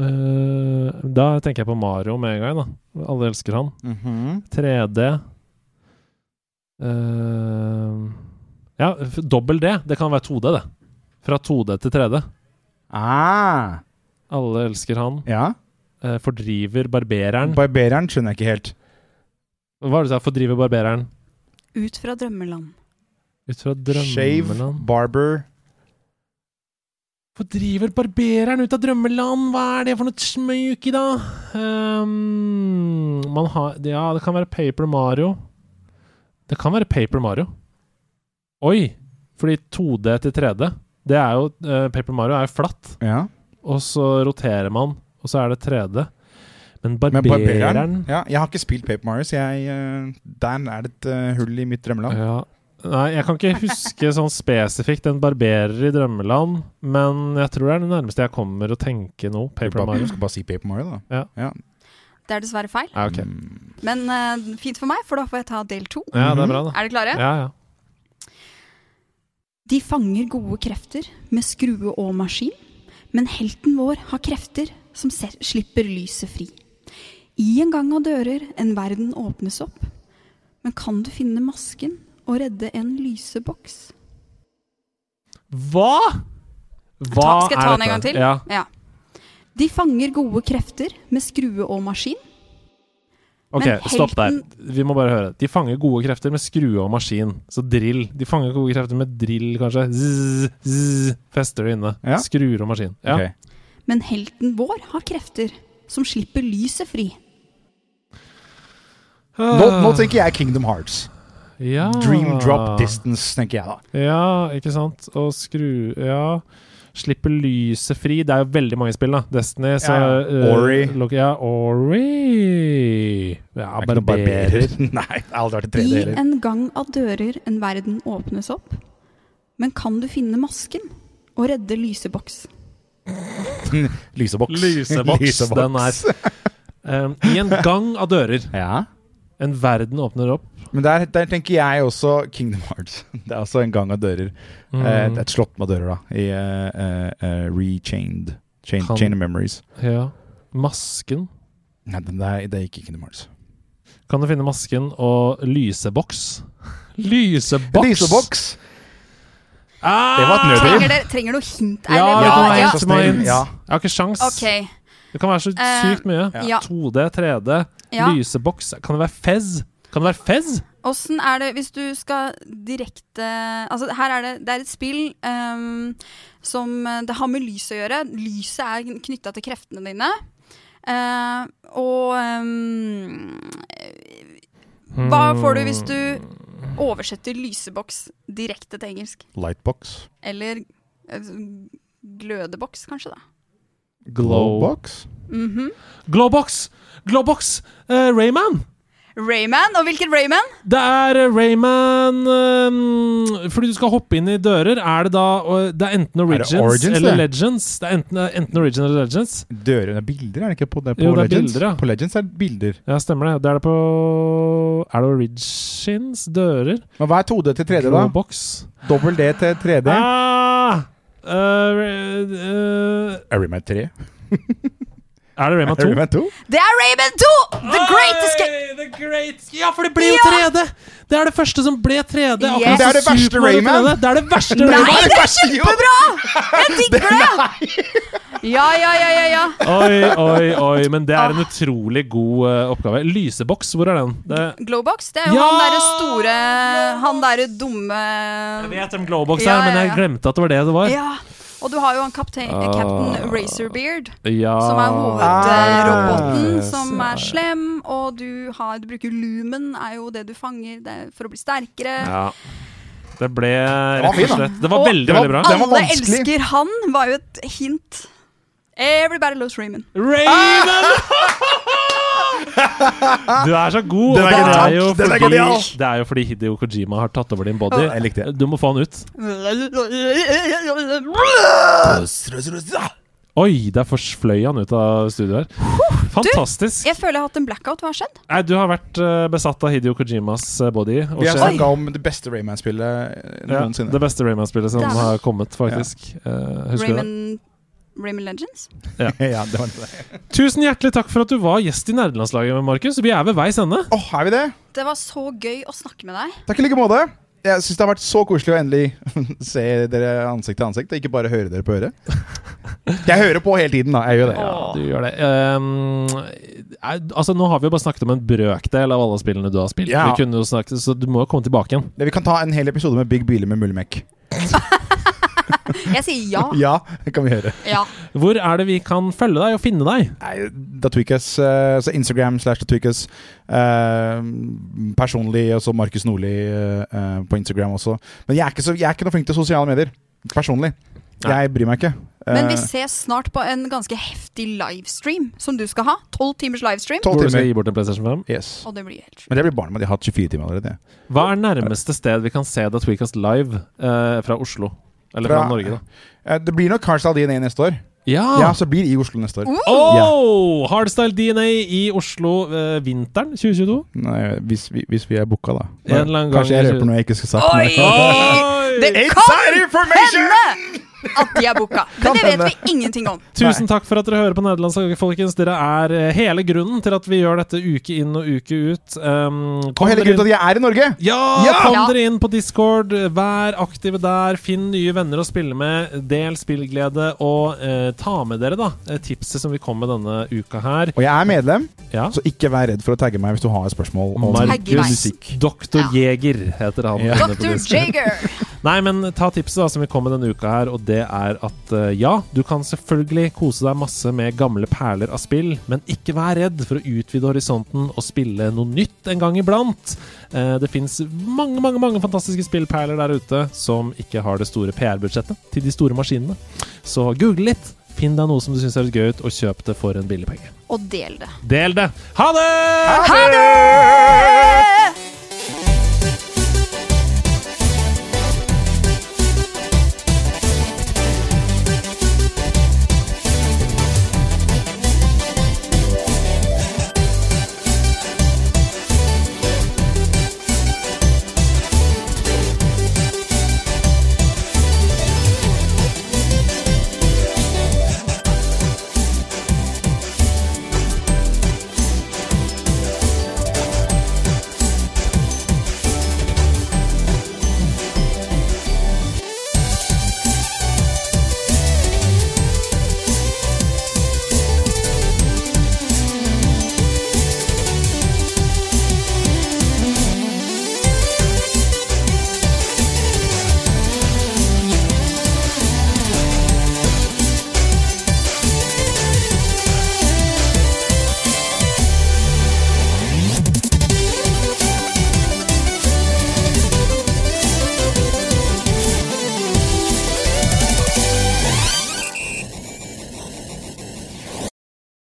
[SPEAKER 1] eh, da tenker jeg på Mario med en gang, da. Alle elsker han.
[SPEAKER 6] Mhm.
[SPEAKER 1] 3D Ehm, Ja, f- dobbel D. Det kan være 2D, det. Fra 2D til 3D.
[SPEAKER 6] Ah,
[SPEAKER 1] Alle elsker han.
[SPEAKER 6] ja.
[SPEAKER 1] Eh, fordriver barbereren.
[SPEAKER 6] Barbereren skjønner jeg ikke helt.
[SPEAKER 1] Hva var det du sa? Fordriver barbereren
[SPEAKER 5] Ut fra drømmeland.
[SPEAKER 1] ut fra
[SPEAKER 6] Shave,
[SPEAKER 1] drømmeland.
[SPEAKER 6] barber
[SPEAKER 1] Fordriver barbereren ut av drømmeland! Hva er det for noe smøyk i, da? Ehm, man har Ja, det kan være Paper Mario. Det kan være Paper Mario. Oi! Fordi 2D til 3D, det er jo eh, Paper Mario er jo flatt.
[SPEAKER 6] Ja.
[SPEAKER 1] og så roterer man, og så er det 3D. Men
[SPEAKER 6] Men
[SPEAKER 1] barbereren,
[SPEAKER 6] barbereren ja, Jeg har ikke spilt Paper Mario, så jeg, eh, der er det et eh, hull i mitt drømmeland.
[SPEAKER 1] ja, Nei, jeg kan ikke huske sånn spesifikt en barberer i drømmeland, men jeg tror det er det nærmeste jeg kommer å tenke nå. Paper
[SPEAKER 6] Bare-
[SPEAKER 1] Mario.
[SPEAKER 6] skal bare si Paper Mario, da.
[SPEAKER 1] Ja.
[SPEAKER 5] Det er dessverre feil.
[SPEAKER 1] Ja, Ah, ok.
[SPEAKER 6] Mm.
[SPEAKER 5] Men eh, fint for meg, for da får jeg ta del to.
[SPEAKER 1] ja, det er bra, da.
[SPEAKER 5] Er dere klare?
[SPEAKER 1] Ja, ja.
[SPEAKER 5] De fanger gode krefter med skrue og maskin, men helten vår har krefter som se- slipper lyset fri. I en gang av dører en verden åpnes opp, men kan du finne masken og redde en lyseboks?
[SPEAKER 1] Hva?! Hva
[SPEAKER 5] Ta- skal jeg ta
[SPEAKER 1] er
[SPEAKER 5] den en gang
[SPEAKER 1] dette?
[SPEAKER 5] til?
[SPEAKER 1] Ja.
[SPEAKER 5] De fanger gode krefter med skrue og maskin.
[SPEAKER 1] Ok,
[SPEAKER 5] Men
[SPEAKER 1] stopp der.
[SPEAKER 5] helten-
[SPEAKER 1] Vi må bare høre. De fanger gode krefter med skrue og maskin. Så drill. De fanger gode krefter med drill, kanskje. Zzz, zzz, fester det inne.
[SPEAKER 6] Ja.
[SPEAKER 1] Skruer og maskin. Ja.
[SPEAKER 6] Ok.
[SPEAKER 5] Men helten vår har krefter som slipper lyset fri.
[SPEAKER 6] Nå, nå tenker jeg Kingdom Hearts.
[SPEAKER 1] Ah. ja.
[SPEAKER 6] Dream Drop Distance, tenker jeg da.
[SPEAKER 1] Ja, ikke sant. Og skru Ja. Slipper lyset fri. Det er jo veldig mange spill, da. Destiny, så
[SPEAKER 6] Ja, ja.
[SPEAKER 1] eh,
[SPEAKER 6] Ori.
[SPEAKER 1] Loki- ja, Ori. Ja,
[SPEAKER 6] Jeg er ikke noen
[SPEAKER 1] barberer.
[SPEAKER 6] *laughs* Nei, jeg har aldri vært i 3D
[SPEAKER 5] I
[SPEAKER 6] heller.
[SPEAKER 5] en gang av dører en verden åpnes opp, men kan du finne masken og redde lyseboks?
[SPEAKER 6] *laughs* Lyseboks.
[SPEAKER 1] Lyseboks, den er um, I en gang av dører.
[SPEAKER 6] Ja.
[SPEAKER 1] En verden åpner opp.
[SPEAKER 6] Men der, der tenker jeg også Kingdom Hearts. *laughs* Det er altså en gang av dører.
[SPEAKER 1] Mm.
[SPEAKER 6] Eh, det er et slott med dører, da. I eh, eh, eh, Rechained. Chain,
[SPEAKER 1] Kan-
[SPEAKER 6] Chain of Memories.
[SPEAKER 1] Ja. Masken.
[SPEAKER 6] Nei, den der, det er ikke Kingdom Hearts.
[SPEAKER 1] Kan du finne masken og lyseboks? Lyseboks!
[SPEAKER 6] Lyseboks!
[SPEAKER 1] Ah!
[SPEAKER 6] Det var et nødrop.
[SPEAKER 5] Trenger, dere, trenger noe hint?
[SPEAKER 1] Ja,
[SPEAKER 5] eller?
[SPEAKER 1] det sånn kan være
[SPEAKER 5] ja.
[SPEAKER 1] helt små hint.
[SPEAKER 6] Ja.
[SPEAKER 1] Jeg har ikke sjans.
[SPEAKER 5] Ok,
[SPEAKER 1] Det kan være så
[SPEAKER 5] Eh,
[SPEAKER 1] sykt mye.
[SPEAKER 5] ja.
[SPEAKER 1] 2D, 3D,
[SPEAKER 5] ja.
[SPEAKER 1] lyseboks Kan det være Fez? Kan det være Fez?
[SPEAKER 5] Åssen er det hvis du skal direkte Altså, her er det Det er et spill ehm, som eh, Det har med lys å gjøre. Lyset er knytta til kreftene dine. Eh, og ehm, Hva får du
[SPEAKER 1] Mm.
[SPEAKER 5] hvis du oversetter lyseboks direkte til engelsk?
[SPEAKER 6] Lightbox.
[SPEAKER 5] Eller eh, glødeboks, kanskje, da.
[SPEAKER 1] Glow.
[SPEAKER 6] Glowbox.
[SPEAKER 5] Mhm.
[SPEAKER 1] Glowbox! Glowbox! Eh, Rayman!
[SPEAKER 5] Rayman? Og hvilken Rayman?
[SPEAKER 1] Det er eh, Rayman ehm, Fordi du skal hoppe inn i dører, er det da eh, Det er enten Origins,
[SPEAKER 6] Origins,
[SPEAKER 1] eller
[SPEAKER 6] det?
[SPEAKER 1] Legends. Det er enten, eh, enten Origins eller Legends.
[SPEAKER 6] Dører det er bilder, er det ikke på det? På
[SPEAKER 1] Jo, det er
[SPEAKER 6] Legends?
[SPEAKER 1] bilder, ja.
[SPEAKER 6] På Legends er det bilder.
[SPEAKER 1] Ja, stemmer det. Det er det på Er det Origins? Dører?
[SPEAKER 6] Men hva er 2D til 3D, da?
[SPEAKER 1] Glowbox?
[SPEAKER 6] Dobbel D til 3D?
[SPEAKER 1] Ah! Eh, eh,
[SPEAKER 6] Arima 3.
[SPEAKER 1] er det Rayman 2?
[SPEAKER 6] Arima
[SPEAKER 1] *laughs*
[SPEAKER 6] 2?
[SPEAKER 5] Det er Rayman 2! The Great Escape!
[SPEAKER 1] Oi, The Great Escape. Ja, for det ble jo 3D! Det er det første som ble 3D. akkurat
[SPEAKER 5] Yes.
[SPEAKER 6] Det er det
[SPEAKER 1] som
[SPEAKER 6] verste
[SPEAKER 1] Super Mario
[SPEAKER 6] Rayman.
[SPEAKER 1] 3D. Det er det verste
[SPEAKER 5] Nei,
[SPEAKER 1] Rayman.
[SPEAKER 5] det er kjempebra! Jeg digger *laughs* det! Ja, ja, ja, ja, ja.
[SPEAKER 1] Oi, oi, oi. Men det
[SPEAKER 5] Ah.
[SPEAKER 1] er en utrolig god eh, oppgave. Lyseboks, hvor er den? Det
[SPEAKER 5] Glowbox, det er jo
[SPEAKER 1] Ja!
[SPEAKER 5] han derre store Han derre dumme
[SPEAKER 1] jeg vet hvem Glowbox
[SPEAKER 5] Ja,
[SPEAKER 1] er, men
[SPEAKER 5] ja,
[SPEAKER 1] jeg
[SPEAKER 5] ja.
[SPEAKER 1] glemte at det var det det var.
[SPEAKER 5] Ja. Og du har jo han kaptein,
[SPEAKER 1] Ah.
[SPEAKER 5] Captain Razorbeard,
[SPEAKER 1] Ja.
[SPEAKER 5] som er
[SPEAKER 1] Ah,
[SPEAKER 5] hovedroboten,
[SPEAKER 1] yes,
[SPEAKER 5] som
[SPEAKER 1] ja.
[SPEAKER 5] er slem. Og du, har, du bruker lumen, er jo det du fanger det er for å bli sterkere.
[SPEAKER 1] Ja. Det ble
[SPEAKER 6] var
[SPEAKER 1] rett
[SPEAKER 6] fin,
[SPEAKER 1] og
[SPEAKER 6] da.
[SPEAKER 1] slett Det var
[SPEAKER 5] Og
[SPEAKER 1] veldig,
[SPEAKER 6] var-
[SPEAKER 1] veldig bra.
[SPEAKER 6] det var
[SPEAKER 5] Alle
[SPEAKER 6] vanskelig.
[SPEAKER 5] elsker han, var jo et hint. Everybody loves Raymond.
[SPEAKER 6] *laughs*
[SPEAKER 1] Raven! Du er så god. og
[SPEAKER 6] Den er
[SPEAKER 1] det
[SPEAKER 6] genial.
[SPEAKER 1] jo
[SPEAKER 6] Den er
[SPEAKER 1] fordi-
[SPEAKER 6] genial.
[SPEAKER 1] Det er jo fordi Hideo Kojima har tatt over din body.
[SPEAKER 6] Jeg likte det.
[SPEAKER 1] Du må få han ut. Oi, der forsfløy han ut av studio her. Fantastisk.
[SPEAKER 5] Jeg føler jeg har hatt en blackout. Hva har skjedd?
[SPEAKER 1] Nei, du har vært eh, besatt av Hidio Kojimas eh, body. Og
[SPEAKER 6] Vi har
[SPEAKER 1] sjel.
[SPEAKER 6] snakka om det beste Rayman-spillet eh,
[SPEAKER 1] ja,
[SPEAKER 6] noensinne.
[SPEAKER 1] det beste Rayman-spillet som
[SPEAKER 5] Dæven.
[SPEAKER 1] har kommet, faktisk. Eh, husker du det?
[SPEAKER 5] Raymond, Raymond Legends?
[SPEAKER 6] *laughs* ja, det var det.
[SPEAKER 1] Tusen hjertelig takk for at du var gjest i nerdelandslaget, Markus. Vi er ved veis ende.
[SPEAKER 6] Åh, er vi det?
[SPEAKER 5] Det var så gøy å snakke med deg.
[SPEAKER 6] Takk i like måte. Jeg syns det har vært så koselig å endelig *laughs* se dere ansikt til ansikt, og ikke bare høre dere på øret. Jeg hører på hele tiden, da. Jeg gjør det.
[SPEAKER 1] Ja, du gjør det. Ehm, eh, altså, nå har vi jo bare snakket om en brøkdel av alle spillene du har spilt.
[SPEAKER 6] Ja.
[SPEAKER 1] Vi kunne jo snakket, så du må jo komme tilbake igjen.
[SPEAKER 6] Vi kan ta en hel episode med Big Biler med Mullimek.
[SPEAKER 5] Jeg sier ja.
[SPEAKER 6] Ja, det kan vi gjøre.
[SPEAKER 5] ja.
[SPEAKER 1] Hvor er det vi kan følge deg og finne deg?
[SPEAKER 6] Nei, Datweekus. eh, Så Instagram slash Datweekus. Eh, personlig også Markus Nordli eh, eh, på Instagram også. Men jeg er, ikke så, jeg er ikke noe flink til sosiale medier. Personlig.
[SPEAKER 1] Nei.
[SPEAKER 6] Jeg bryr meg ikke.
[SPEAKER 5] Men
[SPEAKER 6] Eh,
[SPEAKER 5] vi ses snart på en ganske heftig livestream som du skal ha. Tolv timers livestream.
[SPEAKER 6] Tolv
[SPEAKER 1] Hvor du skal
[SPEAKER 6] timer.
[SPEAKER 1] gi bort en PlayStation 5.
[SPEAKER 6] Yes.
[SPEAKER 5] Og det blir helt sjukt.
[SPEAKER 6] Men det blir barn med de har hatt 24 timer allerede.
[SPEAKER 1] Hva er nærmeste sted vi kan se The Tweakast live eh, fra Oslo? Eller fra,
[SPEAKER 6] Fra-
[SPEAKER 1] Norge, da.
[SPEAKER 6] Eh, Det blir nok Carstyle DNA neste år.
[SPEAKER 1] Ja!
[SPEAKER 6] Ja, så blir i Oslo neste år.
[SPEAKER 5] Uh!
[SPEAKER 1] Oh! Hardstyle DNA i Oslo eh, vinteren 2022.
[SPEAKER 6] Nei, hvis, vi, hvis vi er booka, da.
[SPEAKER 1] En eller annen
[SPEAKER 6] Kanskje
[SPEAKER 1] gang-
[SPEAKER 6] jeg røper noe jeg ikke skulle sagt.
[SPEAKER 5] Oi! Det kan hende at de er booka,
[SPEAKER 6] Kan
[SPEAKER 5] men det vet
[SPEAKER 6] hende.
[SPEAKER 5] vi ingenting om.
[SPEAKER 1] Tusen takk for at dere hører på Nederlandslaget, folkens. Dere er eh, hele grunnen til at vi gjør dette uke inn og uke ut. Um,
[SPEAKER 6] Og
[SPEAKER 1] kom
[SPEAKER 6] hele
[SPEAKER 1] dere
[SPEAKER 6] grunnen til at jeg er i Norge!
[SPEAKER 1] Ja!
[SPEAKER 6] Ja!
[SPEAKER 1] Kom
[SPEAKER 5] Ja.
[SPEAKER 1] dere inn på Discord, vær aktive der, finn nye venner å spille med, del spillglede, og eh, ta med dere da eh, tipset som vi kom med denne uka her.
[SPEAKER 6] Og jeg er medlem,
[SPEAKER 1] Ja.
[SPEAKER 6] så ikke vær redd for å tagge meg hvis du har et spørsmål. om-
[SPEAKER 5] Tagge meg.
[SPEAKER 1] Markus Doktor Jeger heter han.
[SPEAKER 6] Ja.
[SPEAKER 1] inne på
[SPEAKER 5] Dr.
[SPEAKER 1] Discord.
[SPEAKER 5] Jager.
[SPEAKER 1] Nei, men ta tipset da som vi kom med denne uka her, og det er at eh, ja, du kan selvfølgelig kose deg masse med gamle perler av spill, men ikke vær redd for å utvide horisonten og spille noe nytt en gang iblant. Eh, Det fins mange, mange mange fantastiske spillperler der ute som ikke har det store PR-budsjettet til de store maskinene. Så google litt, finn deg noe som du syns høres gøy ut, og kjøp det for en billig penge.
[SPEAKER 5] Og del det.
[SPEAKER 1] Del det! Ha det!
[SPEAKER 5] Ha det!